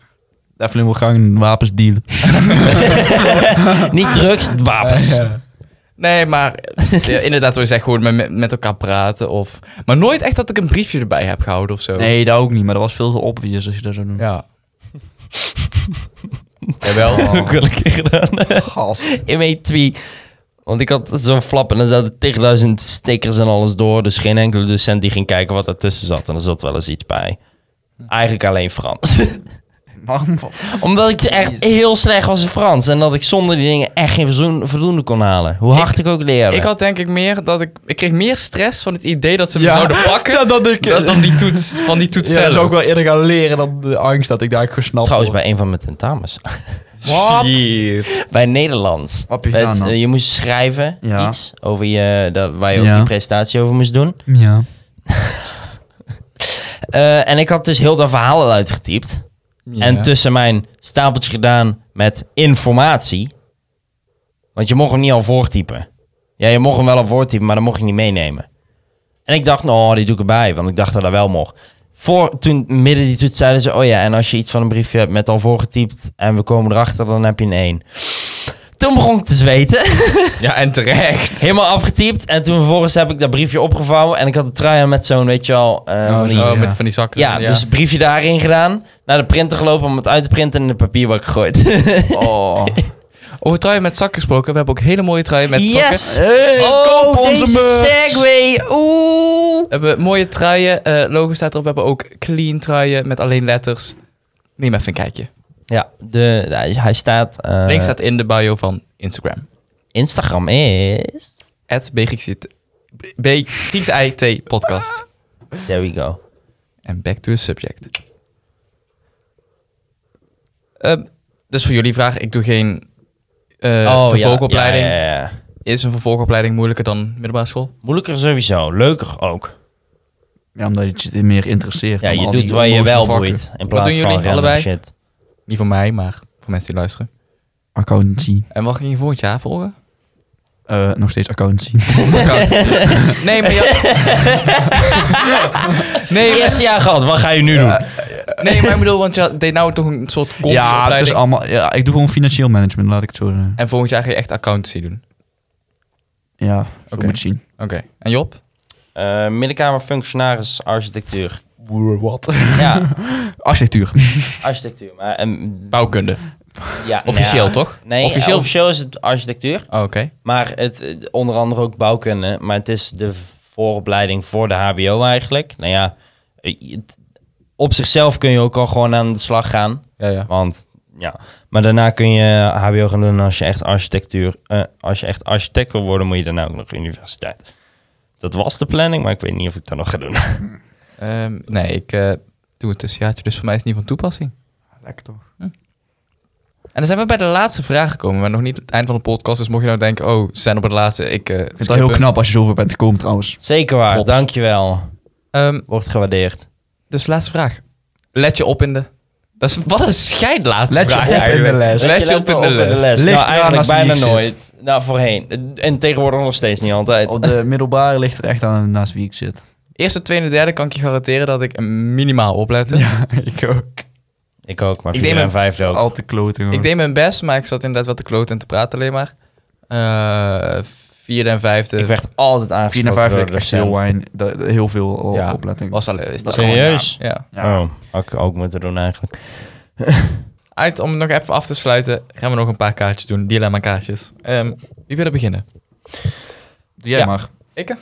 Speaker 2: Evelyn wil graag een wapens dealen.
Speaker 1: Nou.
Speaker 3: niet drugs, wapens.
Speaker 1: Nee, maar ja, inderdaad, wat je zegt, gewoon met, met elkaar praten. Of, maar nooit echt dat ik een briefje erbij heb gehouden of zo.
Speaker 2: Nee, dat ook niet, maar dat was veel te obvious als je dat zou doen.
Speaker 1: Ja. Jawel.
Speaker 3: Ook wel een keer gedaan.
Speaker 2: Gas.
Speaker 3: In mijn twee. Want ik had zo'n flap en dan zaten tigduizend stickers en alles door. Dus geen enkele docent die ging kijken wat ertussen zat. En er zat wel eens iets bij. Eigenlijk alleen Frans.
Speaker 2: Waarom?
Speaker 3: Omdat ik echt heel slecht was in Frans. En dat ik zonder die dingen echt geen verzoen- voldoende kon halen. Hoe hard ik, ook leerde.
Speaker 1: Ik had denk ik meer dat ik... Ik kreeg meer stress van het idee dat ze me
Speaker 2: Ja.
Speaker 1: zouden pakken...
Speaker 2: dat ik...
Speaker 1: dan- dan die toets, van die toets
Speaker 2: Ja,
Speaker 1: zelf.
Speaker 2: dat zou ik wel eerder gaan leren dan de angst dat ik daar gesnapt
Speaker 3: Trouwens,
Speaker 2: word.
Speaker 3: bij een van mijn tentamens.
Speaker 2: Wat?
Speaker 1: Shit.
Speaker 3: Bij Nederlands.
Speaker 2: Wat heb je
Speaker 3: Het-
Speaker 2: gedaan dan?
Speaker 3: eh, je moest schrijven
Speaker 2: Ja.
Speaker 3: iets over je, dat, waar je ook
Speaker 2: Ja.
Speaker 3: die presentatie over moest doen.
Speaker 2: Ja.
Speaker 3: Eh, en ik had dus heel dat verhaal al uitgetypt. En tussen mijn stapeltje gedaan met informatie. Want je mocht hem niet al voortypen. Ja, je mocht hem wel al voortypen, maar dan mocht je niet meenemen. En ik dacht, nou, die doe ik erbij, want ik dacht dat dat wel mocht. Voor, toen midden die toets zeiden ze, oh ja, en als je iets van een briefje hebt met al voorgetypt en we komen erachter, dan heb je een 1. Toen begon ik te zweten.
Speaker 1: Ja, en terecht.
Speaker 3: Helemaal afgetypt. En toen vervolgens heb ik dat briefje opgevouwen. En ik had de trui aan met zo'n, weet je wel... eh,
Speaker 2: Oh,
Speaker 3: van die-
Speaker 2: zo.
Speaker 1: Oh,
Speaker 2: ja.
Speaker 1: met van die zakken.
Speaker 3: ja, dus het briefje daarin gedaan. Naar de printer gelopen om het uit te printen en in de papierbak gegooid.
Speaker 1: Oh. Over truien met zakken gesproken. We hebben ook hele mooie truien met zakken.
Speaker 3: yes!
Speaker 2: Hey,
Speaker 3: Oh,
Speaker 2: koop onze
Speaker 3: deze
Speaker 2: merch.
Speaker 3: segway! Oeh!
Speaker 1: We hebben mooie truien. eh logo staat erop. We hebben ook clean truien met alleen letters. Neem even een kijkje.
Speaker 3: Ja, de, hij- hij staat... eh,
Speaker 1: Link staat in de bio van Instagram.
Speaker 3: Instagram is...
Speaker 1: At BGXIT podcast.
Speaker 3: There we go.
Speaker 1: En back to the subject. Ehm, dus voor jullie vraag. Ik doe geen eh,
Speaker 3: Oh, ja,
Speaker 1: vervolgopleiding.
Speaker 3: ja, ja, ja.
Speaker 1: Is een vervolgopleiding moeilijker dan middelbare school?
Speaker 3: Moeilijker sowieso. Leuker ook.
Speaker 2: Ja, omdat je het meer interesseert.
Speaker 3: Ja,
Speaker 2: dan
Speaker 3: je
Speaker 2: al
Speaker 3: doet
Speaker 2: die
Speaker 3: waar je
Speaker 2: onnozele
Speaker 3: wel
Speaker 2: vakken.
Speaker 3: boeit. In plaats
Speaker 1: doen jullie
Speaker 3: van random
Speaker 1: allebei?
Speaker 3: shit.
Speaker 1: Niet van mij, maar van mensen die luisteren.
Speaker 2: Accountancy.
Speaker 1: En wat ging je volgend jaar volgen?
Speaker 2: Eh, nog steeds accountancy.
Speaker 1: nee, maar ja. nee, maar,
Speaker 3: Eerste jaar gehad, wat ga je nu doen?
Speaker 1: nee, maar ik bedoel, want je deed nou toch een soort
Speaker 2: ja, het is
Speaker 1: combi-opleiding.
Speaker 2: allemaal, ja, ik doe gewoon financieel management, laat ik het zo zeggen.
Speaker 1: En volgend jaar ga je echt accountancy doen.
Speaker 2: Ja, zo
Speaker 1: Oké.
Speaker 2: moet je het zien.
Speaker 1: Oké. En Job?
Speaker 3: Eh, middenkamer functionaris architectuur.
Speaker 2: Wat?
Speaker 3: Ja,
Speaker 2: Architectuur.
Speaker 3: architectuur. Maar, ehm,
Speaker 1: Bouwkunde.
Speaker 3: ja,
Speaker 1: Officieel,
Speaker 3: nou ja.
Speaker 1: toch?
Speaker 3: Nee,
Speaker 1: Officieel?
Speaker 3: officieel, officieel is het architectuur.
Speaker 1: Oh, Oké.
Speaker 3: Maar het, eh, onder andere ook bouwkunde. Maar het is de vooropleiding voor de HBO eigenlijk. Nou ja, eh, het- op zichzelf kun je ook al gewoon aan de slag gaan.
Speaker 1: Ja, ja.
Speaker 3: Want ja, maar daarna kun je HBO gaan doen. En als je echt architectuur, eh, als je echt architect wil worden, moet je daarna ook nog universiteit. Dat was de planning, maar ik weet niet of ik dat nog ga doen.
Speaker 1: Ehm, nee, ik eh, doe het tussenjaartje, dus voor mij is het niet van toepassing.
Speaker 2: Ah,
Speaker 1: Hm.
Speaker 2: Lekker toch?
Speaker 1: En dan zijn we bij de laatste vraag gekomen, maar nog niet het eind van de podcast. Dus mocht je nou denken, oh, ze zijn op het laatste, ik... eh
Speaker 2: Ik vind het wel heel knap als je zover bent gekomen trouwens.
Speaker 3: Zeker waar,
Speaker 2: Klopt.
Speaker 3: dankjewel.
Speaker 1: Ehm,
Speaker 3: Wordt gewaardeerd.
Speaker 1: dus de laatste vraag. Let je op in de... Dat is, wat een scheidlaatste
Speaker 2: Let je
Speaker 1: vraag
Speaker 2: op in de
Speaker 1: eigenlijk.
Speaker 2: les.
Speaker 1: Let, je op in de les.
Speaker 2: Ligt
Speaker 3: Nou,
Speaker 2: eraan
Speaker 3: eigenlijk
Speaker 2: als die
Speaker 3: bijna
Speaker 2: hier zit.
Speaker 3: nooit. Nou, voorheen. En tegenwoordig nog steeds niet altijd.
Speaker 2: Op de middelbare ligt er echt aan naast wie ik zit.
Speaker 1: Eerste, tweede, derde kan ik je garanderen dat ik minimaal oplette.
Speaker 2: Ja, ik ook.
Speaker 3: Ik ook, maar
Speaker 1: Ik
Speaker 3: vier
Speaker 1: neem
Speaker 3: en vijfde ook.
Speaker 2: Al te kloten gewoon.
Speaker 1: Ik deed mijn best, maar ik zat inderdaad wel te kloten en te praten alleen maar. Eh, vierde en vijfde.
Speaker 3: Ik werd altijd
Speaker 2: Vier
Speaker 3: aangesproken
Speaker 2: naar vijf
Speaker 3: door
Speaker 2: heb
Speaker 3: de
Speaker 2: ik echt heel,
Speaker 3: docent.
Speaker 2: weinig- dat- heel veel o-
Speaker 1: Ja,
Speaker 2: oplettingen.
Speaker 1: was alleen, is dat
Speaker 3: Serieus?
Speaker 1: gewoon een naam. Ja.
Speaker 2: Ja.
Speaker 3: Oh, had ik ook moeten doen eigenlijk.
Speaker 1: Uit, om het nog even af te sluiten, gaan we nog een paar kaartjes doen. Dilemma kaartjes. Ehm, wie wil er beginnen?
Speaker 2: Doe jij
Speaker 1: Ja.
Speaker 2: maar.
Speaker 1: Ik?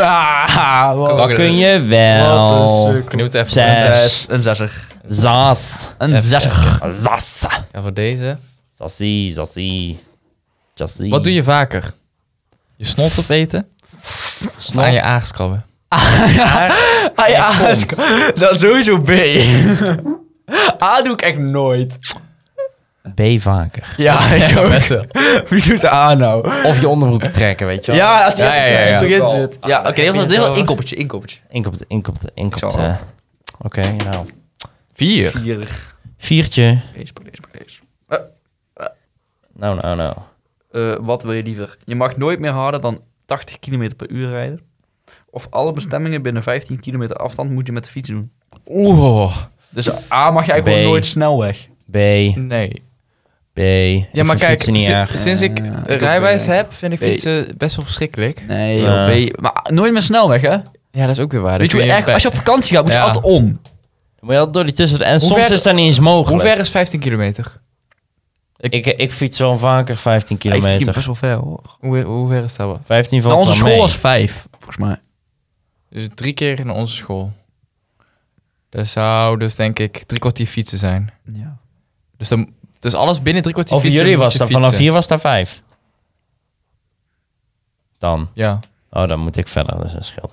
Speaker 2: Ah,
Speaker 1: Wat
Speaker 3: Dat kun je
Speaker 2: Wat een
Speaker 3: wel.
Speaker 2: suk.
Speaker 1: Oh, Benieuwd even.
Speaker 3: Zes.
Speaker 1: Eh,
Speaker 2: Een zesser.
Speaker 3: Zas.
Speaker 2: Een zesser.
Speaker 3: Zas.
Speaker 1: Ja, voor deze.
Speaker 3: Sassie, sassie. Jassie.
Speaker 1: Wat doe je vaker? Je snot opeten of aan je aars krabben?
Speaker 2: Ah ja, dat is sowieso B. A doe ik echt nooit.
Speaker 3: B vaker.
Speaker 2: Ja, ik ook. Wie doet A nou?
Speaker 3: Of je onderbroek trekken, weet je wel.
Speaker 2: Ja, als die
Speaker 1: Ja, ja, ja, ja.
Speaker 2: erin zit. Ja, oké, heel veel- heel veel
Speaker 1: Ja.
Speaker 2: inkoppertje, inkoppertje.
Speaker 3: Inkomt, inkomt,
Speaker 2: Ik
Speaker 3: inkomt.
Speaker 2: zal-
Speaker 3: eh. Oké, nou.
Speaker 1: Vier.
Speaker 2: Vier.
Speaker 3: Viertje.
Speaker 2: Deze, deze, deze.
Speaker 3: Nou, nou, nou.
Speaker 2: Eh, wat wil je liever? Je mag nooit meer harder dan 80 km per uur rijden. Of alle bestemmingen binnen 15 kilometer afstand moet je met de fiets doen.
Speaker 1: Oeh.
Speaker 2: Dus A mag je eigenlijk
Speaker 3: B.
Speaker 2: gewoon nooit snel weg.
Speaker 3: B,
Speaker 1: Nee.
Speaker 3: B. Ik
Speaker 1: Ja, maar
Speaker 3: vind
Speaker 1: kijk,
Speaker 3: fietsen niet
Speaker 1: si-
Speaker 3: erg.
Speaker 1: sinds ik
Speaker 2: Ja,
Speaker 1: eh,
Speaker 2: ik
Speaker 1: rijbewijs
Speaker 2: ook, ja.
Speaker 1: heb, vind ik
Speaker 2: Nee.
Speaker 1: fietsen best wel verschrikkelijk.
Speaker 2: Nee,
Speaker 3: joh,
Speaker 2: B. Maar nooit meer snel weg, hè?
Speaker 1: Ja, dat is ook weer waar.
Speaker 2: Weet je
Speaker 1: Dan
Speaker 2: hoe
Speaker 1: kun
Speaker 2: erg,
Speaker 1: bij-
Speaker 2: als je op vakantie gaat, moet je
Speaker 1: Ja.
Speaker 2: altijd om.
Speaker 3: Maar je had door die tussen... En
Speaker 1: Hoe
Speaker 3: soms
Speaker 1: ver-
Speaker 3: is dat niet eens mogelijk.
Speaker 1: Hoe ver is 15 kilometer?
Speaker 3: Ik, ik fiets wel vaker 15
Speaker 2: Ik vind het
Speaker 3: kilometer.
Speaker 2: best wel ver, hoor.
Speaker 1: Hoe, hoe ver is dat wel?
Speaker 3: 15 van
Speaker 2: Nou, onze school was vijf, volgens mij.
Speaker 1: Dus drie keer naar onze school. Dat zou dus denk ik drie kwartier fietsen zijn.
Speaker 2: Ja.
Speaker 1: Dus, dan, dus alles binnen drie kwartier
Speaker 3: Of
Speaker 1: fietsen.
Speaker 3: jullie
Speaker 1: moet
Speaker 3: was
Speaker 1: je
Speaker 3: dat vanaf
Speaker 1: fietsen.
Speaker 3: hier was dat 5. Dan.
Speaker 1: Ja.
Speaker 3: Oh, dan moet ik verder, dus dat scheelt.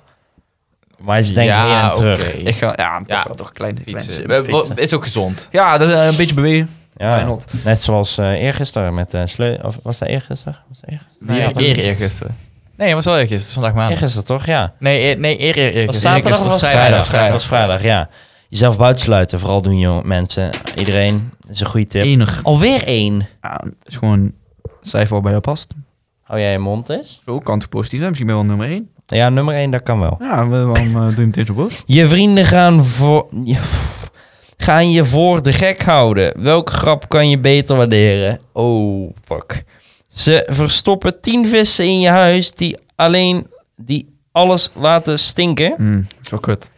Speaker 3: Maar ze denken
Speaker 1: ja,
Speaker 3: heen en Dus terug.
Speaker 1: oké.
Speaker 2: Ik ga, ja, toch,
Speaker 1: Ja,
Speaker 2: wel toch klein
Speaker 1: Fietsen.
Speaker 2: fietsen.
Speaker 1: We- we- Is ook gezond.
Speaker 2: Ja, dat, eh, een beetje bewegen.
Speaker 3: Ja,
Speaker 2: Why not?
Speaker 3: net zoals eh eergisteren met eh sleu... Of was dat eergisteren? Was dat eergisteren?
Speaker 1: Nee,
Speaker 2: had dat
Speaker 1: eer
Speaker 2: niet?
Speaker 1: eergisteren. Nee, het was wel eergisteren. Het is vandaag maandag.
Speaker 3: Eergisteren toch, ja.
Speaker 1: Nee, eer, nee, eer, eer, eergisteren.
Speaker 3: Was zaterdag of was het vrijdag?
Speaker 1: vrijdag?
Speaker 3: Het was vrijdag, ja. Jezelf buitensluiten, vooral doen jongen, mensen. Iedereen, dat is een goede tip.
Speaker 2: Enig.
Speaker 3: Alweer één.
Speaker 2: Ja, is gewoon cijfer wat bij jou past.
Speaker 3: Hou jij je mond eens?
Speaker 2: Zo, kan het positief zijn. Misschien ben je wel nummer één.
Speaker 3: Ja, nummer één, dat kan wel.
Speaker 2: Ja, waarom eh, doe je meteen zo boos?
Speaker 3: Je vrienden gaan voor... je- gaan je voor de gek houden. Welke grap kan je beter waarderen? Oh, fuck. Ze verstoppen tien vissen in je huis die alleen... die alles laten stinken.
Speaker 2: Mm, zo kut.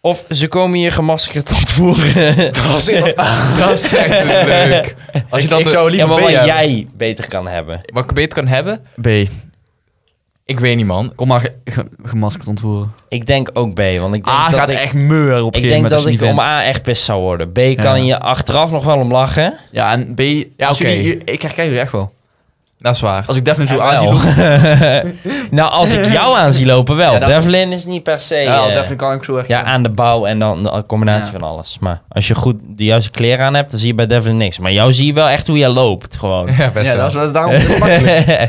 Speaker 3: Of ze komen je gemaskerd ontvoeren.
Speaker 1: Dat was, dat is echt leuk. Als je dan de-
Speaker 3: ja, maar
Speaker 2: B
Speaker 3: wat
Speaker 2: hebben.
Speaker 3: jij beter kan hebben.
Speaker 1: Wat ik beter kan hebben?
Speaker 2: B.
Speaker 1: Ik weet niet, man.
Speaker 2: Kom maar ge- ge- gemaskerd ontvoeren.
Speaker 3: Ik denk ook B, want ik denk
Speaker 2: A
Speaker 3: Ah, dat
Speaker 2: gaat
Speaker 3: ik,
Speaker 2: echt meur op een
Speaker 3: ik,
Speaker 2: gegeven
Speaker 3: denk
Speaker 2: moment als
Speaker 3: dat
Speaker 2: je
Speaker 3: ik
Speaker 2: niet
Speaker 3: om
Speaker 2: vindt.
Speaker 3: A echt pist zou worden. B kan je achteraf nog wel om lachen.
Speaker 2: Ja, en B... Ja,
Speaker 1: oké.
Speaker 2: ik herken jullie echt wel.
Speaker 1: Dat is waar.
Speaker 2: Als ik Devlin zo
Speaker 3: Ja,
Speaker 2: aan zie
Speaker 3: wel.
Speaker 2: lopen...
Speaker 3: nou, als ik jou aan zie lopen wel.
Speaker 2: Ja, dat-
Speaker 3: Devlin is niet per se...
Speaker 2: Ja,
Speaker 3: eh,
Speaker 2: Devlin kan ik zo echt.
Speaker 3: ja, aan de bouw en dan de combinatie
Speaker 2: Ja.
Speaker 3: van alles. Maar als je goed de juiste kleren aan hebt, dan zie je bij Devlin niks. Maar jou zie je wel echt hoe jij loopt, gewoon.
Speaker 1: Ja, best
Speaker 2: ja,
Speaker 1: wel.
Speaker 2: dat is wel- daarom is het makkelijk. Oh,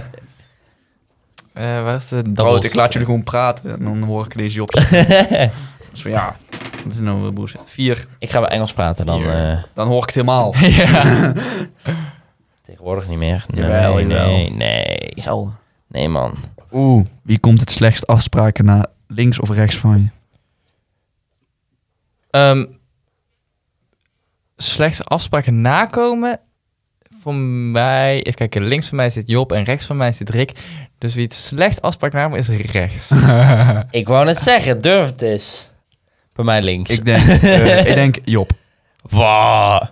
Speaker 1: Eh, waar is de
Speaker 2: Brood,
Speaker 1: doubles?
Speaker 2: ik laat jullie gewoon praten en dan hoor ik deze op. dus van, ja, Het is nou weer bullshit. Vier.
Speaker 3: Ik ga wel Engels praten dan.
Speaker 1: Hier.
Speaker 3: eh,
Speaker 2: Dan hoor ik het helemaal.
Speaker 1: ja.
Speaker 3: tegenwoordig niet meer. Nee,
Speaker 2: Jawel,
Speaker 3: nee,
Speaker 2: jawel.
Speaker 3: nee, nee. Nee, man.
Speaker 2: Oeh, wie komt het slechtst afspraken na links of rechts van je?
Speaker 1: Ehm, slechts afspraken nakomen. Voor mij, even kijken, links van mij zit Job en rechts van mij zit Rick. Dus wie het slecht afspraak namen is rechts.
Speaker 3: Ik wou net zeggen, durf het eens. Bij mij links.
Speaker 2: Ik denk, eh, ik denk Job.
Speaker 3: Wa.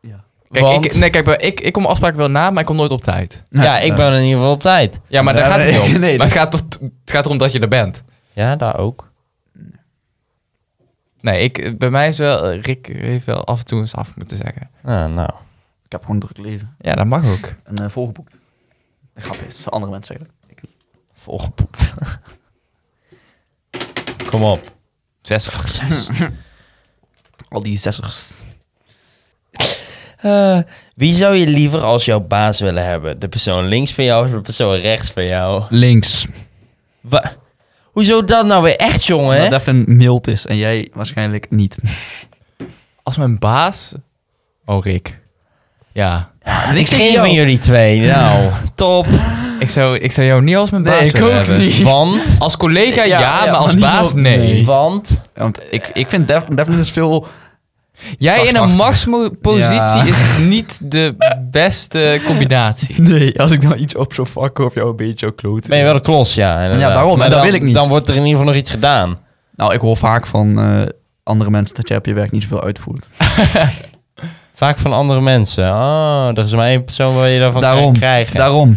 Speaker 2: Ja.
Speaker 1: Kijk,
Speaker 3: Want-
Speaker 1: ik, nee, kijk ik, ik kom afspraken wel na, maar ik kom nooit op tijd.
Speaker 2: Eh,
Speaker 3: Ja, ik ben in ieder geval op tijd.
Speaker 1: Ja, maar daar
Speaker 2: Ja,
Speaker 1: gaat het
Speaker 2: nee,
Speaker 1: niet om.
Speaker 2: nee,
Speaker 1: maar
Speaker 2: dat-
Speaker 1: het gaat, tot- het gaat erom dat je er bent.
Speaker 3: Ja, daar ook.
Speaker 1: Nee, ik, bij mij is wel... eh, Rick heeft wel af en toe eens af moeten zeggen.
Speaker 3: Ah, nou.
Speaker 2: Ik heb gewoon een druk leven.
Speaker 1: Ja, dat mag ook.
Speaker 2: En volgeboekt. Grapje, het is andere mensen zeggen.
Speaker 3: Volgeboekt. Kom op.
Speaker 1: Zes of
Speaker 2: Al die zessers.
Speaker 3: Eh, wie zou je liever als jouw baas willen hebben? De persoon links van jou of de persoon rechts van jou?
Speaker 2: Links.
Speaker 3: Wa- Hoezo dat nou weer echt, jongen?
Speaker 2: Omdat Devlin mild is en jij waarschijnlijk niet.
Speaker 1: Als mijn baas... Oh, Rick. Ja.
Speaker 3: ik
Speaker 2: niks tegen
Speaker 3: geen
Speaker 2: jou.
Speaker 3: van jullie twee. Nou, top.
Speaker 1: Ik zou, ik zou jou niet als mijn
Speaker 2: Nee,
Speaker 1: baas
Speaker 2: ik
Speaker 1: willen
Speaker 2: ook
Speaker 1: hebben.
Speaker 2: niet.
Speaker 3: Want,
Speaker 1: Als collega
Speaker 2: Ja,
Speaker 1: ja,
Speaker 2: ja,
Speaker 1: maar
Speaker 2: maar
Speaker 1: als
Speaker 2: niet
Speaker 1: baas
Speaker 2: wel-
Speaker 1: nee.
Speaker 2: nee.
Speaker 3: want...
Speaker 2: Want ik, ik vind Devlin, Devlin is veel...
Speaker 1: Jij in een
Speaker 2: Zachtachtig.
Speaker 1: machtspositie
Speaker 2: Ja.
Speaker 1: is niet de beste combinatie.
Speaker 2: Nee, als ik nou iets op zo'n vak of jou een beetje zo kloot.
Speaker 3: Ben je wel de klos, ja. inderdaad.
Speaker 2: Ja, daarom, en
Speaker 3: Maar
Speaker 2: dat
Speaker 3: dan-
Speaker 2: wil ik niet.
Speaker 3: Dan wordt er in ieder geval nog iets gedaan.
Speaker 2: Nou, ik hoor vaak van eh, andere mensen dat jij op je werk niet zoveel uitvoert.
Speaker 3: Vaak van andere mensen. Oh, er is maar één persoon waar je daarvan
Speaker 2: daarom,
Speaker 3: kan krijgen.
Speaker 2: daarom.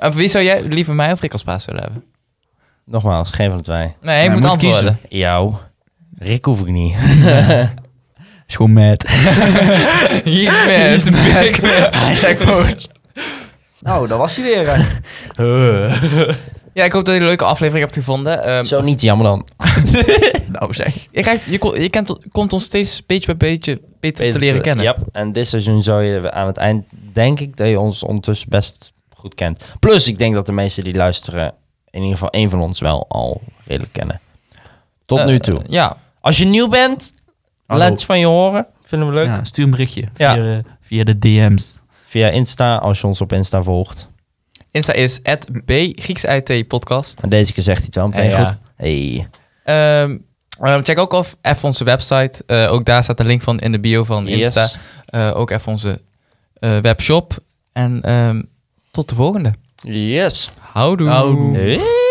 Speaker 1: Of wie zou jij liever mij of Rick als baas willen hebben?
Speaker 3: Nogmaals, geen van de twee.
Speaker 1: Nee, je
Speaker 2: Ja,
Speaker 1: moet,
Speaker 2: moet
Speaker 1: antwoorden.
Speaker 2: kiezen.
Speaker 3: Jou. Rick hoef ik niet.
Speaker 2: Is gewoon mad.
Speaker 1: He's mad.
Speaker 2: He's mad.
Speaker 1: Big mad.
Speaker 2: Hij is echt boos. Nou, dat was hij weer.
Speaker 1: Ja, ik hoop dat je een leuke aflevering hebt gevonden. Ehm,
Speaker 3: Zo niet, jammer dan.
Speaker 2: nou zeg.
Speaker 1: Je, krijgt, je, ko- je kent, komt ons steeds beetje bij beetje beter, te leren kennen.
Speaker 3: Ja, en dit seizoen zou je aan het eind, denk ik, dat je ons ondertussen best goed kent. Plus, ik denk dat de meesten die luisteren, in ieder geval één van ons wel al redelijk kennen. Tot
Speaker 1: Eh,
Speaker 3: nu toe.
Speaker 1: Ja.
Speaker 3: Als je nieuw bent,
Speaker 2: Hallo.
Speaker 3: laat iets van je horen. Vinden we leuk.
Speaker 2: Ja, stuur een berichtje
Speaker 3: Ja.
Speaker 2: via, eh, via de DM's.
Speaker 3: Via Insta, als je ons op Insta volgt.
Speaker 1: Insta is @b Grieks IT podcast.
Speaker 3: En deze keer zegt hij het wel meteen
Speaker 1: Eh, ja.
Speaker 3: goed. Hey.
Speaker 1: Ehm, ehm, check ook of even onze website. Eh, ook daar staat de link van in de bio van Insta.
Speaker 3: Yes.
Speaker 1: Eh, ook even onze eh, webshop. En ehm, tot de volgende.
Speaker 3: Yes.
Speaker 1: Houdoe.
Speaker 2: Houdoe.
Speaker 3: Hey.